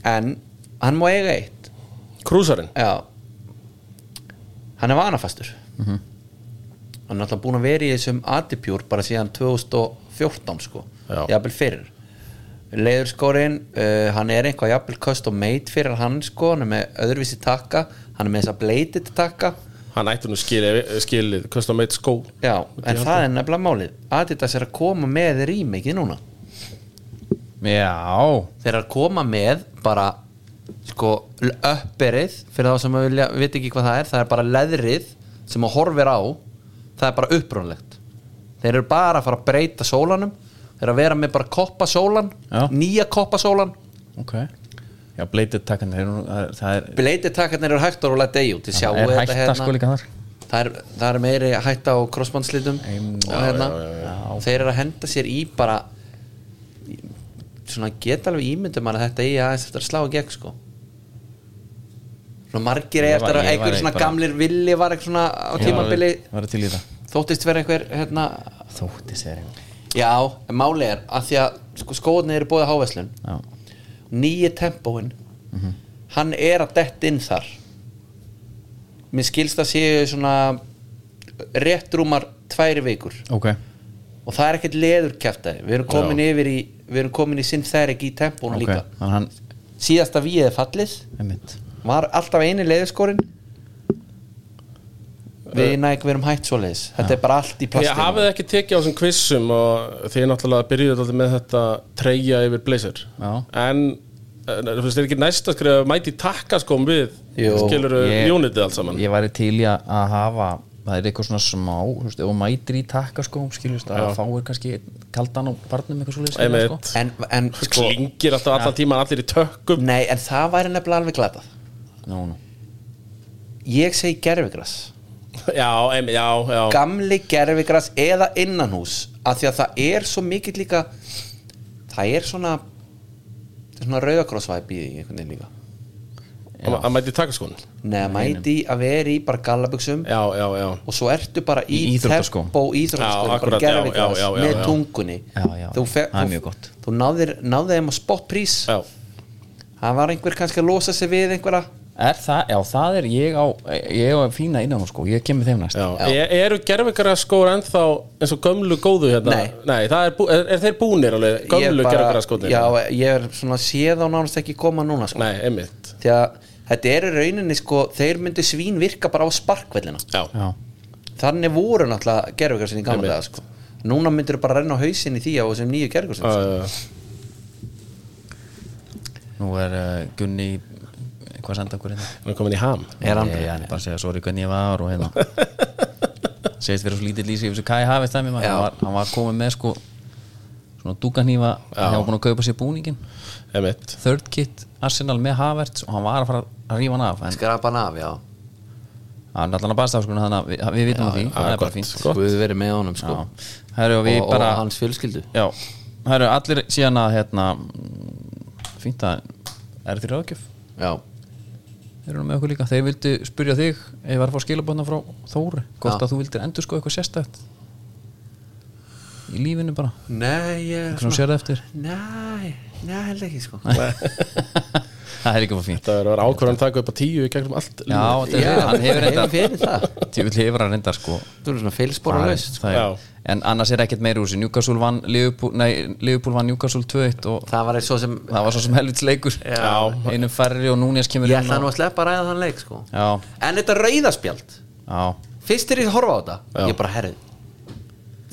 C: en hann má eiga eitt
D: krúsarinn
C: já hann er vanafastur hann er alltaf búin að vera í þessum atipjúr bara síðan 2014 sko
D: Já.
C: jafnvel fyrir leiður skórin, uh, hann er eitthvað jafnvel custom made fyrir hann sko hann er með öðruvísi takka, hann er með þessa bladed takka
D: Hann ætti nú skilið, skilið custom made skó
C: Já, en það er nefnilega málið Adidas er að koma með rýmikið núna
B: Já,
C: Þeir eru að koma með bara sko uppberið fyrir þá sem að vilja, veit ekki hvað það er það er bara leðrið sem að horfir á það er bara upprunlegt Þeir eru bara að fara að breyta sólanum Þeir eru að vera með bara koppasólan
B: Já.
C: nýja koppasólan
B: ok Já, bleitir takkan, það er
C: Bleitir takarnir eru hægt að rúlega degi út Þið sjáu
B: Það er hætta
C: þetta hérna.
B: sko líka þar
C: það er, það er meiri hætta á crossbandslitum og hérna þeir eru að henda sér í bara svona geta alveg ímyndum að þetta í aðeins eftir að slá í gegn sko svona margir
B: Ég
C: eigi
B: var-
C: eftir að
B: ég var
C: einhver svona
B: bara-
C: gamlir villi var eitthvað svona á tímabili
B: Var til í það
C: þóttist vera einhver hérna
B: Þótti sér einhver
C: já, en máli er að því að sko, skóðni eru búið á háveslun
B: Já,
C: nýji tempóin hann er að dett inn þar mér skilst að séu svona rétt rúmar tværi vikur
B: ok
C: og það er ekkert leðurkjæftæði við erum komin yfir í við erum komin í synthetic í tempónu
B: Ok,
C: líka
B: þannig hann
C: síðasta við er fallið
B: Einmitt
C: var alltaf eini leðurskórin við næg við erum hætt svoleiðis þetta er bara allt í
D: Ég
C: plastinu
D: hafið ekki tekið á þessum quizum og því ég náttúrulega byrjuði alltaf með þetta treyja yfir blazer
B: Já.
D: en en, þú veist, er ekki næst að skrifa mæti takka sko við
C: Jú,
D: skilur
B: Ég-
D: unitið allt saman
B: Ég væri til í að að hafa Það er eitthvað svona smá, þú veist, ef hún mætir í takkaskóm, skiljast, að fáir kannski einn kaldan á barnum eitthvað svo
D: einmitt,
B: leysið,
C: en, en sko
D: klingir alltaf allan tíman allir í tökum
C: nei en það væri nefnilega alveg glatað
B: sko. Nú, nú.
C: ég segi gerfigras
D: já, einmitt, já, já
C: gamli gerfigras eða innanhús af því að það er svo mikill líka það er svona það er svona rauðakrossvæp í því einhvern veginn líka
D: Að- að mæti takka sko já,
C: neða mæti í að vera í bara gallabuxum
D: já, já
C: og svo ertu bara í,
B: Í íþróttaskóm.
C: tempo
D: Já,
C: íþróttaskóm, bara
D: akkurat, já,
C: gerfigras
D: já, já, já,
C: með
D: já.
C: tungunni
B: Já, já,
C: þú
B: það er mjög gott.
C: þú náðir, náðir þeim að spott prís
D: já,
C: það var einhver kannski að losa sig við einhverja
B: Er það, já, það er ég á, ég á fína innan hún, sko, ég kemur þeim næst.
D: já. E- eru gerfingar skór ennþá eins og gömlu góðu hérna
C: Nei.
D: það er, bú, er, er þeir búnir alveg
C: Ég
D: gömlu
C: bara-
D: gerfingar skóðnir
C: já, ég er svona séð á nánast ekki koma núna sko.
D: nei, einmitt
C: því að þetta er í rauninni sko, þeir myndu svín virka bara á sparkvellina
D: já,
B: Já.
C: þannig voru náttúrulega gerfugarsin í gamla
D: Einmitt.
C: daga sko. núna myndur bara renna á hausin í því á þessum nýju gerfugarsin
D: já,
C: sko.
D: já, já.
B: Nú er uh, Gunni, hvað senda okkur hérna?
D: hann er komin í ham
C: er hann
B: Nei, hann er bara að segja sorry hvernig ég var og hérna segist vera svo lítill í sig yfir þessu Kai Havið stæmi maður, hann, var- hann var komið með sko svona dúkanýfa hann var búin að kaupa sér búningin
D: einmitt
B: third kit Arsenal með Havertz og hann var að fara að rífa hann af en
C: skrapan af, já
B: hann er allan að baðst afskunna þannig að við, að við vitum af því það er bara fínt
C: Guð verið með honum sko.
B: Já. Herru, og við
C: og,
B: bara
C: og hans fjölskyldu
B: já, herru, allir síðan að hérna mm, fínt að er þér ráðgjöf
C: já.
B: Þeir eru nú með okkur líka, þeir vildu spyrja þig ef ég var að fá skilabóðna frá Þóri hvort
C: Já.
B: að þú vildir endur sko eitthvað sérstætt í lífinu bara
C: nei, ég
B: hvernig þú sér það eftir
C: nei, nei, held ekki sko
B: það er líka bara fínt
D: Það verður ákvörðan taka upp á tíu í gegnum allt
B: Já, þetta
C: Já,
B: er- hann hefur
C: hann
B: reyndar
C: hefur fyrir það.
B: Djöfull hefur hann reyndar sko
C: þú erum svona feilspora laust sko.
B: Það er-
D: Já.
B: En annars er ekkert meira úr þessu Newcastle vann Liverpool, nei, Liverpool vann Newcastle 2-1 og
C: það var eins og sem
B: það var svo sem helvits leikur
D: Já.
B: einum færri og núnes kemur
C: ég
B: inn
C: ætla
B: og-
C: nú að sleppa að ræða þann leik sko.
B: Já,
C: en þetta rauðaspjald
B: já,
C: fyrst er ég að horfa á þetta
D: Já.
C: ég bara herrið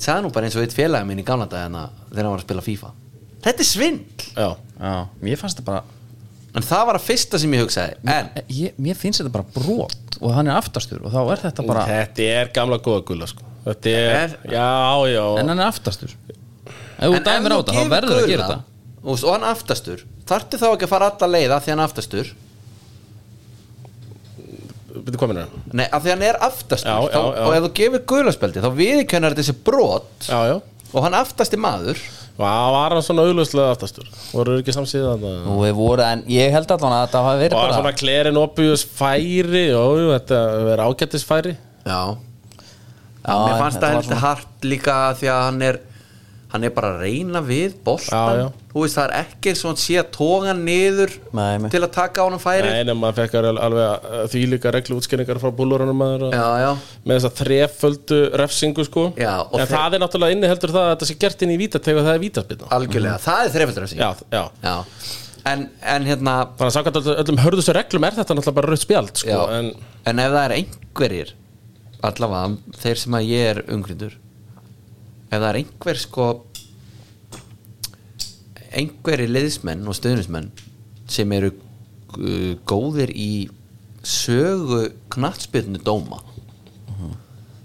C: sagði nú bara eins og eitt félagi minn í gamla dagina þegar hann var að spila FIFA þetta er svindl
D: Já,
B: já Mér fannst það bara
C: en það var að fyrsta sem ég hugsaði en
B: ég, Mér finnst þetta bara brot og hann er aftastur og þá er þetta bara
D: þetta er gamla góða gulla sko Þetta er,
C: Er-
D: já, já
B: en hann er aftastur ef þú
C: en
B: dæmir á
C: ef
B: þetta, þá verður það að gera
C: gula,
B: þetta
C: og og hann aftastur þartu þá ekki að fara alla leiða því hann er aftastur
D: byrju hvað minnur það?
C: Nei, af því hann er aftast
D: Já, já, já.
C: og ef þú gefur gulaspeldi þá viðkennar þessi brot
D: Já, já
C: og hann aftasti maður
D: Vá, var hann svona auglustlega aftastur Voru ekki samsíðan að
B: Nú er voru, en ég held allan að þetta hafi verið
D: Var
B: bara
D: svona klerin opjúðus færi Jó, jú, þetta er ágættis færi
C: Já,
B: Já,
C: Mér
B: en
C: fannst
B: þetta
C: það
B: var
C: heldur hart líka því að hann er hann er bara að reyna við boltan
D: Já, já.
C: þú veist það er ekki eins og hann sé að toga hann niður
B: Nei, nei.
C: til að taka á hann færi
D: Nei, nema maður fekk alveg- alveg uh, þvílíka reglu útskynningar frá búlurunum maður að-
C: Já, já,
D: með þess að þreföldu refsingu sko
C: Já, og
D: en
C: þre-
D: það er náttúrulega inni heldur það að þetta sé gert inn í vítategu það er vítaspilna
B: Mhm.
C: algjörlega, það er þreiföldur af sig
D: já, já.
C: En, en hérna
D: þannig að samkvæmt öll- öllum hörðustu reglum er þetta náttúrulega bara rautt spjald
C: já,
D: sko, en
C: en, ef það er einhverjir allavega, þeir sem að ég er umgrindur ef það er einhver sko einhverjir liðsmenn og stöðnismenn sem eru uh, góðir í sögu knattspyrnu dóma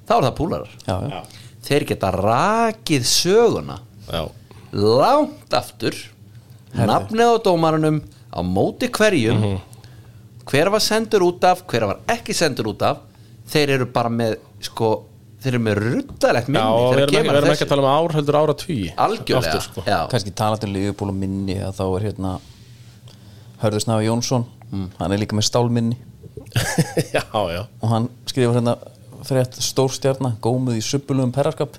C: þá er það púlarar
B: já, já.
C: þeir geta rakið söguna
D: já,
C: langt aftur nafnið á dómarunum á móti hverjum
D: Mhm.
C: hver var sendur út af, hver var ekki sendur út af þeir eru bara með sko, þeir eru með ruttalegt minni
D: já og við erum
C: þegar
D: ekki,
C: kemur Ah.
D: við erum
C: þessu.
D: ekki að tala um ár heldur ára tugi
C: algjörlega
D: Aftur, sko.
C: já,
B: kannski talað um Liverpool og minni að þá er hérna Hörður Snæfa Jónsson hann er líka með stálminni
D: já, já,
B: og hann skrifur hérna frétt stórstjarna, gómuð í subbulugum perraskap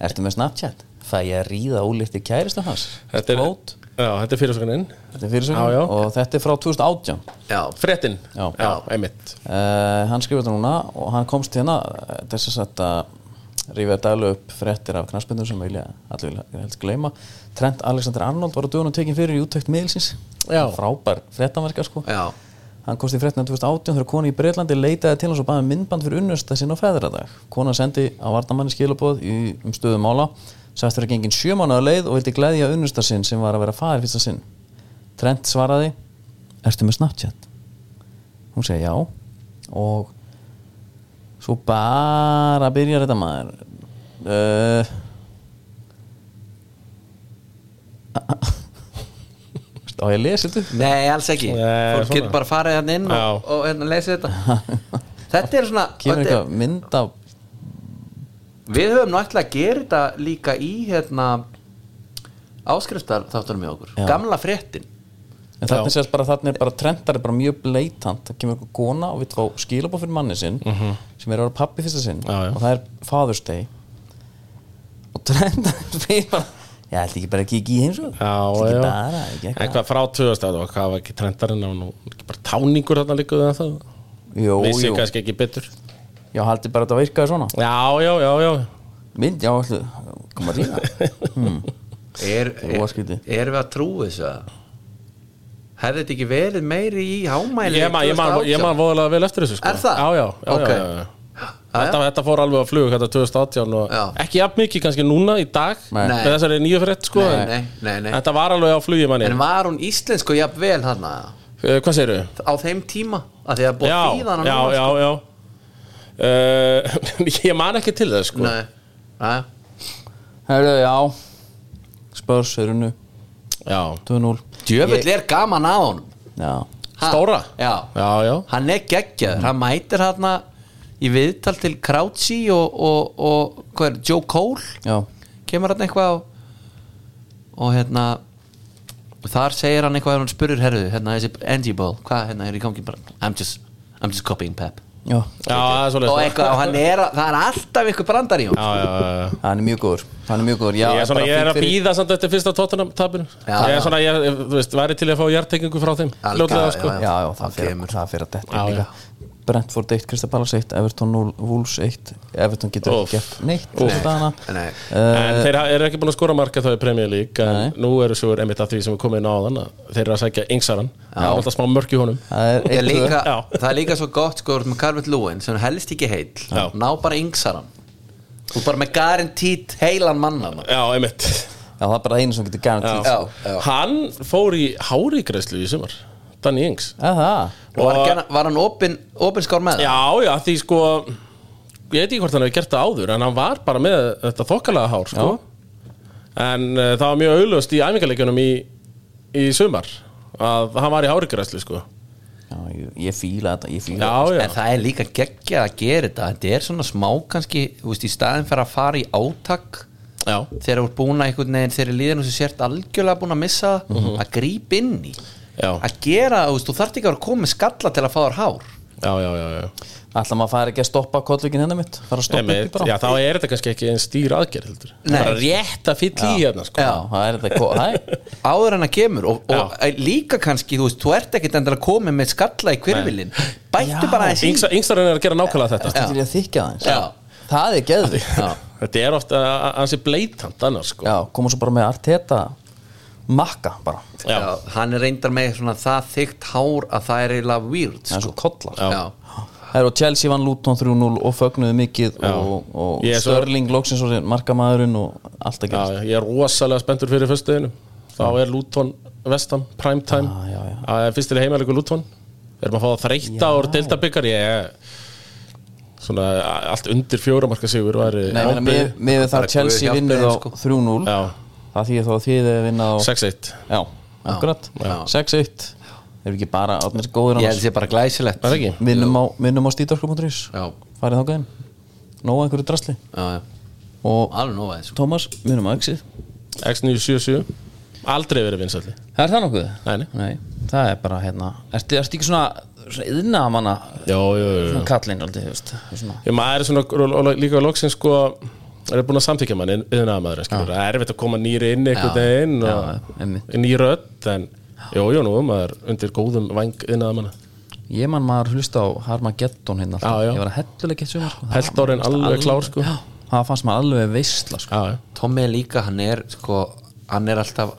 B: Ertu með Snapchat? Fæ ég að ríða ólíkti kæristu hans
D: þetta er,
B: Quote.
D: já, þetta er fyrirsögnin
B: Þetta er fyrirsögn.
D: Já, já.
B: og þetta er frá 2018
C: já,
D: frettin, já,
B: Já.
D: einmitt
B: Uh, hann skrifur þetta núna og hann komst hérna eh, til þess að þetta rífið að dælu upp fréttir af knarsbyndur sem vilja allir vilja helst gleyma Trent Alexander Arnold var á dögunum tekin fyrir í úttækt miðilsins
D: Já.
B: frábær fréttamarka sko
C: já,
B: hann komst í fréttina 2018 þegar kona í Breitlandi leitaði til hans og baði um myndband fyrir unnusta sinna á feðradag kona sendi á vartamanni skilabóð í, um stöðu mála sagðist vera gengin sjö mánuða leið og vildi gleðja unnusta sinn sem var að vera faðir fyrsta sinn Trent svaraði Ertu með Snapchat? hún segi já og svo bara byrjar þetta maður uh, á ég að lesa þetta upp?
C: nei, alls ekki
D: Nei,
C: fólk
D: svona.
C: getur bara farið hérna inn
D: Já.
C: og, og hérna lesa þetta þetta er svona
B: kemur
C: þetta er-
B: eitthvað mynd af
C: við höfum nú ætla að gera þetta líka í hérna áskriftar þáttunum í okkur,
B: Já.
C: gamla fréttin
B: en þarna sést bara, þarna er bara trendar er bara mjög bleitant, það kemur eitthvað kona og við fá skilabóð fyrir manni sinn sem er að vera pappi fyrsta sinn
D: Mhm. Já, já.
B: og það er fatherstay og trendar fyrir bara ég ætla ekki bara að kíkja í eins og
D: já,
B: ekki
D: já,
B: bara, ekki
D: en
B: eitthvað
D: hvað frá tugast að og hvað var ekki trendarinn á nú ekki bara táningur þarna líka það það
B: jú,
D: vissi
B: jú,
D: kannski ekki betur
B: já, haldi bara að þetta virkaði svona
D: já, já, já, já
B: mynd, já, ætlu, koma að rýna
C: er,
B: er óskyldi.
C: erum við að trúi þessu að hefði þetta ekki verið meiri í hámæli
D: Ég man, ég man, ég man voðalega vel eftir þessu sko.
C: Er það?
D: Já, já, já,
C: Ok.
D: já, já, já. Þetta, þetta fór alveg á flug þetta 2018 og
C: Já.
D: ekki jafn mikið kannski núna í dag
B: Nei.
D: með þessari nýju frétt sko
C: Nei,
D: en-
C: nei, nei, nei.
D: en Þetta var alveg á flugi manni
C: en var hún íslensku jafnvel hann
D: Eh, Hvað segirðu?
C: á þeim tíma að því að búið
D: Já,
C: þýðan
D: já, já, já uh, Ég man ekki til þess sko
C: Nei, Jæja.
B: herru, já spörs, er unnu,
D: Já,
B: 2-0
C: djöfull er gaman að honum
B: já,
C: Ha?
D: Stóra?
C: já.
D: já, já
C: hann er geggjaður, hann mætir hann í viðtal til Krautsí og, og, og hvað er, Joe Cole
B: já,
C: kemur hann eitthvað og, og hérna þar segir hann eitthvað og hann spurur herðu hérna þessi Angie Ball hvað hérna er í gangi bara I'm just, I'm just copying Pep
B: já
D: Já, það er
C: og
D: svoleiðis
C: eitthvað og hann er að, það er alltaf eitthvað brandar í hún
D: Já, já, já, já
B: hann er mjög góður, hann er mjög góður já,
D: Ég er, svona,
B: bara
D: ég er
B: fínt
D: að
B: fyrir-
D: býða samt eftir fyrsta tóttunum tapinu
C: Já,
D: Ég
C: já.
D: er svona, ég, ég- þú veist, væri til að fá hjartekingu frá þeim
C: Algjörlega,
D: Ljótlega sko
C: já,
B: já, já, það
C: það
B: fyrir,
C: kemur.
B: það fyrir að detta
D: Já,
B: já, líka Brentford 1, Krista Palace 1, Everton 0, Wolves 1 Everton getur
D: Úff.
B: ekki gert neitt þessa dagana.
C: Nei. Eh,
D: En þeir eru ekki búin að skora marka þá í Premier League en nú eru svo einmitt að því sem er komið inn á þann þeir eru að sækja yngsaran það er alltaf smá mörk í honum
B: það er
C: er
B: eitt
C: líka,
D: Já.
C: það er líka svo gott sko þú ert með Calvert Lewin sem helst ekki heil
D: Já.
C: ná bara yngsaran þú er bara með garantít heilan mann hann
D: Já, einmitt
B: já, það er bara einu sem getur garantít
C: Já, já.
D: Hann fór í hárigreislu í sumar Danny Ings
B: eða það,
C: og var, gana, var hann opin, opinskár með það?
D: Já, já, því sko ég veit ekki hvort hann hefur gert það áður en hann var bara með þetta þokkalega hár sko. en uh, það var mjög auðlust í æfingarleikjunum í, í sumar að hann var í hárigreislu sko.
B: já, jú
C: skilju, ég fíla þetta ég fíla
D: Já, já.
C: en það er líka geggjað að gera þetta þetta er svona smá kannski þú veist, í staðin fyrir að fara í átak
D: Já.
C: þegar þú ert búin að einhvern veginn þegar liðinu sem sért algjörlega búin að missa mm -hmm. að grípa inn í
D: Mhm. Já.
C: að gera, þú veist, þú þarft ekki að vera að koma með skalla til að fá þar hár
D: já, já, já, já.
B: Ætla maður að fara ekki að stoppa kollvíkin hennar mitt Fara að stoppa upp í
D: Einmitt,
B: bara
D: já þá er þetta kannski ekki einn stýr aðgerð heldur
C: Nei.
D: bara rétt að fylla í hérna sko.
C: Já.
B: Það er þetta, það er
C: áður en að kemur og, og líka kannski, þú veist, þú ert ekkit endilega komið með skalla í kvirfilin bættu
B: Já,
C: bara aðeins í
D: Yngsta- yngstarinn er að gera nákvæmlega þetta
B: Þetta er ég að þykja það eins
C: Já.
B: Það er geðvig Já.
D: þetta er ofta ansi bleitant annars sko.
B: Já, koma svo bara með Arteta Makka bara
D: Já.
C: Já, hann er reyndar með svona það þykkt hár að það er eiginlega weird
B: Það er
C: sko.
B: svo kollar
D: Já.
B: Það eru Chelsea vann Luton 3-0 og fögnuðu mikið
D: Já.
B: og, og
D: Ég er svo-
B: Störling loksins og markamaðurinn og allt að
D: Já,
B: gerast
D: ég er rosalega spenntur fyrir fyrstuðinu þá er Luton vestam, primetime
B: Já, já, já.
D: Það er fyrstir heimæleiku Luton erum að fá það þreytta úr deildabikar ég svona allt undir fjóra marka sigur væri
B: Nei, ég meina,
D: vonbrigði.
B: með, með það
C: Bara
B: að Chelsea
C: guð hjálpi
B: vinnur á
C: þeim, sko.
B: 3-0
D: Já.
B: það þýðir þá að þið er vinna á
D: 6-1
B: Já, akkurat 6-1 Þeir eru ekki bara átnir góður
C: ég held
B: annars
C: þessi bara glæsilegt
D: Er það ekki?
B: Vinnum á, vinnum á stíðdorkum.is
C: Já,
B: Farið þákaðin Nóa einhverju drasli
C: já, já,
B: Og
C: alveg nóg aðeins sko.
B: Tómas, vinnum á exið
D: X977 aldrei verið vinsæli
B: Er það nokkuð?
D: Nei, nei.
B: Nei, það er bara hérna Ertu, ertu ekki svona, svona yðna manna
D: Jó, jó, jó, jó.
B: kallinn aldrei, þú veist svona.
D: Ég maður er svona og- og- og líka loksins sko er búin að samþykja mann yðin að maður það er erfitt að koma nýri inn einhvern
C: Já.
D: veginn
B: Já, einmitt.
D: og nýrödd en jú, jú, nú er maður undir góðum væng yðin að manna
B: Ég man maður hlusta á Harmageddon hérna alltaf.
D: Já, já.
B: Ég var að hellulega gett sumar sko.
D: Helldórinn alveg klár, sko.
B: Já, það fannst maður alveg veistla sko.
D: Já, já
C: Tommy er líka, hann er sko, hann er alltaf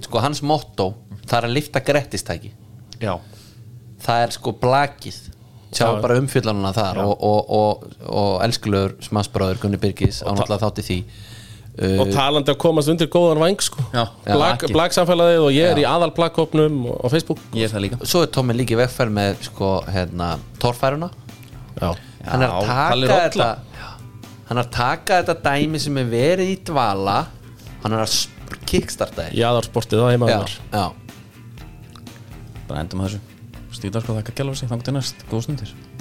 C: sko, hans motto, það er að lifta grettistæki
D: Já,
C: það er sko blakið sjá
D: Já.
C: bara umfjöldanuna þar og, og, og, og elskulegur smassbráður Gunni Birgis á náttúrulega þátti því
D: og talandi að komast undir góðan væng sko.
B: Eh, Já, já,
D: Blag,
B: ekki.
D: Blagsamfélagið og ég er í aðal blagkopnum á Facebook
B: Ég er það líka
C: svo er Tommy líka í vegferð með sko, hérna, torfæruna
D: Já,
C: hann er að
B: Palli
C: taka
B: Rolla.
C: þetta já, hann er að taka þetta dæmi sem er verið í dvala hann er að sp- kickstarta þetta
D: í aðalsportið það heima
C: já,
D: þar
C: já,
B: sko, Bara endum að þessu Stíðdorkum þakka gælur sig, þangt til næst, góð stundir